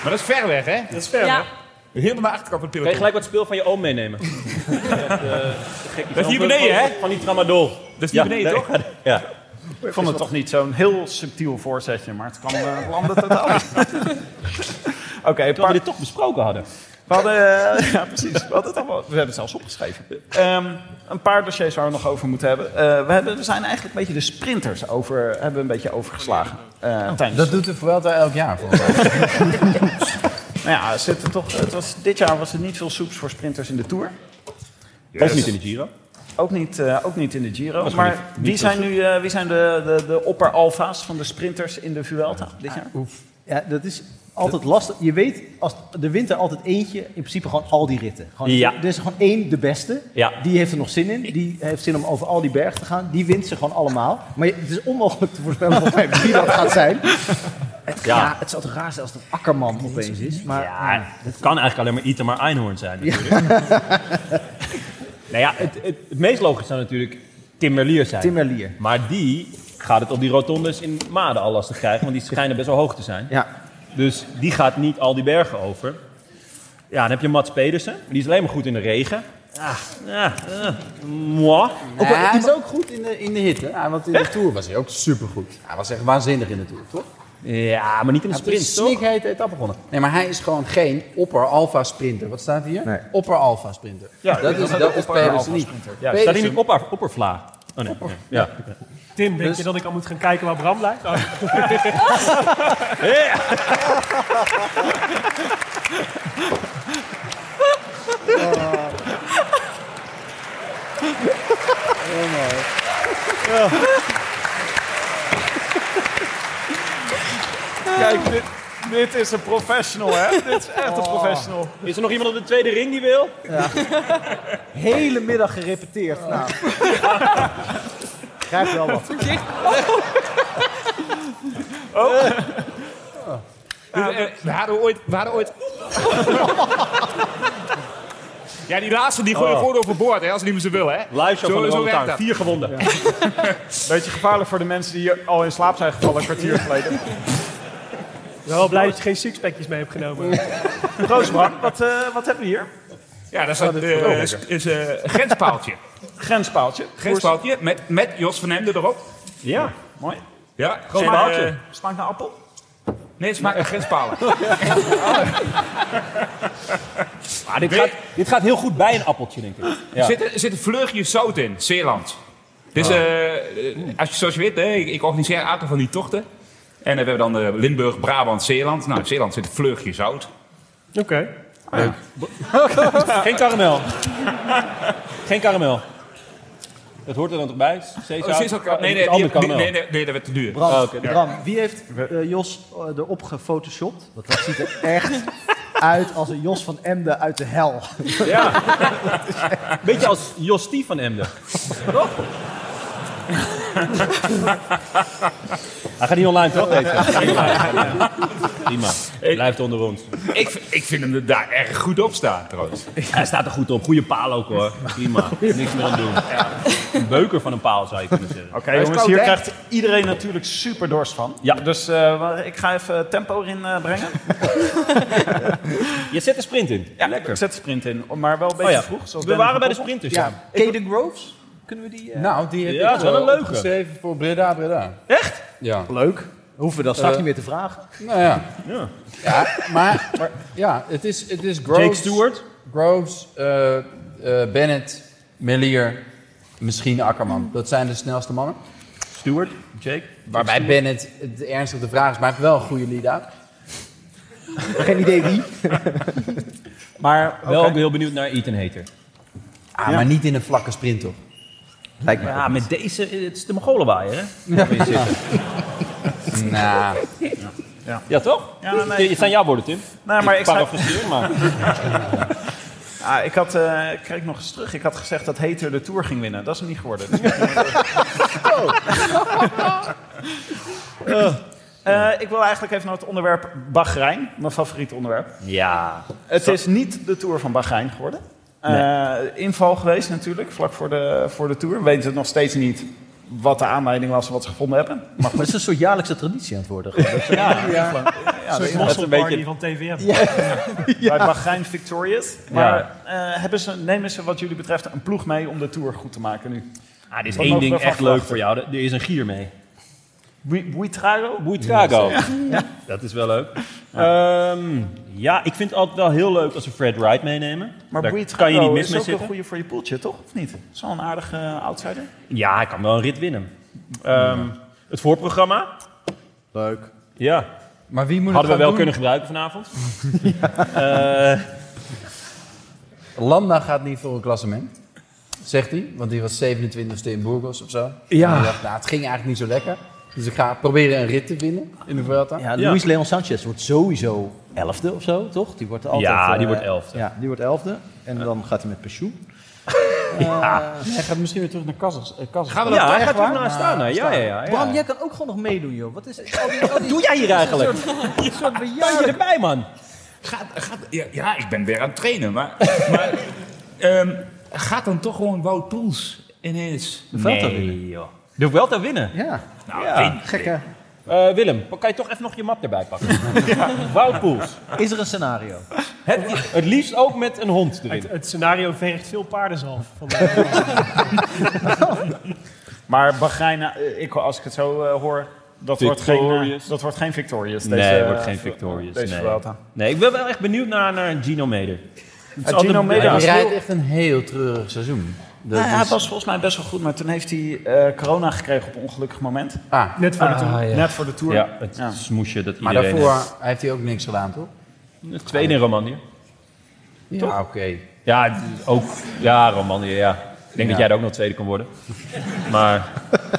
Speaker 5: Maar dat is ver weg, hè?
Speaker 3: Dat is ver,
Speaker 14: Ja.
Speaker 5: Helemaal achterkant van het
Speaker 10: Kan je
Speaker 5: peloton.
Speaker 10: gelijk wat speel van je oom
Speaker 1: <laughs>
Speaker 10: meenemen? dat, eh, gek
Speaker 5: Dat is hier beneden,
Speaker 10: van-
Speaker 5: hè?
Speaker 10: Van die tramadol. Dat
Speaker 1: is hier beneden, toch?
Speaker 10: Ja.
Speaker 1: Ik vond het toch niet zo'n heel subtiel voorzetje, maar het kwam eh landen totaal niet. <laughs> Oké, we dit
Speaker 10: toch besproken hadden.
Speaker 1: We hadden, eh, <laughs> ja precies, we, hadden het allemaal, we hebben het zelfs opgeschreven. Ehm, een paar dossiers waar we nog over moeten hebben. Eh, we, hebben we zijn eigenlijk een beetje de sprinters over, hebben we een beetje overgeslagen. Eh, tijdens-
Speaker 11: Dat doet de Vuelta elk jaar. volgens mij.
Speaker 1: <laughs> Nou ja, zit er toch, het was, dit jaar was er niet veel soeps voor sprinters in de Tour. Dus-
Speaker 10: Ook niet in de Giro.
Speaker 1: Ook niet, eh, ook niet in de Giro.
Speaker 10: Was er
Speaker 1: Maar
Speaker 10: niet- niet
Speaker 1: wie
Speaker 10: veel
Speaker 1: zijn nu eh, wie zijn de, de, de opper-alfa's van de sprinters in de Vuelta dit jaar?
Speaker 2: Ja, dat is altijd lastig. Je weet, als de winter altijd eentje, in principe gewoon al die ritten. Gewoon,
Speaker 10: Ja.
Speaker 2: Er is gewoon één, de beste.
Speaker 10: Ja.
Speaker 2: Die heeft er nog zin in. Die heeft zin om over al die bergen te gaan. Die wint ze gewoon allemaal. Maar je- het is onmogelijk te voorspellen <laughs> volgens mij wie dat gaat zijn. Het, ja.
Speaker 10: Ja.
Speaker 2: het zou toch raar zijn als dat Akkerman opeens is. Maar
Speaker 10: Ja, het kan eigenlijk alleen maar Itamar Einhorn zijn natuurlijk. <laughs> nou ja, het, het, het meest logisch zou natuurlijk Tim Merlier zijn.
Speaker 2: Tim Merlier.
Speaker 10: Maar die gaat het op die rotondes in Maden al lastig krijgen, want die schijnen best wel hoog te zijn.
Speaker 2: Ja.
Speaker 10: Dus die gaat niet al die bergen over. Ja, dan heb je Mats Pedersen. Die is alleen maar goed in de regen. Ah, ja, eh, moi.
Speaker 11: Ook wel- hij is ook goed in de, in de hitte. Ja, want in de Tour was hij ook supergoed. Hij was echt waanzinnig in de Tour, toch?
Speaker 10: Ja, maar niet in de
Speaker 11: Hij heeft
Speaker 10: sprint,
Speaker 11: een
Speaker 10: toch?
Speaker 11: snikheet etappe gewonnen. Nee, maar hij is gewoon geen opper-alpha-sprinter. Wat staat hier? Opper-alpha-sprinter.
Speaker 10: Ja,
Speaker 11: dat is, dat is Pedersen niet.
Speaker 10: Ja, staat hij niet op, oppervla? Oh nee, nee, ja.
Speaker 3: Tim, denk je dat ik al moet gaan kijken waar Bram blijft? Oh.
Speaker 1: Kijk, dit, dit is een professional, hè? Dit is echt een professional.
Speaker 10: Is er nog iemand op de tweede ring die wil?
Speaker 2: hele middag gerepeteerd. Nou. <laughs> Grijp wel wat.
Speaker 5: Eh, We hadden ooit... We hadden ooit... <laughs> Ja, die laatste die gooi je
Speaker 10: Oh.
Speaker 5: gewoon overboord, hè, als niet meer ze willen, hè?
Speaker 10: Live show
Speaker 5: Zo-
Speaker 10: van de
Speaker 5: zo
Speaker 10: Rotterdam.
Speaker 5: werkt dat.
Speaker 10: Vier gewonden.
Speaker 1: <laughs> Beetje gevaarlijk voor de mensen die hier al in slaap zijn gevallen een kwartier geleden.
Speaker 3: Wel blij dat je geen sixpackjes mee hebt genomen.
Speaker 1: Proost, Bram. Wat, eh, wat hebben we hier?
Speaker 5: Ja, dat is een eh, is, is, eh,
Speaker 10: <laughs>
Speaker 5: grenspaaltje.
Speaker 1: Grenspaaltje.
Speaker 5: Grenspaaltje met, met Jos van Hemden erop.
Speaker 10: Ja,
Speaker 1: mooi.
Speaker 5: Ja,
Speaker 10: Groot
Speaker 5: en, eh,
Speaker 10: paaltje.
Speaker 1: Smaakt naar appel?
Speaker 5: Nee,
Speaker 10: <laughs>
Speaker 5: het smaakt naar grenspalen. <laughs>
Speaker 10: Ah, dit, gaat, dit gaat heel goed bij een appeltje, denk ik.
Speaker 5: Er
Speaker 10: Ja. Oh.
Speaker 5: zit, er zit een vleugje zout in, Zeeland. Dus eh, eh, als je, zoals je weet, hè, ik, ik organiseer een aantal van die tochten. En eh, we hebben dan eh, Limburg, Brabant, Zeeland. Nou, in Zeeland zit een vleugje zout.
Speaker 10: Oh,
Speaker 3: Oké.
Speaker 10: Geen karamel. Geen karamel. Dat hoort er dan toch bij?
Speaker 5: Oh,
Speaker 10: Zeezout?
Speaker 5: Zeezout- nee, nee,
Speaker 10: Het andere
Speaker 5: die- nee,
Speaker 10: karamel.
Speaker 5: nee, nee, nee, dat werd te duur.
Speaker 2: Bram,
Speaker 10: Ah, oké.
Speaker 2: Bram, wie heeft eh, Jos eh, erop gefotoshopt? Want dat ziet er echt uit als een Jos van Emden uit de hel.
Speaker 10: Beetje als Jostie van Emden. Toch? Hij gaat niet online, toch? Nee, Prima. Blijft onder ons.
Speaker 5: Ik, v- ik vind hem er daar erg goed op staan, trouwens.
Speaker 10: Hij staat er goed op. Goede paal ook, hoor. Prima. Niks meer aan doen. Een beuker van een paal, zou je kunnen zeggen.
Speaker 1: Oké,
Speaker 5: Hij is
Speaker 1: jongens,
Speaker 5: koud,
Speaker 1: hier
Speaker 5: hè?
Speaker 1: krijgt iedereen natuurlijk super dorst van.
Speaker 10: Ja.
Speaker 1: Dus eh, wa- ik ga even tempo erin eh, <laughs> brengen.
Speaker 10: Je zet de sprint in.
Speaker 1: Ja, Ik zet de sprint in, maar wel een beetje
Speaker 10: Oh ja.
Speaker 1: vroeg. Zoals
Speaker 10: We
Speaker 1: Ben
Speaker 10: waren bij de
Speaker 1: gekoppeld.
Speaker 10: sprinters. ja.
Speaker 2: Ja, Caden Groves? Kunnen we die... eh,
Speaker 11: Nou, die heb
Speaker 10: Ja,
Speaker 11: ik
Speaker 10: dat is wel
Speaker 11: eh,
Speaker 10: een leuke.
Speaker 11: opgeschreven voor Breda, Breda.
Speaker 10: Echt?
Speaker 11: Ja.
Speaker 2: Leuk. Hoeven we dat straks niet meer te vragen.
Speaker 11: Nou ja.
Speaker 10: Ja.
Speaker 11: Ja, maar, maar ja, het is, het is Groves.
Speaker 10: Jake Stewart.
Speaker 11: Groves, eh, eh, Bennett, Melier, misschien Akkerman. Dat zijn de snelste mannen.
Speaker 10: Stewart. Jake.
Speaker 11: Waarbij Bennett het ernstig de vraag is, maar hij heeft wel een goede lead-out. <laughs>
Speaker 2: Geen idee wie.
Speaker 1: Maar
Speaker 10: Wel
Speaker 1: oké.
Speaker 10: ook heel benieuwd naar Ethan Hater.
Speaker 11: Ah, Maar niet in een vlakke sprint, toch?
Speaker 2: Lijkt me.
Speaker 10: Ja, met deze, eh, het is de Mongolenwaaier, hè? Ja,
Speaker 11: Nou,
Speaker 10: ja toch?
Speaker 1: Ja, nou, nee.
Speaker 10: Het zijn jouw woorden, Tim.
Speaker 1: Nee, maar ik, schrijf-
Speaker 10: Parafraseer, maar...
Speaker 1: <laughs> ah, ik had, eh, ik kijk nog eens terug. Ik had
Speaker 10: <laughs>
Speaker 1: gezegd dat Hater de Tour ging winnen. Dat is hem niet geworden. Dus- Eh, <laughs> eh, ik wil eigenlijk even naar het onderwerp Bahrein, mijn favoriete onderwerp.
Speaker 10: Ja.
Speaker 1: Het is niet de Tour van Bahrein geworden. Eh, Inval geweest natuurlijk, vlak voor de, voor de Tour. We weten nog steeds niet wat de aanleiding was en wat ze gevonden hebben. Maar
Speaker 11: Maar het is een soort jaarlijkse traditie aan het worden.
Speaker 1: ja, ja.
Speaker 11: Zo'n
Speaker 1: dat is
Speaker 11: mosselparty
Speaker 1: een beetje-
Speaker 11: van TVM.
Speaker 1: Ja.
Speaker 11: Ja.
Speaker 1: Bij Bahrein Victorious.
Speaker 11: Ja.
Speaker 1: Maar eh, hebben ze, nemen ze wat jullie betreft een ploeg mee om de Tour goed te maken nu?
Speaker 10: Ah, dit is
Speaker 1: Wat
Speaker 10: één
Speaker 1: mogen
Speaker 10: ding
Speaker 1: we
Speaker 10: echt
Speaker 1: verwachten?
Speaker 10: leuk voor jou. Er er is een gier mee.
Speaker 1: Bui- Buitrago?
Speaker 10: Buitrago.
Speaker 1: Ja.
Speaker 10: Dat is wel leuk. Ehm, ja, ik vind het altijd wel heel leuk als ze Fred Wright meenemen.
Speaker 1: Maar
Speaker 10: Daar
Speaker 1: Buitrago
Speaker 10: kan je niet mis
Speaker 1: is
Speaker 10: mee
Speaker 1: ook een
Speaker 10: zitten.
Speaker 1: goede voor je poeltje, toch? Of niet? Is wel een aardige eh, outsider.
Speaker 10: Ja, hij kan wel een rit winnen. Ehm, Het voorprogramma.
Speaker 11: Leuk.
Speaker 10: Ja.
Speaker 11: Maar wie moet het
Speaker 10: Hadden we
Speaker 11: gaan
Speaker 10: wel kunnen
Speaker 11: doen?
Speaker 10: gebruiken vanavond. Eh,
Speaker 11: Landa gaat niet voor een klassement, zegt hij. Want die was 27ste in Burgos of zo.
Speaker 12: Ja.
Speaker 11: En hij dacht, nou, het ging eigenlijk niet zo lekker. Dus ik ga proberen een rit te winnen in de Vuelta.
Speaker 2: Ja, Luis Leon Sanchez wordt sowieso elfde of zo, toch? Die wordt altijd...
Speaker 11: Ja, die
Speaker 2: eh,
Speaker 11: wordt elfde.
Speaker 2: Ja, die wordt elfde. En dan gaat hij met pensioen. Eh,
Speaker 11: Hij gaat misschien weer terug naar Kazachs- eh, Kazachstan.
Speaker 2: Gaan we dat Ja, hij echt gaat waar? terug
Speaker 10: naar Astana. Ja, ja, ja, ja.
Speaker 11: Bram, jij kan ook gewoon nog meedoen, joh. Wat, is, al die- <laughs> al die-
Speaker 10: doe jij hier eigenlijk?
Speaker 11: Een soort, een soort
Speaker 10: Ben je
Speaker 11: bejaarde-
Speaker 10: erbij, man?
Speaker 5: Gaat, gaat, ja, ja, ik ben weer aan het trainen, maar, <laughs> maar ehm, gaat dan toch gewoon Wout Poels ineens de
Speaker 10: Vuelta
Speaker 5: winnen?
Speaker 10: joh. De Vuelta winnen?
Speaker 11: Ja.
Speaker 5: Nou,
Speaker 10: ja.
Speaker 11: Gekke.
Speaker 10: Eh, Willem, kan je toch even nog je map erbij pakken? ja. Wout Poels.
Speaker 11: Is er een scenario?
Speaker 10: Het, het liefst ook met een hond erin.
Speaker 3: Het, het scenario vergt veel paardenzalf. Van
Speaker 1: Maar Bahrein, eh, ik, als ik het zo eh, hoor, dat wordt, geen, eh,
Speaker 10: Victorious.
Speaker 1: dat wordt geen Victorious.
Speaker 10: nee,
Speaker 1: deze,
Speaker 10: het wordt geen
Speaker 1: eh,
Speaker 10: Victorious.
Speaker 1: Deze
Speaker 10: nee.
Speaker 1: Vuelta.
Speaker 10: nee, ik ben wel echt benieuwd naar, naar een Genometer. Het is
Speaker 1: Eh, Gino
Speaker 10: altijd-
Speaker 1: Meder
Speaker 10: hij
Speaker 11: Hij
Speaker 10: is
Speaker 11: rijdt
Speaker 10: heel-
Speaker 11: echt een heel treurig seizoen. Dat
Speaker 1: Nou ja,
Speaker 11: is-
Speaker 1: het was volgens mij best wel goed, maar toen heeft hij eh, corona gekregen op een ongelukkig moment.
Speaker 11: Ah.
Speaker 1: Net voor de
Speaker 11: Ah,
Speaker 1: tour.
Speaker 11: ja.
Speaker 1: Net voor de tour.
Speaker 10: Ja, het smoesje dat
Speaker 11: Maar
Speaker 10: iedereen...
Speaker 11: daarvoor
Speaker 10: heeft.
Speaker 11: heeft hij ook niks gedaan, toch?
Speaker 10: Het tweede in Romandie.
Speaker 11: Ja,
Speaker 10: Toch?
Speaker 11: oké.
Speaker 10: Ja, het is ook. Ja, Romandie, ja. Ik denk
Speaker 11: Ja.
Speaker 10: dat jij er ook nog tweede kan worden. Maar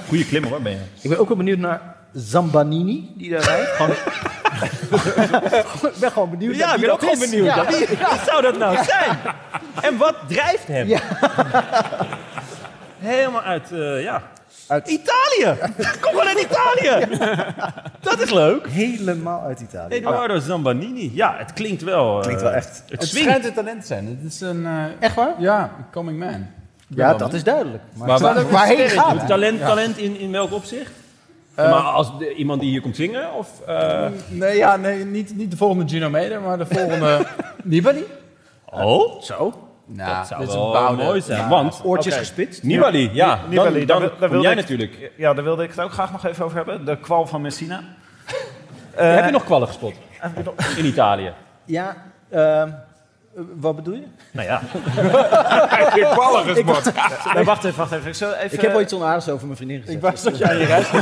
Speaker 10: goede klimmer hoor, ben je.
Speaker 2: Ik ben ook wel benieuwd naar Zambanini, die daar rijdt. Gewoon... ik ben gewoon benieuwd
Speaker 10: Ja,
Speaker 2: naar
Speaker 10: ik
Speaker 2: wie
Speaker 10: ben ook
Speaker 2: dat
Speaker 10: gewoon
Speaker 2: is.
Speaker 10: benieuwd.
Speaker 2: Ja.
Speaker 10: Ja, wie, wie zou dat nou
Speaker 2: Ja.
Speaker 10: zijn? En wat drijft hem?
Speaker 2: Ja.
Speaker 10: Helemaal uit, eh, ja. Italië! Kom maar uit Italië! Dat is leuk.
Speaker 2: Helemaal uit Italië.
Speaker 10: Eduardo Zambanini. Ja, het klinkt wel... eh,
Speaker 2: Klinkt wel echt.
Speaker 10: Het,
Speaker 11: Het
Speaker 10: swingt.
Speaker 11: schijnt een talent te zijn. Het is een, Echt waar? Ja, een coming man. Ik ben
Speaker 2: Ja,
Speaker 11: wel
Speaker 2: dat
Speaker 11: benieuwd.
Speaker 2: is duidelijk. Maar,
Speaker 11: Maar waar-
Speaker 2: waar,
Speaker 11: waarheen
Speaker 2: waarheen
Speaker 11: gaat
Speaker 2: gaat
Speaker 11: het?
Speaker 2: hij?
Speaker 10: Talent,
Speaker 11: Ja.
Speaker 10: talent in, in welk opzicht?
Speaker 11: Eh,
Speaker 10: maar als de- iemand die hier komt zingen? Of, eh,
Speaker 11: Nee, ja, nee niet, niet de volgende Gino Meder, maar de
Speaker 10: <laughs>
Speaker 11: volgende Nibali.
Speaker 10: oh, zo.
Speaker 11: Nou,
Speaker 10: dat zou
Speaker 11: dit is een
Speaker 10: wel
Speaker 11: bouwde-
Speaker 10: mooi zijn.
Speaker 11: ja.
Speaker 10: Want
Speaker 11: Oortjes
Speaker 1: Oké.
Speaker 11: gespitst.
Speaker 10: Nibali, ja.
Speaker 1: Ni- Nibali,
Speaker 10: dan,
Speaker 1: daar
Speaker 10: dan,
Speaker 1: wil- daar
Speaker 10: kom
Speaker 1: wilde
Speaker 10: jij
Speaker 1: ik-
Speaker 10: natuurlijk.
Speaker 1: Ja, daar wilde ik het ook graag nog even over hebben. De kwal van Messina.
Speaker 11: Eh.
Speaker 10: Heb je nog kwallen gespot? In Italië.
Speaker 2: Ja, ehm, wat bedoel je?
Speaker 10: Nou ja.
Speaker 5: Hij heeft kwallen
Speaker 1: <laughs>
Speaker 5: gespot.
Speaker 1: Nee, wacht even, wacht even. Ik, zal even
Speaker 2: Ik heb ooit iets onaardigs over mijn vriendin gezegd.
Speaker 11: Ik was dat jij je reis
Speaker 1: <laughs>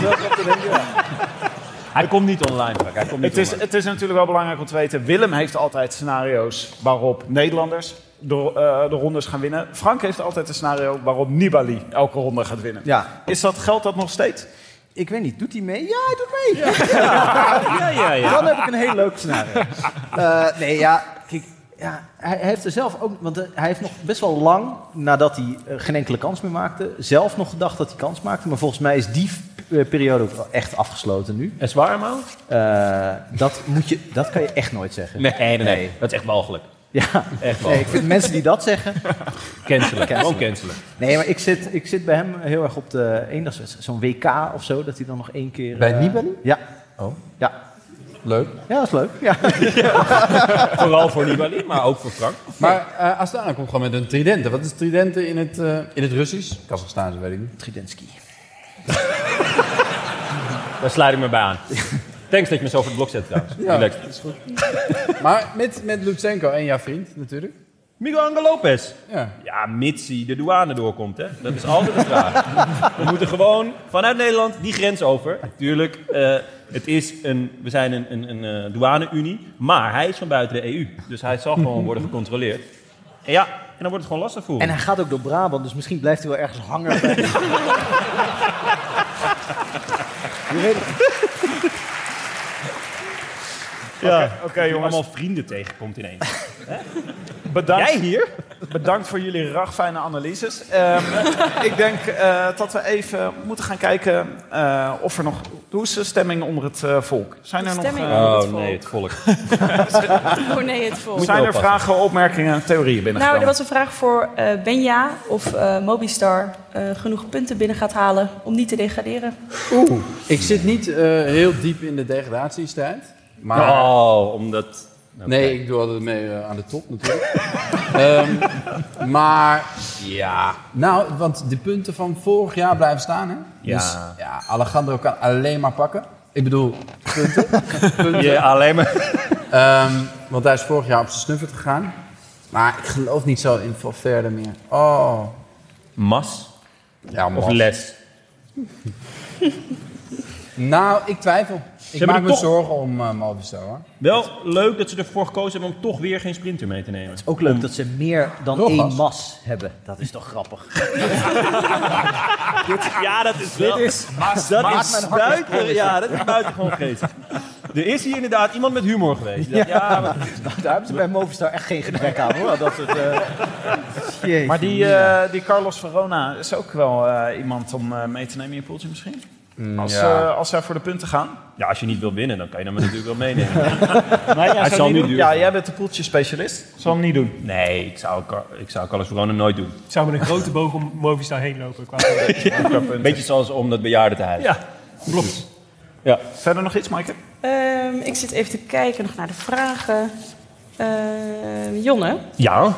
Speaker 10: Hij komt niet online. Frank. Hij komt niet
Speaker 1: Het is,
Speaker 10: online.
Speaker 1: het is natuurlijk wel belangrijk om te weten. Willem heeft altijd scenario's waarop Nederlanders de, eh, de rondes gaan winnen. Frank heeft altijd een scenario waarop Nibali elke ronde gaat winnen.
Speaker 2: Ja,
Speaker 1: Is dat, geldt dat nog steeds?
Speaker 2: ik weet niet. Doet hij mee? Ja, hij doet mee. <laughs>
Speaker 10: Ja, ja, ja.
Speaker 2: Dan heb ik een heel leuk
Speaker 10: <laughs>
Speaker 2: scenario. Eh, nee, ja, kijk, ja, hij hij heeft er zelf ook, want eh, hij heeft nog best wel lang nadat hij eh, geen enkele kans meer maakte, zelf nog gedacht dat hij kans maakte. Maar volgens mij is die eh, periode ook wel echt afgesloten nu.
Speaker 10: En zwaar, man?
Speaker 2: Eh, dat, moet je, dat kan je echt nooit zeggen.
Speaker 10: Nee, nee, nee, Dat is echt walgelijk.
Speaker 2: Ja,
Speaker 10: Echt wel.
Speaker 2: nee, ik vind mensen die dat zeggen.
Speaker 10: Cancelen.
Speaker 2: Cancelen.
Speaker 10: Gewoon cancelen.
Speaker 2: Nee, maar ik zit, ik zit bij hem heel erg op de eendagswedstrijd. Zo'n WK of zo, dat hij dan nog één keer.
Speaker 11: Bij
Speaker 2: eh,
Speaker 11: Nibali?
Speaker 2: Ja.
Speaker 11: Oh.
Speaker 2: Ja.
Speaker 11: Leuk.
Speaker 2: Ja, dat is leuk. Ja. <laughs>
Speaker 10: Vooral voor Nibali, maar ook voor Frank.
Speaker 11: Maar eh Astana komt gewoon met een tridente. Wat is tridente in het, eh, in het Russisch? Kazachstaan, dat weet ik niet.
Speaker 2: Tridentski.
Speaker 10: Daar sluit ik me bij aan. Thanks dat je me zo voor het blok zet trouwens.
Speaker 11: Ja,
Speaker 10: Relax.
Speaker 11: dat is goed. maar met, met Lutsenko en jouw vriend natuurlijk.
Speaker 10: Miguel Angel Lopez.
Speaker 11: Ja.
Speaker 10: Ja, mits hij de douane doorkomt, hè. Dat is altijd de vraag. We moeten gewoon vanuit Nederland die grens over. Tuurlijk, eh, het is een, we zijn een, een, een eh, douane-unie, maar hij is van buiten de EU. Dus hij zal gewoon worden gecontroleerd. En ja, en dan wordt het gewoon lastig voor
Speaker 2: En
Speaker 10: hem.
Speaker 2: hij gaat ook door Brabant, dus misschien blijft hij wel ergens hangen. <laughs> Bij... Je weet het.
Speaker 10: Ja.
Speaker 1: Oké
Speaker 10: Dat je
Speaker 1: jongens,
Speaker 10: allemaal vrienden tegenkomt ineens.
Speaker 1: bedankt.
Speaker 10: Jij hier?
Speaker 3: Bedankt voor jullie ragfijne analyses. Ehm, <laughs> ik denk eh, dat we even moeten gaan kijken eh, of er nog... Hoe is de stemming onder het eh, volk? Zijn
Speaker 8: De
Speaker 3: er nog...
Speaker 8: stemming
Speaker 3: eh,
Speaker 1: Oh nee, het volk.
Speaker 8: <laughs> Oh nee, het volk.
Speaker 3: Zijn er vragen, opmerkingen, theorieën
Speaker 8: Nou,
Speaker 3: binnengekomen?
Speaker 8: er was een vraag voor eh, Benja of eh, Mobistar eh, genoeg punten binnen gaat halen om niet te degraderen.
Speaker 11: Oeh. Ik zit niet eh, heel diep in de degradatiestrijd. Maar...
Speaker 1: Oh, omdat... Oké.
Speaker 11: Nee, ik doe altijd mee eh, aan de top natuurlijk. <laughs> Ehm, maar ja, nou, want de punten van vorig jaar blijven staan, hè?
Speaker 1: Ja.
Speaker 11: Dus ja, Alejandro kan alleen maar pakken. Ik bedoel, punten. punten.
Speaker 1: Ja, alleen maar.
Speaker 11: Ehm, want hij is vorig jaar op zijn snuffert gegaan. Maar ik geloof niet zo in Valverde meer. Oh.
Speaker 1: Mas?
Speaker 11: Ja,
Speaker 1: Of les?
Speaker 11: Nou, ik twijfel.
Speaker 1: Ze
Speaker 11: Ik
Speaker 1: hebben
Speaker 11: maak
Speaker 1: er
Speaker 11: me
Speaker 1: toch-
Speaker 11: zorgen om eh Movistar, hoor.
Speaker 1: Wel leuk dat ze ervoor gekozen hebben om toch weer geen sprinter mee te nemen.
Speaker 2: Ook leuk dat ze meer dan
Speaker 1: Rogas.
Speaker 2: één mas hebben. Dat is toch grappig?
Speaker 1: Ja, dat is
Speaker 2: Dit
Speaker 1: wel...
Speaker 2: is- Mas,
Speaker 1: dat
Speaker 2: mas,
Speaker 1: is
Speaker 2: mijn hart is
Speaker 1: buiten,
Speaker 2: vol.
Speaker 1: ja, dat is buitengewoon geestig. Er is hier inderdaad iemand met humor geweest. Ja, maar-
Speaker 2: <laughs> Daar hebben ze bij Movistar echt geen gebrek aan hoor. Dat soort, eh, Jeetje
Speaker 3: Maar die,
Speaker 2: mina.
Speaker 3: eh, die Carlos Verona is ook wel eh, iemand om eh, mee te nemen in je poeltje misschien? Als,
Speaker 1: ja.
Speaker 3: eh, als zij voor de punten gaan.
Speaker 1: Ja, als je niet wil winnen, dan kan je hem natuurlijk wel
Speaker 3: <laughs>
Speaker 1: meenemen.
Speaker 3: Maar jij
Speaker 1: het
Speaker 3: zou
Speaker 1: zal
Speaker 3: niet
Speaker 1: nu
Speaker 3: doen.
Speaker 1: duur
Speaker 3: Ja,
Speaker 1: zijn.
Speaker 3: jij bent de poeltje-specialist. Zal hem niet doen.
Speaker 1: Nee, ik zou, Car- ik zou Carlos Verona nooit doen.
Speaker 17: Ik zou met een grote boog om Movistar heen lopen. Qua
Speaker 1: Beetje zoals om dat bejaarden te huizen.
Speaker 17: Ja, klopt.
Speaker 1: Ja.
Speaker 3: Verder nog iets, Maaike?
Speaker 8: Ehm, ik zit even te kijken nog naar de vragen. Ehm, Jonne,
Speaker 1: Ja.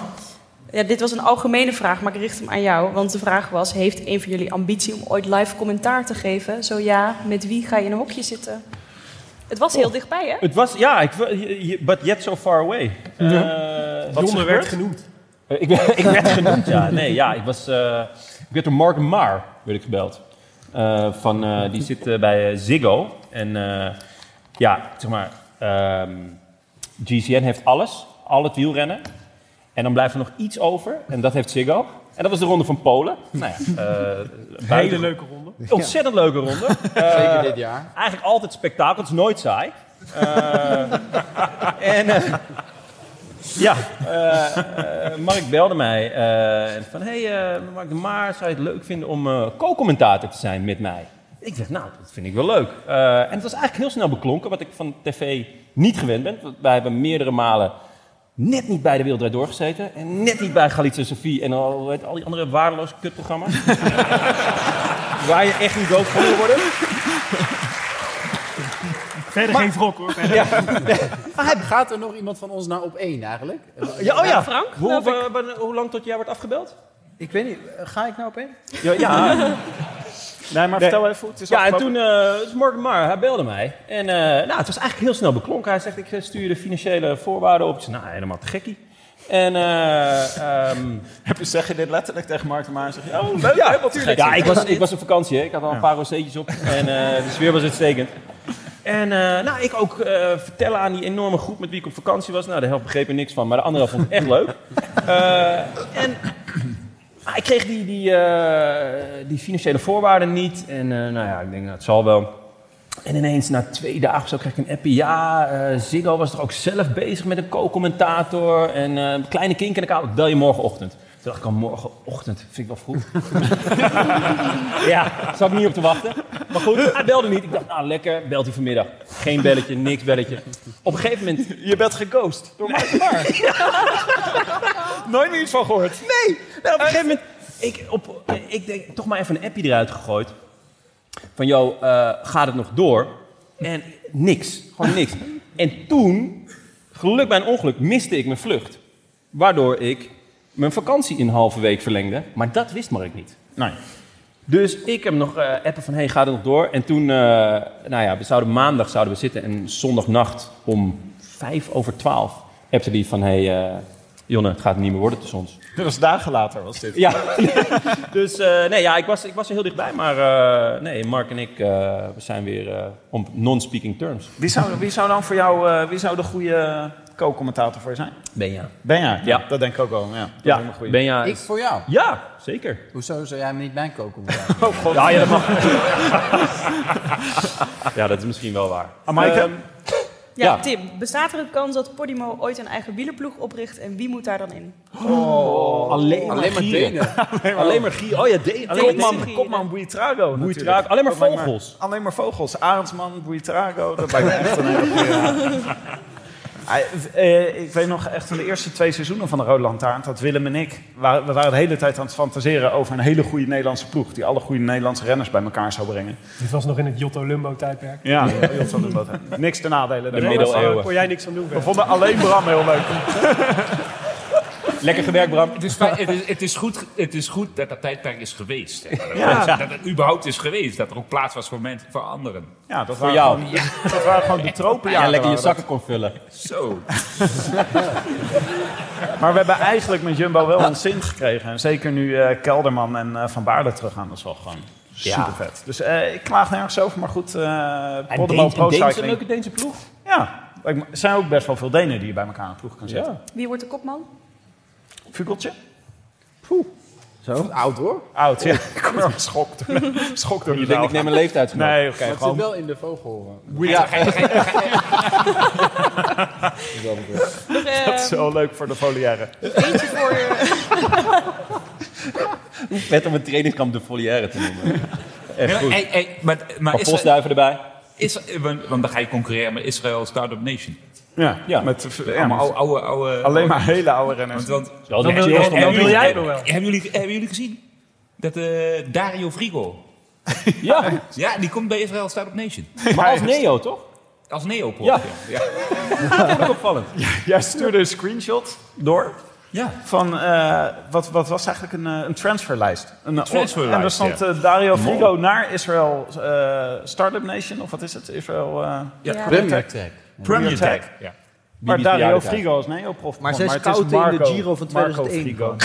Speaker 8: ja, dit was een algemene vraag, maar ik richt hem aan jou. Want de vraag was, heeft een van jullie ambitie om ooit live commentaar te geven? Zo ja, met wie ga je in een hokje zitten? Het was heel dichtbij, hè?
Speaker 1: Het was, ja, ik, je- je- but yet so far away. Eh,
Speaker 17: Ja.
Speaker 1: wat is er
Speaker 17: Jonne werd
Speaker 1: gebeurd?
Speaker 17: genoemd.
Speaker 1: Eh, Ik, werd- <laughs> ik werd genoemd, ja. Nee, ja, ik was... eh, ik werd door Mark Maar, werd ik gebeld. Eh, van, eh, die zit eh, bij eh, Ziggo. En eh, ja, zeg maar... ehm, GCN heeft alles. Al het wielrennen. En dan blijft er nog iets over. En dat heeft Ziggo. En dat was de ronde van Polen. Nou ja, eh
Speaker 17: Hele
Speaker 1: buiten-
Speaker 17: leuke ronde.
Speaker 1: Ontzettend leuke ronde.
Speaker 11: <laughs> Zeker
Speaker 1: Eh,
Speaker 11: dit jaar.
Speaker 1: Eigenlijk altijd spektakel, het is nooit saai. Eh, <laughs> en eh, ja, eh, eh, Mark belde mij eh, en van hey, eh, Mark de Maar, zou je het leuk vinden om eh, co-commentator te zijn met mij? Ik dacht, nou, dat vind ik wel leuk. Eh, en het was eigenlijk heel snel beklonken, wat ik van tv niet gewend ben. Want wij hebben meerdere malen net niet bij de Wereldwijd doorgezeten. En net niet bij Galicia Sophie en al, hoe heet al die andere waardeloze
Speaker 3: <laughs>
Speaker 1: kutprogramma's. waar je echt niet doof van wil worden.
Speaker 17: Verder geen wrok hoor. verder.
Speaker 11: Maar Ah, gaat er nog iemand van ons naar op één eigenlijk?
Speaker 1: Ja, oh ja.
Speaker 11: Frank,
Speaker 1: Hoe,
Speaker 11: geloof
Speaker 1: hoe- wanneer- hoe lang tot jij wordt afgebeld?
Speaker 11: Ik weet niet, eh, ga ik nou op één?
Speaker 1: Ja. ja.
Speaker 3: Nee, maar vertel even. Het is
Speaker 1: ja, en
Speaker 3: afgelopen.
Speaker 1: toen, eh dus Morgan Maar, hij belde mij. En eh, nou, het was eigenlijk heel snel beklonken. Hij zegt, ik eh, stuur de financiële voorwaarden op. Ik zei, nou, helemaal te gekkie. En, eh
Speaker 3: Heb je, zeg je dit letterlijk tegen Mark de Maar? Zeg je, oh, leuk,
Speaker 1: ja,
Speaker 3: helemaal tuurlijk.
Speaker 1: Ja, ik was, ik was op vakantie, hè. ik had al een paar rozeetjes op. En eh, de sfeer was uitstekend. En eh, nou, ik ook eh, vertellen aan die enorme groep met wie ik op vakantie was. Nou, de helft begreep er niks van, maar de andere helft vond het echt
Speaker 3: <laughs>
Speaker 1: leuk. Eh, en maar ik kreeg die, die, eh, die financiële voorwaarden niet. En eh, nou ja, ik denk, nou, het zal wel. En ineens na twee dagen of zo kreeg ik een appje. Ja, eh, Ziggo was toch ook zelf bezig met een co-commentator. En eh, een kleine kink in de kabel. Ik Bel je morgenochtend. Toen dacht ik al, morgenochtend. Vind ik wel vroeg. <laughs> ja, zat ik niet op te wachten. Maar goed, hij belde niet. Ik dacht, nou lekker, belt hij vanmiddag. Geen belletje, niks belletje. Op een gegeven moment...
Speaker 3: Je bent geghost door Mark de Maar. <laughs> Nooit meer iets van gehoord.
Speaker 1: Nee! Nou, op een gegeven moment... Ik, op, eh, ik denk, toch maar even een appje eruit gegooid. Van, joh, eh, gaat het nog door? En niks. Gewoon niks. En toen, geluk bij een ongeluk, miste ik mijn vlucht. Waardoor ik mijn vakantie in een halve week verlengde. Maar dat wist Mark niet. Nee. Dus ik heb nog eh, appen van, hey, gaat het nog door? En toen, eh, nou ja, we zouden maandag zouden we zitten. En zondagnacht om vijf over twaalf appte die van, hey, eh, Jonne, het gaat niet meer worden tussen ons.
Speaker 3: Dit was dagen later, was dit.
Speaker 1: Ja, dus eh, nee, ja, ik was, ik was er heel dichtbij. Maar eh, nee, Mark en ik, eh, we zijn weer eh, op non-speaking terms.
Speaker 3: Wie zou, wie zou dan voor jou, eh, wie zou de goede co-commentator voor je zijn?
Speaker 1: Benja.
Speaker 3: Benja,
Speaker 1: Ja.
Speaker 3: dat denk ik ook wel. Ja, dat
Speaker 1: Ja,
Speaker 3: lijkt me een goeie.
Speaker 1: Benja.
Speaker 11: Ik voor jou.
Speaker 1: Ja, zeker.
Speaker 11: Hoezo zou jij me niet mijn koken
Speaker 3: <laughs> Oh god.
Speaker 1: Ja, ja, dat mag. <laughs> ja, dat is misschien wel waar.
Speaker 3: Ah, Maaike?
Speaker 1: Ehm,
Speaker 8: Ja, Tim, bestaat er een kans dat Podimo ooit een eigen wielerploeg opricht en wie moet daar dan in?
Speaker 10: Oh, alleen maar,
Speaker 1: Alleen maar
Speaker 10: gieren.
Speaker 1: Denen.
Speaker 10: alleen maar, gieren. Oh ja, de, alleen maar
Speaker 1: Kopman,
Speaker 10: denen.
Speaker 1: kopman Buitrago natuurlijk.
Speaker 10: Buitrago, alleen maar
Speaker 1: Dat lijkt me-
Speaker 10: vogels.
Speaker 1: alleen maar vogels. Arendsman, Buitrago. Dat lijkt me echt een hele goeie.
Speaker 10: <laughs>
Speaker 1: Ja. Hij- eh, Ik weet nog echt van de eerste twee seizoenen van de Rode Lantaarn... dat Willem en ik, waren, we waren de hele tijd aan het fantaseren... over een hele goede Nederlandse ploeg... die alle goede Nederlandse renners bij elkaar zou
Speaker 10: <laughs>
Speaker 1: brengen.
Speaker 3: Dit was nog in het Jotto Lumbo tijdperk.
Speaker 1: Ja, heel veel dat. Niks te nadelen.
Speaker 3: Nee,
Speaker 1: daarvan.
Speaker 3: Daar kon jij niks aan doen.
Speaker 1: We vonden alleen Bram heel leuk.
Speaker 10: Lekker gewerkt, Bram.
Speaker 5: Het is,
Speaker 1: Dus
Speaker 5: fijn- het is, het is, goed, ge- het is goed dat dat tijdperk is geweest. zeg maar. Dat-
Speaker 1: Ja.
Speaker 5: Dat het überhaupt is geweest. Dat er ook plaats was voor, mensen, voor anderen.
Speaker 1: Ja, dat
Speaker 5: Voor
Speaker 1: waren
Speaker 5: jou.
Speaker 1: gewoon- dat waren gewoon de tropenjaren.
Speaker 10: Ja, lekker je
Speaker 1: waren dat.
Speaker 10: zakken kon vullen.
Speaker 5: Zo.
Speaker 1: Maar we hebben eigenlijk met Jumbo wel een zin gekregen. En zeker nu eh, Kelderman en eh, Van Baarle teruggaan. Dat is wel gewoon
Speaker 10: Ja.
Speaker 1: super vet. Dus eh, ik klaag nergens over, maar goed. eh
Speaker 10: En
Speaker 1: Podemo
Speaker 10: Deens-
Speaker 1: Pro
Speaker 10: en Deens, een
Speaker 1: Cycling.
Speaker 10: leuke Deense ploeg.
Speaker 1: Ja, lijkt me- er zijn ook best wel veel Denen die je bij elkaar een ploeg kan zetten.
Speaker 8: Wie wordt de kopman?
Speaker 1: Vugeltje?
Speaker 11: Zo? Oud hoor.
Speaker 1: Oud, ja. <laughs> Ik kom er schok door. Schok door
Speaker 10: Je denkt, ik neem een leeftijdsgenoot.
Speaker 1: Nee, oké,
Speaker 11: Maar het zit
Speaker 1: gewoon...
Speaker 11: wel in de vogel. eh.
Speaker 10: Ja, ga je- ga je-
Speaker 8: Nog,
Speaker 1: <laughs>
Speaker 8: eh,
Speaker 1: Dat is wel leuk voor de foliaire.
Speaker 8: eentje voor je.
Speaker 10: Vet om een trainingskamp de foliaire te
Speaker 1: <laughs>
Speaker 10: noemen. Echt
Speaker 5: Ja,
Speaker 10: goed.
Speaker 5: hey, hey, maar maar
Speaker 10: Wat
Speaker 5: is, er-
Speaker 10: postduiven erbij.
Speaker 5: is, er- eh, want, want dan ga je concurreren met Israël Startup Nation.
Speaker 1: Ja,
Speaker 10: Ja.
Speaker 1: Met, ja,
Speaker 5: Allemaal
Speaker 1: met-
Speaker 5: oude, oude, oude-
Speaker 1: alleen maar hele oude renners.
Speaker 5: Want, want,
Speaker 10: Wel de
Speaker 3: Dan
Speaker 10: echte
Speaker 3: wil-
Speaker 10: eerste
Speaker 3: dan
Speaker 10: man.
Speaker 3: wil jij
Speaker 5: hebben,
Speaker 3: nog wel.
Speaker 5: hebben jullie, hebben jullie gezien dat eh, Dario Frigo...
Speaker 10: Ja,
Speaker 5: Ja, die komt bij Israël Startup Nation.
Speaker 10: maar als Neo, toch?
Speaker 5: Als neopop.
Speaker 10: Ja.
Speaker 5: Ja.
Speaker 10: Ook opvallend.
Speaker 1: Jij stuurde een screenshot door
Speaker 5: Ja.
Speaker 1: van eh, wat, wat was eigenlijk een, eh, een transferlijst. Een, eh,
Speaker 5: transferlijst,
Speaker 1: En daar stond eh, Dario Frigo naar Israël eh, Startup Nation, of wat is het? Israël eh
Speaker 5: Ja.
Speaker 11: Premier Tech.
Speaker 5: Premier
Speaker 1: Tech.
Speaker 5: Tech. Ja.
Speaker 1: Maar
Speaker 10: Bibi's
Speaker 1: Dario
Speaker 10: bejaardenhuis.
Speaker 1: Frigo is neoprof.
Speaker 2: Maar zij
Speaker 1: het is
Speaker 2: scouten in de
Speaker 1: Marco-
Speaker 2: Giro van
Speaker 1: Marco
Speaker 2: 2001.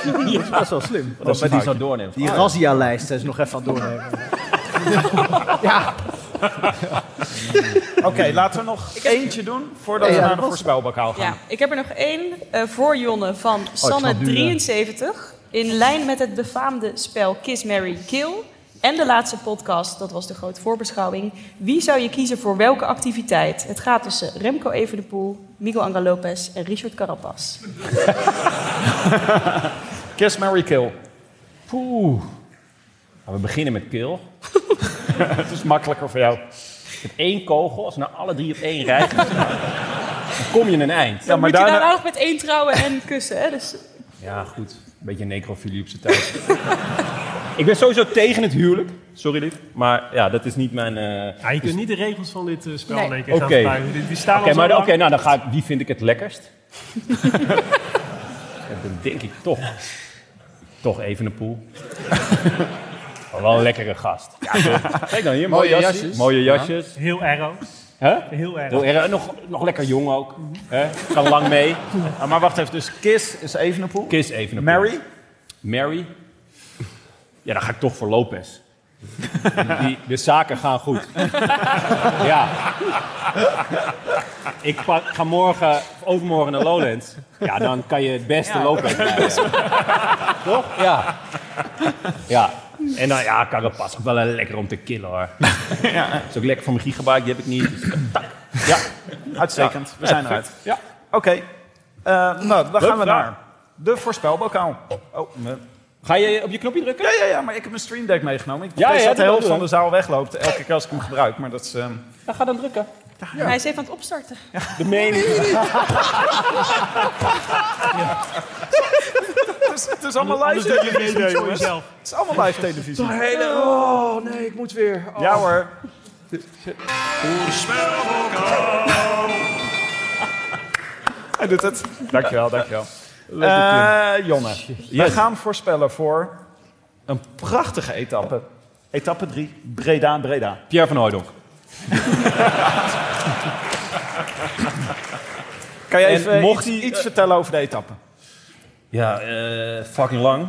Speaker 1: Frigo.
Speaker 2: Dat is wel slim.
Speaker 10: Dat is die zo
Speaker 2: <laughs>
Speaker 10: doornemen.
Speaker 2: Die Razia-lijst zijn ze nog even aan het doornemen. ja,
Speaker 1: Oké, laten we nog eentje doen voordat we
Speaker 2: Ja,
Speaker 1: naar de
Speaker 2: dat was-
Speaker 1: voorspelbokaal gaan.
Speaker 8: Ja, ik heb er nog één eh, voor Jonne van
Speaker 2: snap nu, eh.
Speaker 8: Sanne73. In lijn met het befaamde spel Kiss, Mary, Kill. En de laatste podcast, dat was de grote voorbeschouwing. Wie zou je kiezen voor welke activiteit? Het gaat tussen Remco Evenepoel, Miguel Angel Lopez en Richard Carapaz.
Speaker 1: Kiss, Mary, Kill.
Speaker 10: Poeh. Nou, We beginnen met <laughs> kill.
Speaker 1: Het is makkelijker voor jou.
Speaker 10: Met één kogel, als we nou alle drie op één rij gaan staan, dan kom je een eind.
Speaker 1: Ja, maar
Speaker 8: Moet je daar
Speaker 1: daarna...
Speaker 8: nou nog met één trouwen en kussen, hè? Dus
Speaker 10: Ja, goed. Een beetje necrofilie op zijn tijd. <laughs> ik ben sowieso tegen het huwelijk. Sorry, lief. Maar ja, dat is niet mijn... eh,
Speaker 3: Ja, je kunt niet de regels van dit eh, spel
Speaker 8: Nee.
Speaker 3: in één keer gaan
Speaker 10: Oké.
Speaker 3: verbuigen. Die, die staan al
Speaker 10: Oké,
Speaker 3: zo
Speaker 10: maar
Speaker 3: lang.
Speaker 10: oké, nou dan ga ik. Wie vind ik het lekkerst? <laughs> ja, dan denk ik toch. Toch even een poel. <laughs> wel een lekkere gast. Ja, toch? Kijk dan hier, mooie,
Speaker 11: Mooie
Speaker 10: jasjes.
Speaker 11: jasjes.
Speaker 10: Mooie jasjes.
Speaker 3: Heel arrow.
Speaker 10: Hè?
Speaker 3: Heel erg.
Speaker 10: Heel erg. Nog, nog lekker jong ook. Hè? Kan lang mee.
Speaker 1: Ah, maar wacht even, dus Kiss is Evenepoel.
Speaker 10: Kiss even een poel.
Speaker 1: Mary?
Speaker 10: Mary. Ja, dan ga ik toch voor Lopez. Die, de zaken gaan goed. ja. Ik pak- ga morgen, of overmorgen naar Lowlands. Ja, dan kan je het beste Lopez krijgen. Toch? Ja. Ja. En dan, ja, Carapaz ook wel eh, lekker om te killen, hoor. Is ook lekker voor mijn gigabyte, die heb ik niet. Dus, tak. Ja.
Speaker 1: Uitstekend,
Speaker 10: Ja,
Speaker 1: we zijn eruit.
Speaker 10: Ja.
Speaker 1: Oké, Eh, nou, dan gaan we
Speaker 10: Hup, daar.
Speaker 1: naar de voorspelbokaal. Oh, me-
Speaker 10: Ga je op je knopje drukken?
Speaker 1: ja, ja, ja, maar ik heb mijn Stream Deck meegenomen. Ik
Speaker 10: Ja,
Speaker 1: vrees
Speaker 10: ja,
Speaker 1: dat de
Speaker 10: doe
Speaker 1: helft
Speaker 10: dat,
Speaker 1: van
Speaker 10: doe
Speaker 1: de zaal wegloopt elke keer als ik hem gebruik. Maar dat is... ehm,
Speaker 10: Ja, ga dan drukken.
Speaker 8: Hij is even aan het opstarten.
Speaker 10: De mening.
Speaker 1: het, is het is allemaal live televisie, jongens. Het is allemaal live televisie.
Speaker 18: Oh nee, ik moet weer.
Speaker 1: Ja hoor. Hij doet het. Dankjewel, dankjewel. Eh Jonne, we gaan voorspellen voor een prachtige etappe. Etappe 3, Breda, Breda.
Speaker 10: Pierre van Hooydonk.
Speaker 1: Kan jij
Speaker 10: En
Speaker 1: even eh,
Speaker 10: mocht
Speaker 1: iets,
Speaker 10: hij,
Speaker 1: iets
Speaker 10: eh,
Speaker 1: vertellen over de etappe?
Speaker 10: Ja, eh, fucking lang.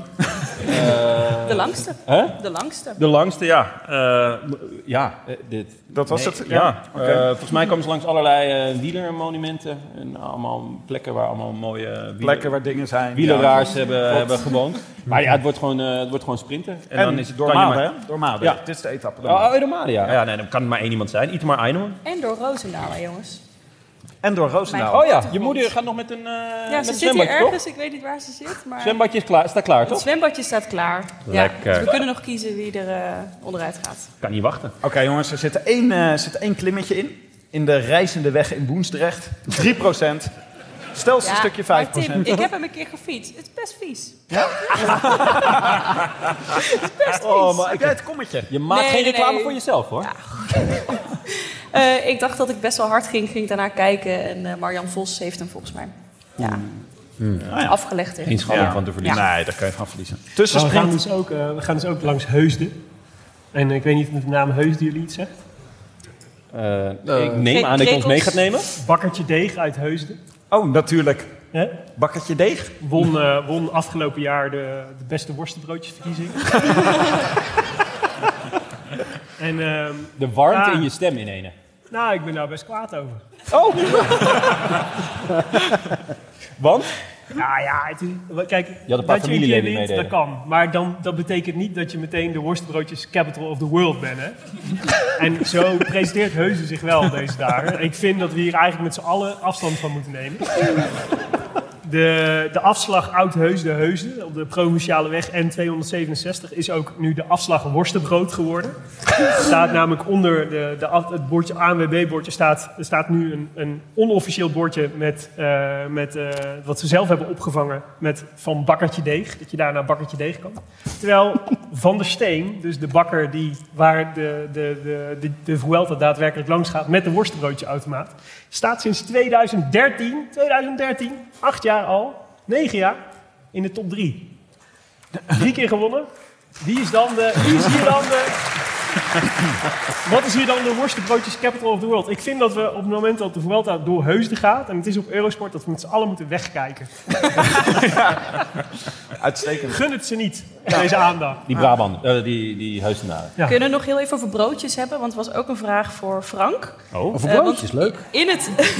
Speaker 8: De langste.
Speaker 10: Hè?
Speaker 8: De langste.
Speaker 10: De langste, ja. Eh, m- ja, eh, dit.
Speaker 1: Dat was het?
Speaker 10: Ja, eh, volgens mij kwamen ze langs allerlei eh, wielermonumenten. En allemaal plekken waar allemaal mooie wieler-
Speaker 1: Plekken waar dingen zijn.
Speaker 10: wieleraars hebben, hebben
Speaker 1: <laughs>
Speaker 10: gewoond. Maar ja, het wordt gewoon, eh, het wordt gewoon sprinten. En,
Speaker 1: En
Speaker 10: dan is het
Speaker 1: door
Speaker 10: kan je
Speaker 1: Maden,
Speaker 10: maar-
Speaker 1: hè? Door Maden.
Speaker 10: Ja.
Speaker 1: Dit is de etappe.
Speaker 10: Oh, oh, door Maden, ja. ja. nee, dan kan er maar één iemand zijn. Itemar Einhorn.
Speaker 8: En door Roosendaal, hè, jongens.
Speaker 1: En door Roosendaal.
Speaker 19: Oh ja, je moeder gaat nog met een, eh
Speaker 8: Ja,
Speaker 19: met
Speaker 8: ze
Speaker 19: een
Speaker 8: zit hier
Speaker 19: zwembadje, toch?
Speaker 8: ergens. Ik weet niet waar ze zit. Maar...
Speaker 19: Zwembadje is klaar, staat klaar,
Speaker 8: Het
Speaker 19: toch?
Speaker 8: zwembadje staat klaar.
Speaker 19: Lekker.
Speaker 8: Ja, dus we kunnen nog kiezen wie er eh, onderuit gaat.
Speaker 19: Kan niet wachten.
Speaker 1: Oké jongens, er zit één, eh, zit één klimmetje in. In de reizende weg in Woensdrecht. 3 procent. Stelste
Speaker 8: Ja,
Speaker 1: stukje 5
Speaker 8: maar Tim, ik heb hem een keer gefietst. Het is best vies. <laughs> Ja? het is best vies.
Speaker 19: Oh, maar ik-
Speaker 1: het kommetje.
Speaker 19: Je maakt
Speaker 8: Nee,
Speaker 19: geen
Speaker 8: nee,
Speaker 19: reclame
Speaker 8: nee.
Speaker 19: voor jezelf, hoor.
Speaker 8: Eh, ik dacht dat ik best wel hard ging. Ging daarna kijken. En eh, Marjan Vos heeft hem volgens mij Ja.
Speaker 19: Hmm.
Speaker 8: afgelegd. in. Ja. Ja.
Speaker 1: Nee, daar kan je van verliezen.
Speaker 3: Maar we, gaan
Speaker 1: Tussensprint.
Speaker 3: dus ook, eh, we gaan dus ook langs Heusden. En ik weet niet of de naam Heusden jullie iets zegt.
Speaker 19: Eh,
Speaker 8: Eh,
Speaker 19: ik neem aan dat je ons mee gaat nemen.
Speaker 3: Bakkertje Deeg uit Heusden.
Speaker 1: Oh, natuurlijk.
Speaker 3: Hè?
Speaker 1: Bakkertje Deeg.
Speaker 3: Won, eh, won afgelopen jaar de, de beste worstenbroodjesverkiezing. en, ehm,
Speaker 19: De warmte
Speaker 3: ja,
Speaker 19: in je stem in ene.
Speaker 3: Nou, ik ben daar best kwaad over.
Speaker 19: Oh! Want?
Speaker 3: Ja, ja, het is- kijk,
Speaker 19: Je had een paar
Speaker 3: dat je een keer
Speaker 19: familieleden
Speaker 3: wint, dat
Speaker 19: meededen.
Speaker 3: kan. Maar dan, dat betekent niet dat je meteen de worstbroodjes capital of the world bent,
Speaker 19: <laughs>
Speaker 3: hè? en zo presenteert Heuze zich wel deze dagen. Ik vind dat we hier eigenlijk met z'n allen afstand van moeten nemen. De, de afslag Oud-Heusden Heusden op de provinciale weg N267 is ook nu de afslag worstenbrood geworden. Er staat namelijk onder de, de, af- het bordje ANWB-bordje staat, er staat nu een, een onofficieel bordje met, eh, met eh, wat ze zelf hebben opgevangen met van bakkertje deeg. Dat je daar naar bakkertje deeg kan. Terwijl Van der Steen, dus de bakker die, waar de, de, de, de, de Vuelta daadwerkelijk langs gaat met de worstenbroodjeautomaat, staat sinds 2013, 2013, acht jaar al, negen jaar, in de top drie. Drie keer gewonnen. Wie is dan de... Wie is hier dan de... Wat is hier dan de worstenbroodjes capital of the world? Ik vind dat we op het moment dat de Vuelta door Heusden gaat... en het is op Eurosport, dat we met z'n allen moeten wegkijken.
Speaker 1: Uitstekend.
Speaker 3: Gun het ze niet,
Speaker 5: Nou.
Speaker 3: deze aandacht.
Speaker 19: Die Brabant, eh, die, die Huizenaren.
Speaker 3: Ja.
Speaker 8: Kunnen we nog heel even over broodjes hebben? Want er was ook een vraag voor Frank.
Speaker 19: Oh,
Speaker 8: Over broodjes,
Speaker 19: leuk.
Speaker 8: In het, <laughs>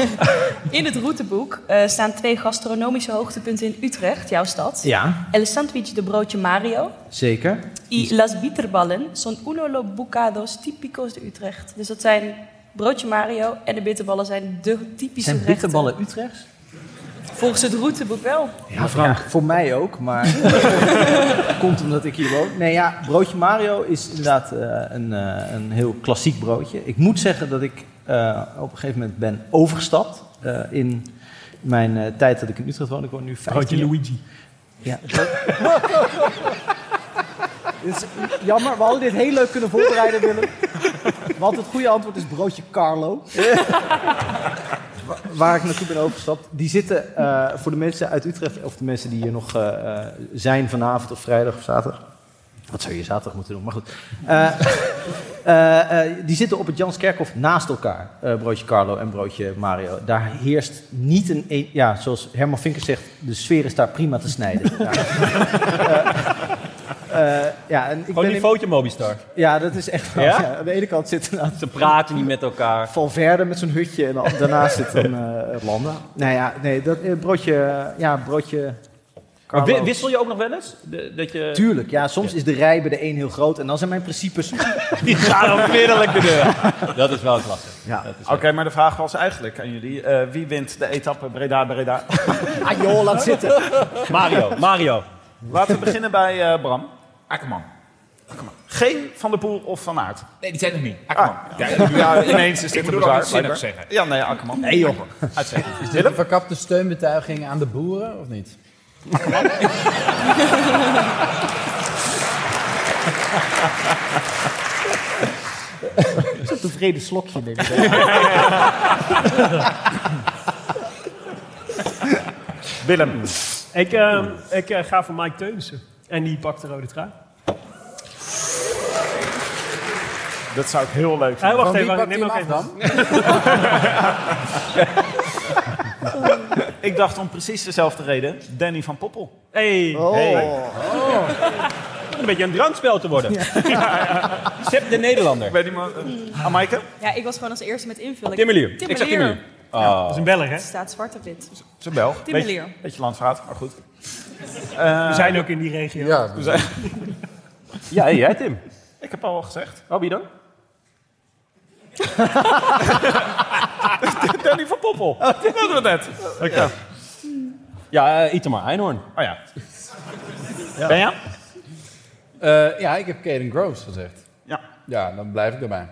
Speaker 8: in het routeboek eh, staan twee gastronomische hoogtepunten in Utrecht, jouw stad.
Speaker 2: Ja.
Speaker 8: El Sandwich de Broodje Mario.
Speaker 2: Zeker.
Speaker 8: Y las bitterballen son uno de los bocados típicos de Utrecht. Dus dat zijn broodje Mario en de bitterballen zijn de typische
Speaker 2: Zijn
Speaker 8: gerechten.
Speaker 2: bitterballen Utrechts?
Speaker 8: Volgens het routeboek wel.
Speaker 2: Ja, Frank, voor mij ook, maar komt omdat ik hier woon. Nee, ja, broodje Mario is inderdaad eh, een, eh, een heel klassiek broodje. Ik moet zeggen dat ik eh, op een gegeven moment ben overgestapt eh, in mijn eh, tijd dat ik in Utrecht woon. Ik woon nu 15
Speaker 3: Broodje
Speaker 2: jaar.
Speaker 3: Luigi.
Speaker 2: Ja. <laughs> Het is jammer, we hadden dit heel leuk kunnen voorbereiden, Willem. Want het goede antwoord is broodje Carlo. <laughs> Wa- Waar ik naartoe ben overgestapt. Die zitten eh, voor de mensen uit Utrecht, of de mensen die hier nog eh, eh, zijn vanavond of vrijdag of zaterdag. Wat zou je zaterdag moeten doen? Maar goed. Eh, <laughs> eh, eh, die zitten op het Janskerkhof naast elkaar. eh, broodje Carlo en broodje Mario. Daar heerst niet een, een- Ja, zoals Herman Vinkers zegt, de sfeer is daar prima te
Speaker 19: <laughs>
Speaker 2: snijden. Ja. Eh, eh, ja, en ik
Speaker 19: Gewoon die
Speaker 2: ben in-
Speaker 19: foto Mobistar.
Speaker 2: ja, dat is echt wel.
Speaker 19: Ja?
Speaker 2: ja. aan de ene kant zit een
Speaker 19: Ze praten niet met elkaar.
Speaker 2: Valverde met zo'n hutje en dan- daarnaast zit een eh Landa. Nou ja, nee, dat eh, broodje... eh, Ja, broodje...
Speaker 19: Maar wi-
Speaker 2: Carlo.
Speaker 19: wissel je ook nog wel eens? De- dat
Speaker 1: <laughs>
Speaker 19: je...
Speaker 2: Tuurlijk, ja, soms is de rij bij de een heel groot en dan zijn mijn <laughs> principes...
Speaker 19: Die gaan onmiddellijk de deur. <laughs> Dat is wel lastig.
Speaker 2: Ja.
Speaker 1: Oké, maar de vraag was eigenlijk aan jullie. eh, wie wint de etappe
Speaker 19: <laughs>
Speaker 1: Breda-Breda?
Speaker 2: Ah joh, laat zitten.
Speaker 19: Mario, Mario.
Speaker 1: Laten we beginnen bij eh, Bram.
Speaker 20: Akkerman.
Speaker 1: Geen Van der Poel of Van Aert?
Speaker 20: Nee, die zijn er niet. Akkerman.
Speaker 1: Ah. Ja, ja, ineens is dit
Speaker 20: moet
Speaker 1: een
Speaker 20: ook
Speaker 1: bizar.
Speaker 20: iets zinnigs
Speaker 1: blijkbaar.
Speaker 20: zeggen.
Speaker 1: Ja, nee, Akkerman.
Speaker 2: Nee joh.
Speaker 1: Uitstekend.
Speaker 5: Is dit een verkapte steunbetuiging aan de boeren, of niet?
Speaker 2: Een tevreden slokje, denk ik.
Speaker 1: Willem.
Speaker 3: Ik, eh, ik eh, ga voor Mike Teunissen. En die pakt de rode trui.
Speaker 1: Dat zou ik heel leuk
Speaker 3: Eh,
Speaker 1: vinden.
Speaker 3: wacht
Speaker 5: wie
Speaker 3: even,
Speaker 5: pakt
Speaker 3: neem
Speaker 5: die
Speaker 3: ook
Speaker 5: hem af
Speaker 3: even.
Speaker 1: Ik dacht om precies dezelfde reden. Danny van Poppel.
Speaker 3: Hey,
Speaker 5: Oh.
Speaker 19: Om Een beetje een drankspel te worden. Sepp de Nederlander.
Speaker 1: Weet iemand? Amaike?
Speaker 8: Ja, ik was gewoon als eerste met invullen.
Speaker 19: Timmelier. Ik zeg
Speaker 8: Timmelier.
Speaker 19: Timmelier. Ah.
Speaker 3: dat is een beller, hè?
Speaker 8: Het staat zwart op wit.
Speaker 1: Ze bel.
Speaker 8: Timmelier.
Speaker 1: Beetje, beetje landverraad, maar goed.
Speaker 3: We zijn ook in die regio.
Speaker 5: Ja,
Speaker 19: Ja, hey, jij Tim.
Speaker 1: Ik heb al gezegd.
Speaker 19: Oh, wie dan?
Speaker 1: <laughs> Danny van Poppel. Dat hadden we net.
Speaker 10: Ja, ja eh, Itamar Einhorn.
Speaker 1: Oh ja.
Speaker 11: Ja.
Speaker 1: Ben jij?
Speaker 11: Eh, ja, ik heb Caden Groves gezegd.
Speaker 1: Ja.
Speaker 11: Ja, dan blijf ik erbij.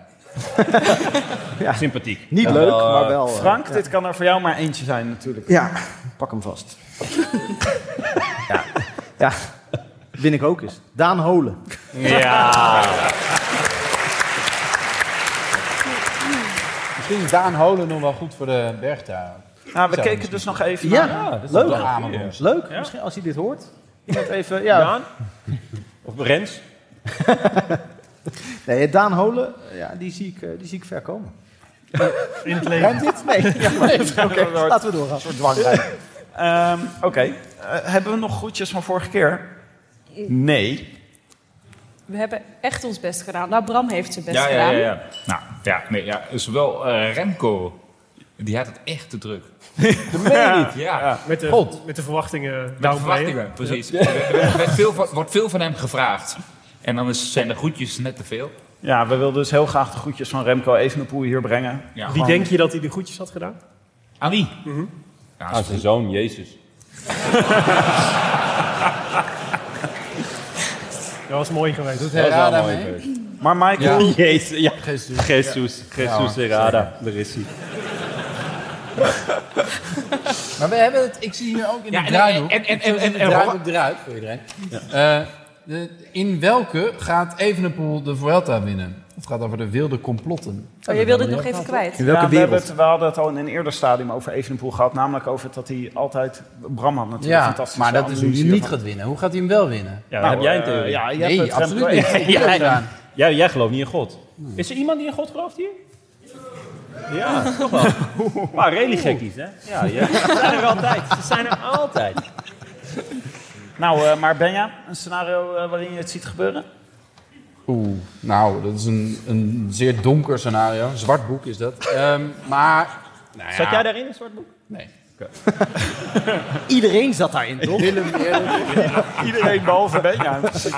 Speaker 1: Sympathiek.
Speaker 11: Niet leuk, maar wel, eh,
Speaker 1: Frank,
Speaker 11: ja.
Speaker 1: dit kan er voor jou maar eentje zijn natuurlijk.
Speaker 13: Ja, pak hem vast.
Speaker 2: <laughs>
Speaker 13: Ja, win ik ook eens. Daan Holen.
Speaker 1: Ja.
Speaker 11: Misschien is Daan Holen nog wel goed voor de bergtuin.
Speaker 1: Nou, we keken dus nog even
Speaker 11: Ja,
Speaker 2: Ah,
Speaker 1: naar...
Speaker 11: dat is
Speaker 1: leuk.
Speaker 11: wel een aanbod.
Speaker 13: Leuk, misschien als hij dit hoort.
Speaker 1: Iemand even... Ja.
Speaker 10: Daan? Of Rens?
Speaker 13: Nee, Daan Holen, ja, die, zie ik, eh, die zie ik ver komen.
Speaker 3: In het
Speaker 13: Ruimt dit? Nee. Ja, maar- Oké, laten we doorgaan.
Speaker 1: Ehm, Oké. Eh, hebben we nog groetjes van vorige keer? Nee.
Speaker 14: We hebben echt ons best gedaan. Nou, Bram heeft zijn best
Speaker 5: Ja, ja,
Speaker 14: gedaan.
Speaker 5: ja, ja. Nou, ja, nee, ja. Zowel eh, Remco, die had het echt te
Speaker 11: <laughs>
Speaker 5: druk.
Speaker 3: Dat
Speaker 5: meen je niet. Ja.
Speaker 3: Met, de,
Speaker 5: God.
Speaker 3: met de verwachtingen
Speaker 11: Nou,
Speaker 5: Met
Speaker 3: downplayen.
Speaker 5: verwachtingen, precies. Er werd- werd veel van- wordt veel van hem gevraagd. En dan is, zijn de groetjes net te veel.
Speaker 1: Ja, we wilden dus heel graag de groetjes van Remco Evenepoel hier brengen.
Speaker 5: Ja,
Speaker 3: Wie
Speaker 5: gewoon-
Speaker 3: denk je dat hij de goedjes had gedaan?
Speaker 5: Aan wie?
Speaker 10: Aan zijn zoon, Jezus.
Speaker 3: Dat was mooi geweest.
Speaker 11: Doet
Speaker 3: Dat was
Speaker 11: Herrada
Speaker 3: wel mooi
Speaker 11: mee?
Speaker 3: geweest.
Speaker 1: Maar Michael...
Speaker 10: Ja. Jezus, ja.
Speaker 11: Jesus.
Speaker 10: Jesus,
Speaker 11: Ja,
Speaker 10: Jesus
Speaker 11: hoor.
Speaker 10: Herrada, daar is hij.
Speaker 11: Maar we hebben het, ik zie hier ook in
Speaker 5: Ja,
Speaker 11: de
Speaker 5: en-
Speaker 11: draaiboek.
Speaker 5: en- en-
Speaker 11: Ik zie het
Speaker 5: en-
Speaker 11: in de
Speaker 5: en-
Speaker 11: draaiboek eruit voor iedereen. Eh, de- in welke gaat Evenepoel de Vuelta winnen? Het gaat over de wilde complotten.
Speaker 14: Oh, jij wilde het nog even kwijt.
Speaker 1: Ja, we, hebben het, we hadden het al in een eerder stadium over Evenepoel gehad. Namelijk over dat hij altijd... Bram had natuurlijk
Speaker 11: Ja,
Speaker 1: fantastisch.
Speaker 11: maar dat is hoe hij niet gaat winnen. Hoe gaat hij hem wel winnen?
Speaker 10: Ja, heb jij een theorie?
Speaker 1: Nou, ja, je
Speaker 11: Nee,
Speaker 1: hebt het
Speaker 11: absoluut
Speaker 1: Remco
Speaker 11: niet.
Speaker 14: <laughs>
Speaker 1: <laughs> Evenepoel.
Speaker 11: Ik heb het gedaan.
Speaker 10: Jij, jij gelooft niet in God. Is er iemand die in God gelooft hier? Ja, toch wel. Een paar religiekkies, hè? Ja, ja, ze zijn
Speaker 1: <laughs>
Speaker 10: er altijd. Ze zijn er altijd.
Speaker 1: Nou, eh, maar Benja, een scenario eh, waarin je het ziet gebeuren?
Speaker 11: Oeh, nou, dat is een, een zeer donker scenario. Een zwart boek is dat. Ehm, maar, nou ja,
Speaker 10: Zat jij daarin, een zwart boek?
Speaker 11: Nee.
Speaker 13: Iedereen zat daarin, toch?
Speaker 11: Willem Eerlijk,
Speaker 1: Iedereen
Speaker 10: <laughs>
Speaker 1: behalve Benja.
Speaker 11: dat is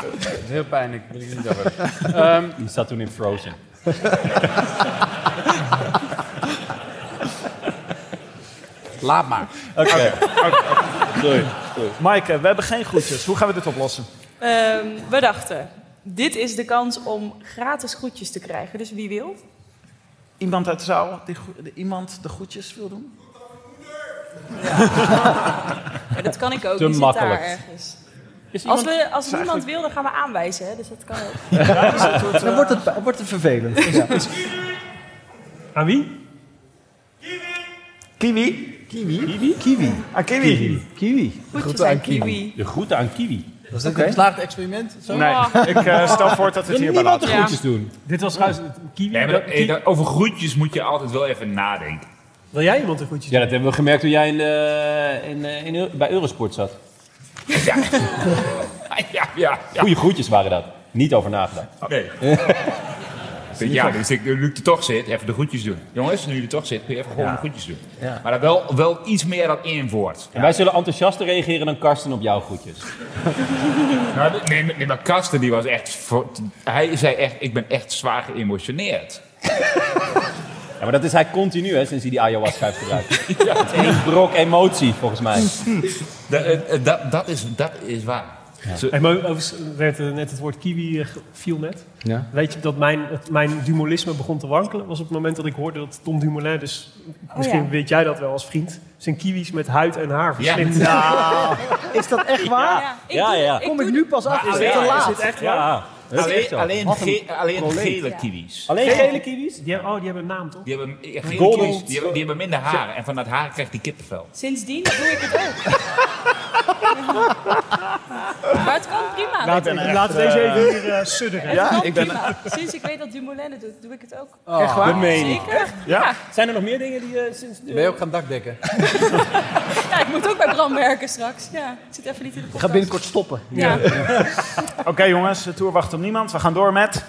Speaker 11: heel pijnlijk. Wil ik het niet over.
Speaker 5: <laughs>
Speaker 11: Ehm,
Speaker 10: Die zat toen in Frozen.
Speaker 11: laat maar.
Speaker 10: Oké. Sorry.
Speaker 1: Maaike, we hebben geen groetjes. Hoe gaan we dit oplossen?
Speaker 8: Ehm, we dachten, dit is de kans om gratis groetjes te krijgen. Dus wie wil?
Speaker 1: Iemand uit de zaal die gro- de- iemand de groetjes wil doen?
Speaker 8: Maar dat kan ik ook.
Speaker 10: Te
Speaker 8: Die zit
Speaker 10: makkelijk.
Speaker 8: daar ergens.
Speaker 10: Is
Speaker 8: Als,
Speaker 10: iemand...
Speaker 8: we, als niemand wil, dan gaan we aanwijzen. Hè? Dus dat kan ook.
Speaker 13: Dan wordt het, wordt het vervelend. Ja.
Speaker 3: Aan wie?
Speaker 1: Kiwi?
Speaker 13: Kiwi? Kiwi.
Speaker 1: Ah, Kiwi.
Speaker 13: Kiwi.
Speaker 8: Groetjes aan Kiwi.
Speaker 10: De groeten aan Kiwi.
Speaker 11: Was dit een geslaagd experiment? Zo?
Speaker 1: Nee, ik eh, stel voor dat we het hierbij laten.
Speaker 10: de groetjes doen.
Speaker 3: Dit was trouwens Kiwi.
Speaker 5: Nee, maar
Speaker 3: dat-
Speaker 5: dat-
Speaker 3: Ki-
Speaker 5: eh, dat- over groetjes moet je altijd wel even nadenken.
Speaker 11: <laughs>
Speaker 3: Wil jij iemand een goedje?
Speaker 10: Ja, dat hebben we gemerkt toen jij in, eh, in, eh, in, Eu- bij Eurosport zat.
Speaker 5: Ja, ja, ja. ja.
Speaker 10: Goeie groetjes waren dat. Niet over nagedacht.
Speaker 11: Oh. <laughs>
Speaker 5: Nee. Ja, dus ik, nu ik er toch zit, even de groetjes doen. Jongens, nu je er toch zit, kun je even gewoon de groetjes doen. Maar dan wel, wel iets meer dan één woord.
Speaker 10: En wij zullen enthousiaster reageren dan Karsten op jouw groetjes.
Speaker 5: <laughs> Nou, de- nee, maar- nee, maar Karsten die was echt... voor- hij zei echt, ik ben echt zwaar geëmotioneerd.
Speaker 10: Ja, maar dat is hij continu, hè, sinds hij die ayahuasca heeft gebruikt. Het is één brok emotie, volgens mij.
Speaker 5: Dat, eh, eh, dat, dat, is, dat is waar. Zo-
Speaker 3: Hey, maar overigens werd eh, net het woord kiwi eh, ge- viel net.
Speaker 13: Ja.
Speaker 3: Weet je dat mijn, het, mijn dumolisme begon te wankelen? Was op het moment dat ik hoorde dat Tom Dumoulin, dus misschien
Speaker 14: ja.
Speaker 3: weet jij dat wel als vriend, zijn kiwis met huid en haar
Speaker 5: Ja.
Speaker 3: verslind.
Speaker 13: Is dat echt waar?
Speaker 14: Ja, ik
Speaker 10: Ja,
Speaker 14: doe-
Speaker 10: ja.
Speaker 14: ik
Speaker 13: Kom
Speaker 14: doe-
Speaker 13: ik nu pas achter? Is het te
Speaker 10: ja,
Speaker 13: laat?
Speaker 10: Ja, dat is echt
Speaker 5: Alleen,
Speaker 10: zo.
Speaker 5: alleen, ge- alleen gele kiwis.
Speaker 10: Alleen gele kiwis?
Speaker 3: Die hebben, oh, die hebben een naam toch?
Speaker 5: Die hebben, eh, gele
Speaker 10: Golden.
Speaker 5: kiwis, die hebben, die hebben minder haar. En van dat haar krijgt die kippenvel.
Speaker 14: Sindsdien doe ik het ook.
Speaker 8: <laughs>
Speaker 14: maar het kan prima.
Speaker 1: Nou, ik ben er
Speaker 3: Laten we
Speaker 1: echt,
Speaker 3: deze
Speaker 1: eh,
Speaker 3: even hier eh, sudderen.
Speaker 14: Het kan prima. Sinds ik weet dat Dumoulin het doet, doe ik het ook.
Speaker 11: Echt
Speaker 14: waar?
Speaker 10: meen ik.
Speaker 14: Zeker.
Speaker 10: Zijn er nog meer dingen die eh, sinds...
Speaker 11: Ben je ook gaan dakdekken?
Speaker 14: Ja, ik moet ook bij Bram werken straks. Ja, ik zit even niet in
Speaker 13: Ik
Speaker 14: de
Speaker 13: ga
Speaker 14: podcast.
Speaker 13: binnenkort stoppen.
Speaker 14: Ja.
Speaker 1: Oké jongens, de tour wacht op niemand. We gaan door met...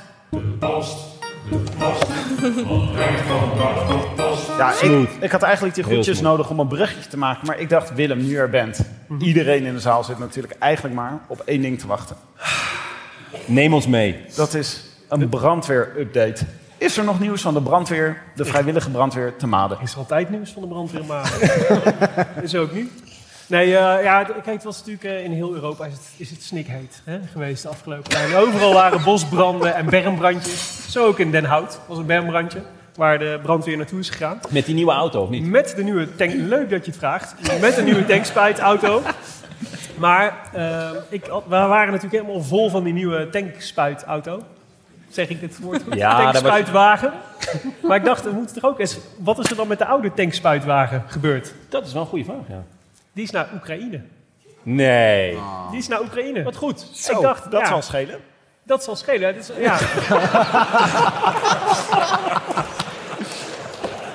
Speaker 1: Ja, ik, ik had eigenlijk die groetjes nodig om een bruggetje te maken. Maar ik dacht, Willem, nu je er bent.
Speaker 5: Mhm.
Speaker 1: Iedereen in de zaal zit natuurlijk eigenlijk maar op één ding te wachten.
Speaker 10: Neem ons mee.
Speaker 1: Dat is een brandweer-update. Is er nog nieuws van de brandweer, de vrijwillige brandweer te Maden?
Speaker 3: Is altijd nieuws van de brandweer, maar <laughs> is ook nu. Nee, eh, ja, d- kijk, het was natuurlijk eh, in heel Europa is het, is het snikheet hè, geweest de afgelopen tijd. Overal waren bosbranden en bermbrandjes. Zo ook in Den Hout was een bermbrandje waar de brandweer naartoe is gegaan.
Speaker 5: Met die nieuwe auto, of niet?
Speaker 3: Met de nieuwe tank. Leuk dat je het vraagt. Met de nieuwe tankspuitauto. Maar eh, ik, had- we waren natuurlijk helemaal vol van die nieuwe tankspuitauto. Zeg ik dit woord goed?
Speaker 5: Ja, daar was-
Speaker 3: tankspuitwagen. Maar ik dacht, we moeten toch ook eens... Wat is er dan met de oude tankspuitwagen gebeurd?
Speaker 5: Dat is wel een goede vraag, ja.
Speaker 3: Die is naar Oekraïne.
Speaker 5: Nee.
Speaker 3: Die is naar Oekraïne. Wat goed.
Speaker 1: Zo,
Speaker 3: ik dacht,
Speaker 1: dat
Speaker 3: ja,
Speaker 1: zal schelen.
Speaker 3: Dat zal schelen. Dat is,
Speaker 1: <laughs>
Speaker 3: ja.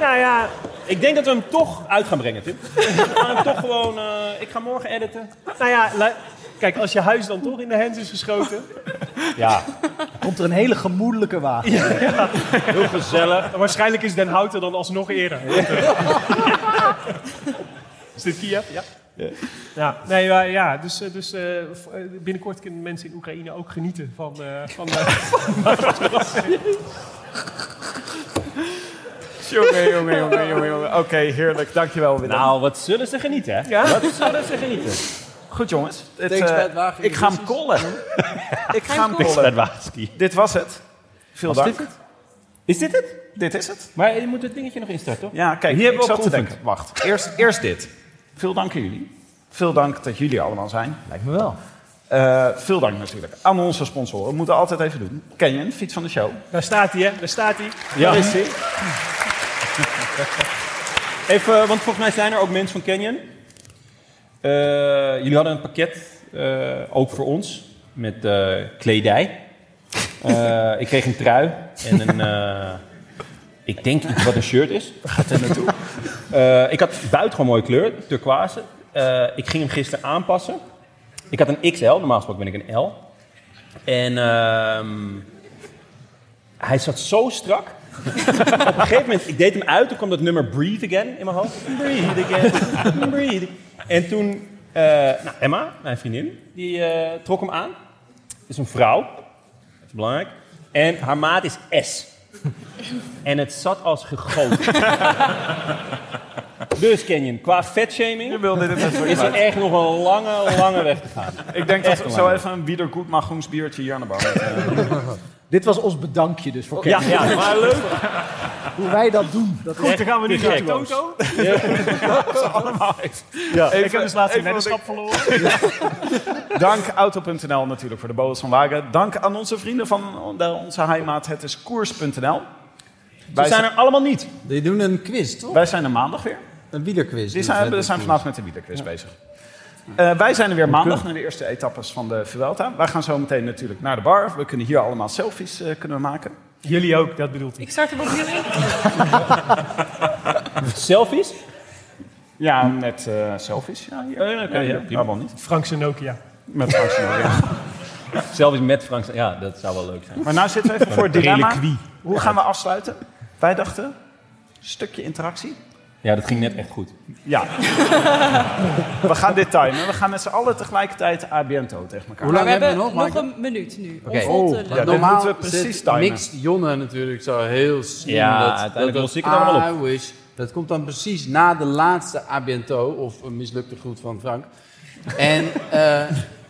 Speaker 3: nou ja,
Speaker 5: ik denk dat we hem toch uit gaan brengen, Tim. We gaan hem toch gewoon... eh, ik ga morgen editen.
Speaker 3: Nou ja, lu- kijk, als je huis dan toch in de hands is geschoten...
Speaker 5: Ja.
Speaker 3: Komt er een hele gemoedelijke wagen.
Speaker 5: Heel gezellig.
Speaker 3: Waarschijnlijk is Den Houten dan alsnog eerder. is dit Kiev? Ja. Ja, nee, maar ja, dus, eh, dus eh, v- eh, binnenkort kunnen mensen in Oekraïne ook genieten van... eh, van, eh,
Speaker 1: Jongen, jongen, jongen, jongen. jongen. Oké, heerlijk. Dankjewel, Willem.
Speaker 5: Nou, wat zullen ze genieten, hè?
Speaker 1: Ja?
Speaker 5: Wat zullen ze genieten?
Speaker 1: Goed, jongens. Het,
Speaker 5: Thanks,
Speaker 1: eh,
Speaker 5: Bert
Speaker 1: <laughs>
Speaker 5: Wagen,
Speaker 1: ik ga hem
Speaker 5: Ulysses.
Speaker 1: kollen. ik
Speaker 5: Ga
Speaker 1: ga
Speaker 5: hem
Speaker 1: hem
Speaker 5: kollen. Bert
Speaker 1: kollen.
Speaker 5: Wagenski.
Speaker 1: Dit was het. Veel
Speaker 5: Was
Speaker 1: dank.
Speaker 5: dit het? Is dit het?
Speaker 1: Dit is het.
Speaker 5: Maar je moet het dingetje nog instarten, toch?
Speaker 1: Ja, kijk,
Speaker 5: Hier
Speaker 1: hier ik
Speaker 5: hebben we
Speaker 1: zat te
Speaker 5: geoefend.
Speaker 1: denken. Wacht, eerst, eerst dit. Veel dank aan jullie. Veel dank dat jullie allemaal zijn. Lijkt me wel. veel dank natuurlijk aan onze sponsoren. We moeten altijd even doen. Canyon, fiets van de show.
Speaker 3: daar staat hij, hè? Daar staat hij.
Speaker 1: Ja.
Speaker 3: Daar is hij.
Speaker 5: <laughs> Even, want volgens mij zijn er ook mensen van Canyon. Eh, jullie hadden een pakket, eh, ook voor ons, met eh, kledij. Eh,
Speaker 3: <laughs>
Speaker 5: ik kreeg een trui en een... eh, ik denk iets wat een shirt is. Gaat er naartoe? Eh, ik had buitengewoon mooie kleur, turquoise. Eh, ik ging hem gisteren aanpassen. Ik had een XL, normaal gesproken ben ik een L. En ehm, hij zat zo strak. <laughs> Op een gegeven moment, ik deed hem uit, toen kwam dat nummer Breathe Again in mijn hoofd. Breathe again, breathe. En toen, eh, nou, Emma, mijn vriendin, die eh, trok hem aan. Is een vrouw, dat is belangrijk. En haar maat is S. En het zat als gegoten. dus Canyon, qua fatshaming
Speaker 1: even
Speaker 5: is er
Speaker 1: kwijt.
Speaker 5: echt nog een lange, lange weg te gaan.
Speaker 1: Ik denk
Speaker 5: Echt
Speaker 1: dat
Speaker 5: een
Speaker 1: we
Speaker 5: lange
Speaker 1: zo even een Wiedergoedmachungs biertje hier aan de bar
Speaker 21: Dit was ons bedankje dus voor
Speaker 5: Ja,
Speaker 21: Kevin.
Speaker 5: ja, maar leuk.
Speaker 21: Hoe wij dat doen. Dat
Speaker 3: Goed, dan gaan we nu naar de Toto.
Speaker 1: Ja.
Speaker 3: ik heb dus laatst een
Speaker 1: Even- even
Speaker 3: weddenschap verloren.
Speaker 1: Dank Auto.nl natuurlijk voor de boodschap van wagen. Dank aan onze vrienden van onze heimaat, het is koers.nl.
Speaker 2: zijn er
Speaker 1: allemaal niet.
Speaker 2: Die doen een quiz, toch?
Speaker 1: Wij zijn er maandag weer.
Speaker 2: Een wielerquiz.
Speaker 1: Die zijn, we zijn vanavond met de wielerquiz bezig. Eh, wij zijn er weer maandag naar de eerste etappes van de Vuelta. Wij gaan zo meteen natuurlijk naar de bar. We kunnen hier allemaal selfies eh, kunnen we maken.
Speaker 3: Jullie ook, dat bedoelt hij.
Speaker 8: Ik start hem opnieuw Nou, in.
Speaker 5: Selfies?
Speaker 1: Ja, met eh, selfies. Ja, hier.
Speaker 5: ja, oké, ja,
Speaker 1: hier.
Speaker 5: prima.
Speaker 1: Waarom niet?
Speaker 3: Frank Nokia.
Speaker 1: Met Frank ja.
Speaker 5: Selfies met Frank. Ja, dat zou wel leuk zijn.
Speaker 1: Maar nou zitten we even voor het dilemma.
Speaker 5: Reliquie.
Speaker 1: Hoe gaan we afsluiten? Wij dachten, een stukje interactie.
Speaker 5: Ja, dat ging net echt goed. <laughs>
Speaker 1: Ja. we gaan dit timen. We gaan met z'n allen tegelijkertijd ABNTO tegen elkaar.
Speaker 2: Hoe
Speaker 8: Maar
Speaker 2: lang
Speaker 8: we
Speaker 2: hebben
Speaker 8: hebben
Speaker 2: we nog,
Speaker 8: nog
Speaker 2: Maaike?
Speaker 8: een minuut nu. eh,
Speaker 2: Oké.
Speaker 8: Om vol te
Speaker 1: ja,
Speaker 8: lullen.
Speaker 1: dit
Speaker 2: Normaal
Speaker 1: moeten we precies
Speaker 2: zit
Speaker 1: timen.
Speaker 2: mixt Jonne natuurlijk zo heel slim.
Speaker 5: Ja,
Speaker 2: dat,
Speaker 5: uiteindelijk
Speaker 2: dat-
Speaker 5: lost ik het allemaal
Speaker 2: I wish. Dat komt dan precies na de laatste abiento, of een mislukte groet van Frank. En eh,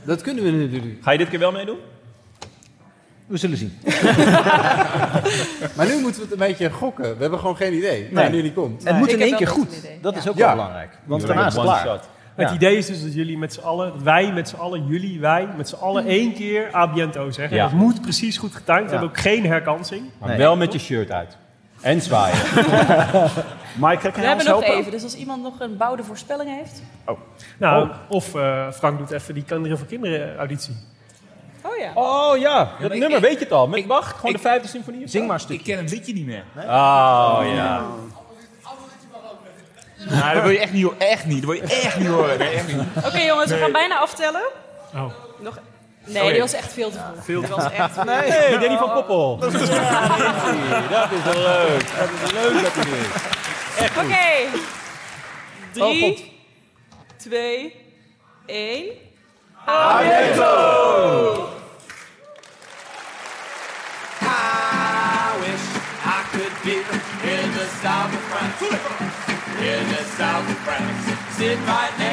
Speaker 2: dat kunnen we natuurlijk.
Speaker 5: Ga je dit keer wel meedoen?
Speaker 21: We zullen zien.
Speaker 2: Maar nu moeten we het een beetje gokken. We hebben gewoon geen idee. Nee. nu die komt.
Speaker 21: het moet
Speaker 8: ik
Speaker 21: in
Speaker 8: heb
Speaker 21: één keer
Speaker 8: wel
Speaker 21: goed.
Speaker 8: best een idee.
Speaker 21: Dat is ook
Speaker 2: Ja.
Speaker 21: wel belangrijk. Want daarna is het klaar.
Speaker 3: Het
Speaker 21: Ja.
Speaker 3: idee is dus dat jullie met z'n allen, dat wij met z'n allen, jullie, wij met z'n allen één keer abiento zeggen.
Speaker 5: Ja.
Speaker 3: Dat moet precies goed getimed. We hebben ook geen herkansing.
Speaker 5: Maar wel met je shirt uit. En zwaaien.
Speaker 1: <laughs> Maaike, kan
Speaker 8: We
Speaker 1: jij
Speaker 8: hebben
Speaker 1: ons
Speaker 8: nog
Speaker 1: helpen?
Speaker 8: even, dus als iemand nog een bouwde voorspelling heeft.
Speaker 3: Nou, of eh, Frank doet even die kinderen voor kinderen auditie.
Speaker 8: Oh ja.
Speaker 5: Oh ja, dat
Speaker 22: maar ik-
Speaker 5: nummer weet je het al. Met
Speaker 22: ik-
Speaker 5: Bach, gewoon
Speaker 22: ik-
Speaker 5: de vijfde symfonie. of zo?
Speaker 21: Zing maar een
Speaker 22: Ik
Speaker 21: stukje.
Speaker 22: ken het liedje niet meer.
Speaker 5: Oh ja.
Speaker 22: Nou, dat wil je echt niet horen. Echt niet. Dat wil je echt niet horen. Nee, echt niet.
Speaker 8: Oké jongens, we gaan bijna aftellen.
Speaker 3: Oh.
Speaker 8: Nog... Nee, die was echt veel te vroeg. Die was echt veel te vroeg.
Speaker 5: Hey, Danny van Koppel. Ja, dat is leuk. Dat is leuk dat hij er is.
Speaker 8: Oké. Drie, twee, één.
Speaker 5: Nou,
Speaker 22: I wish I
Speaker 5: Pick in the south of France. In the south of France. Sit right next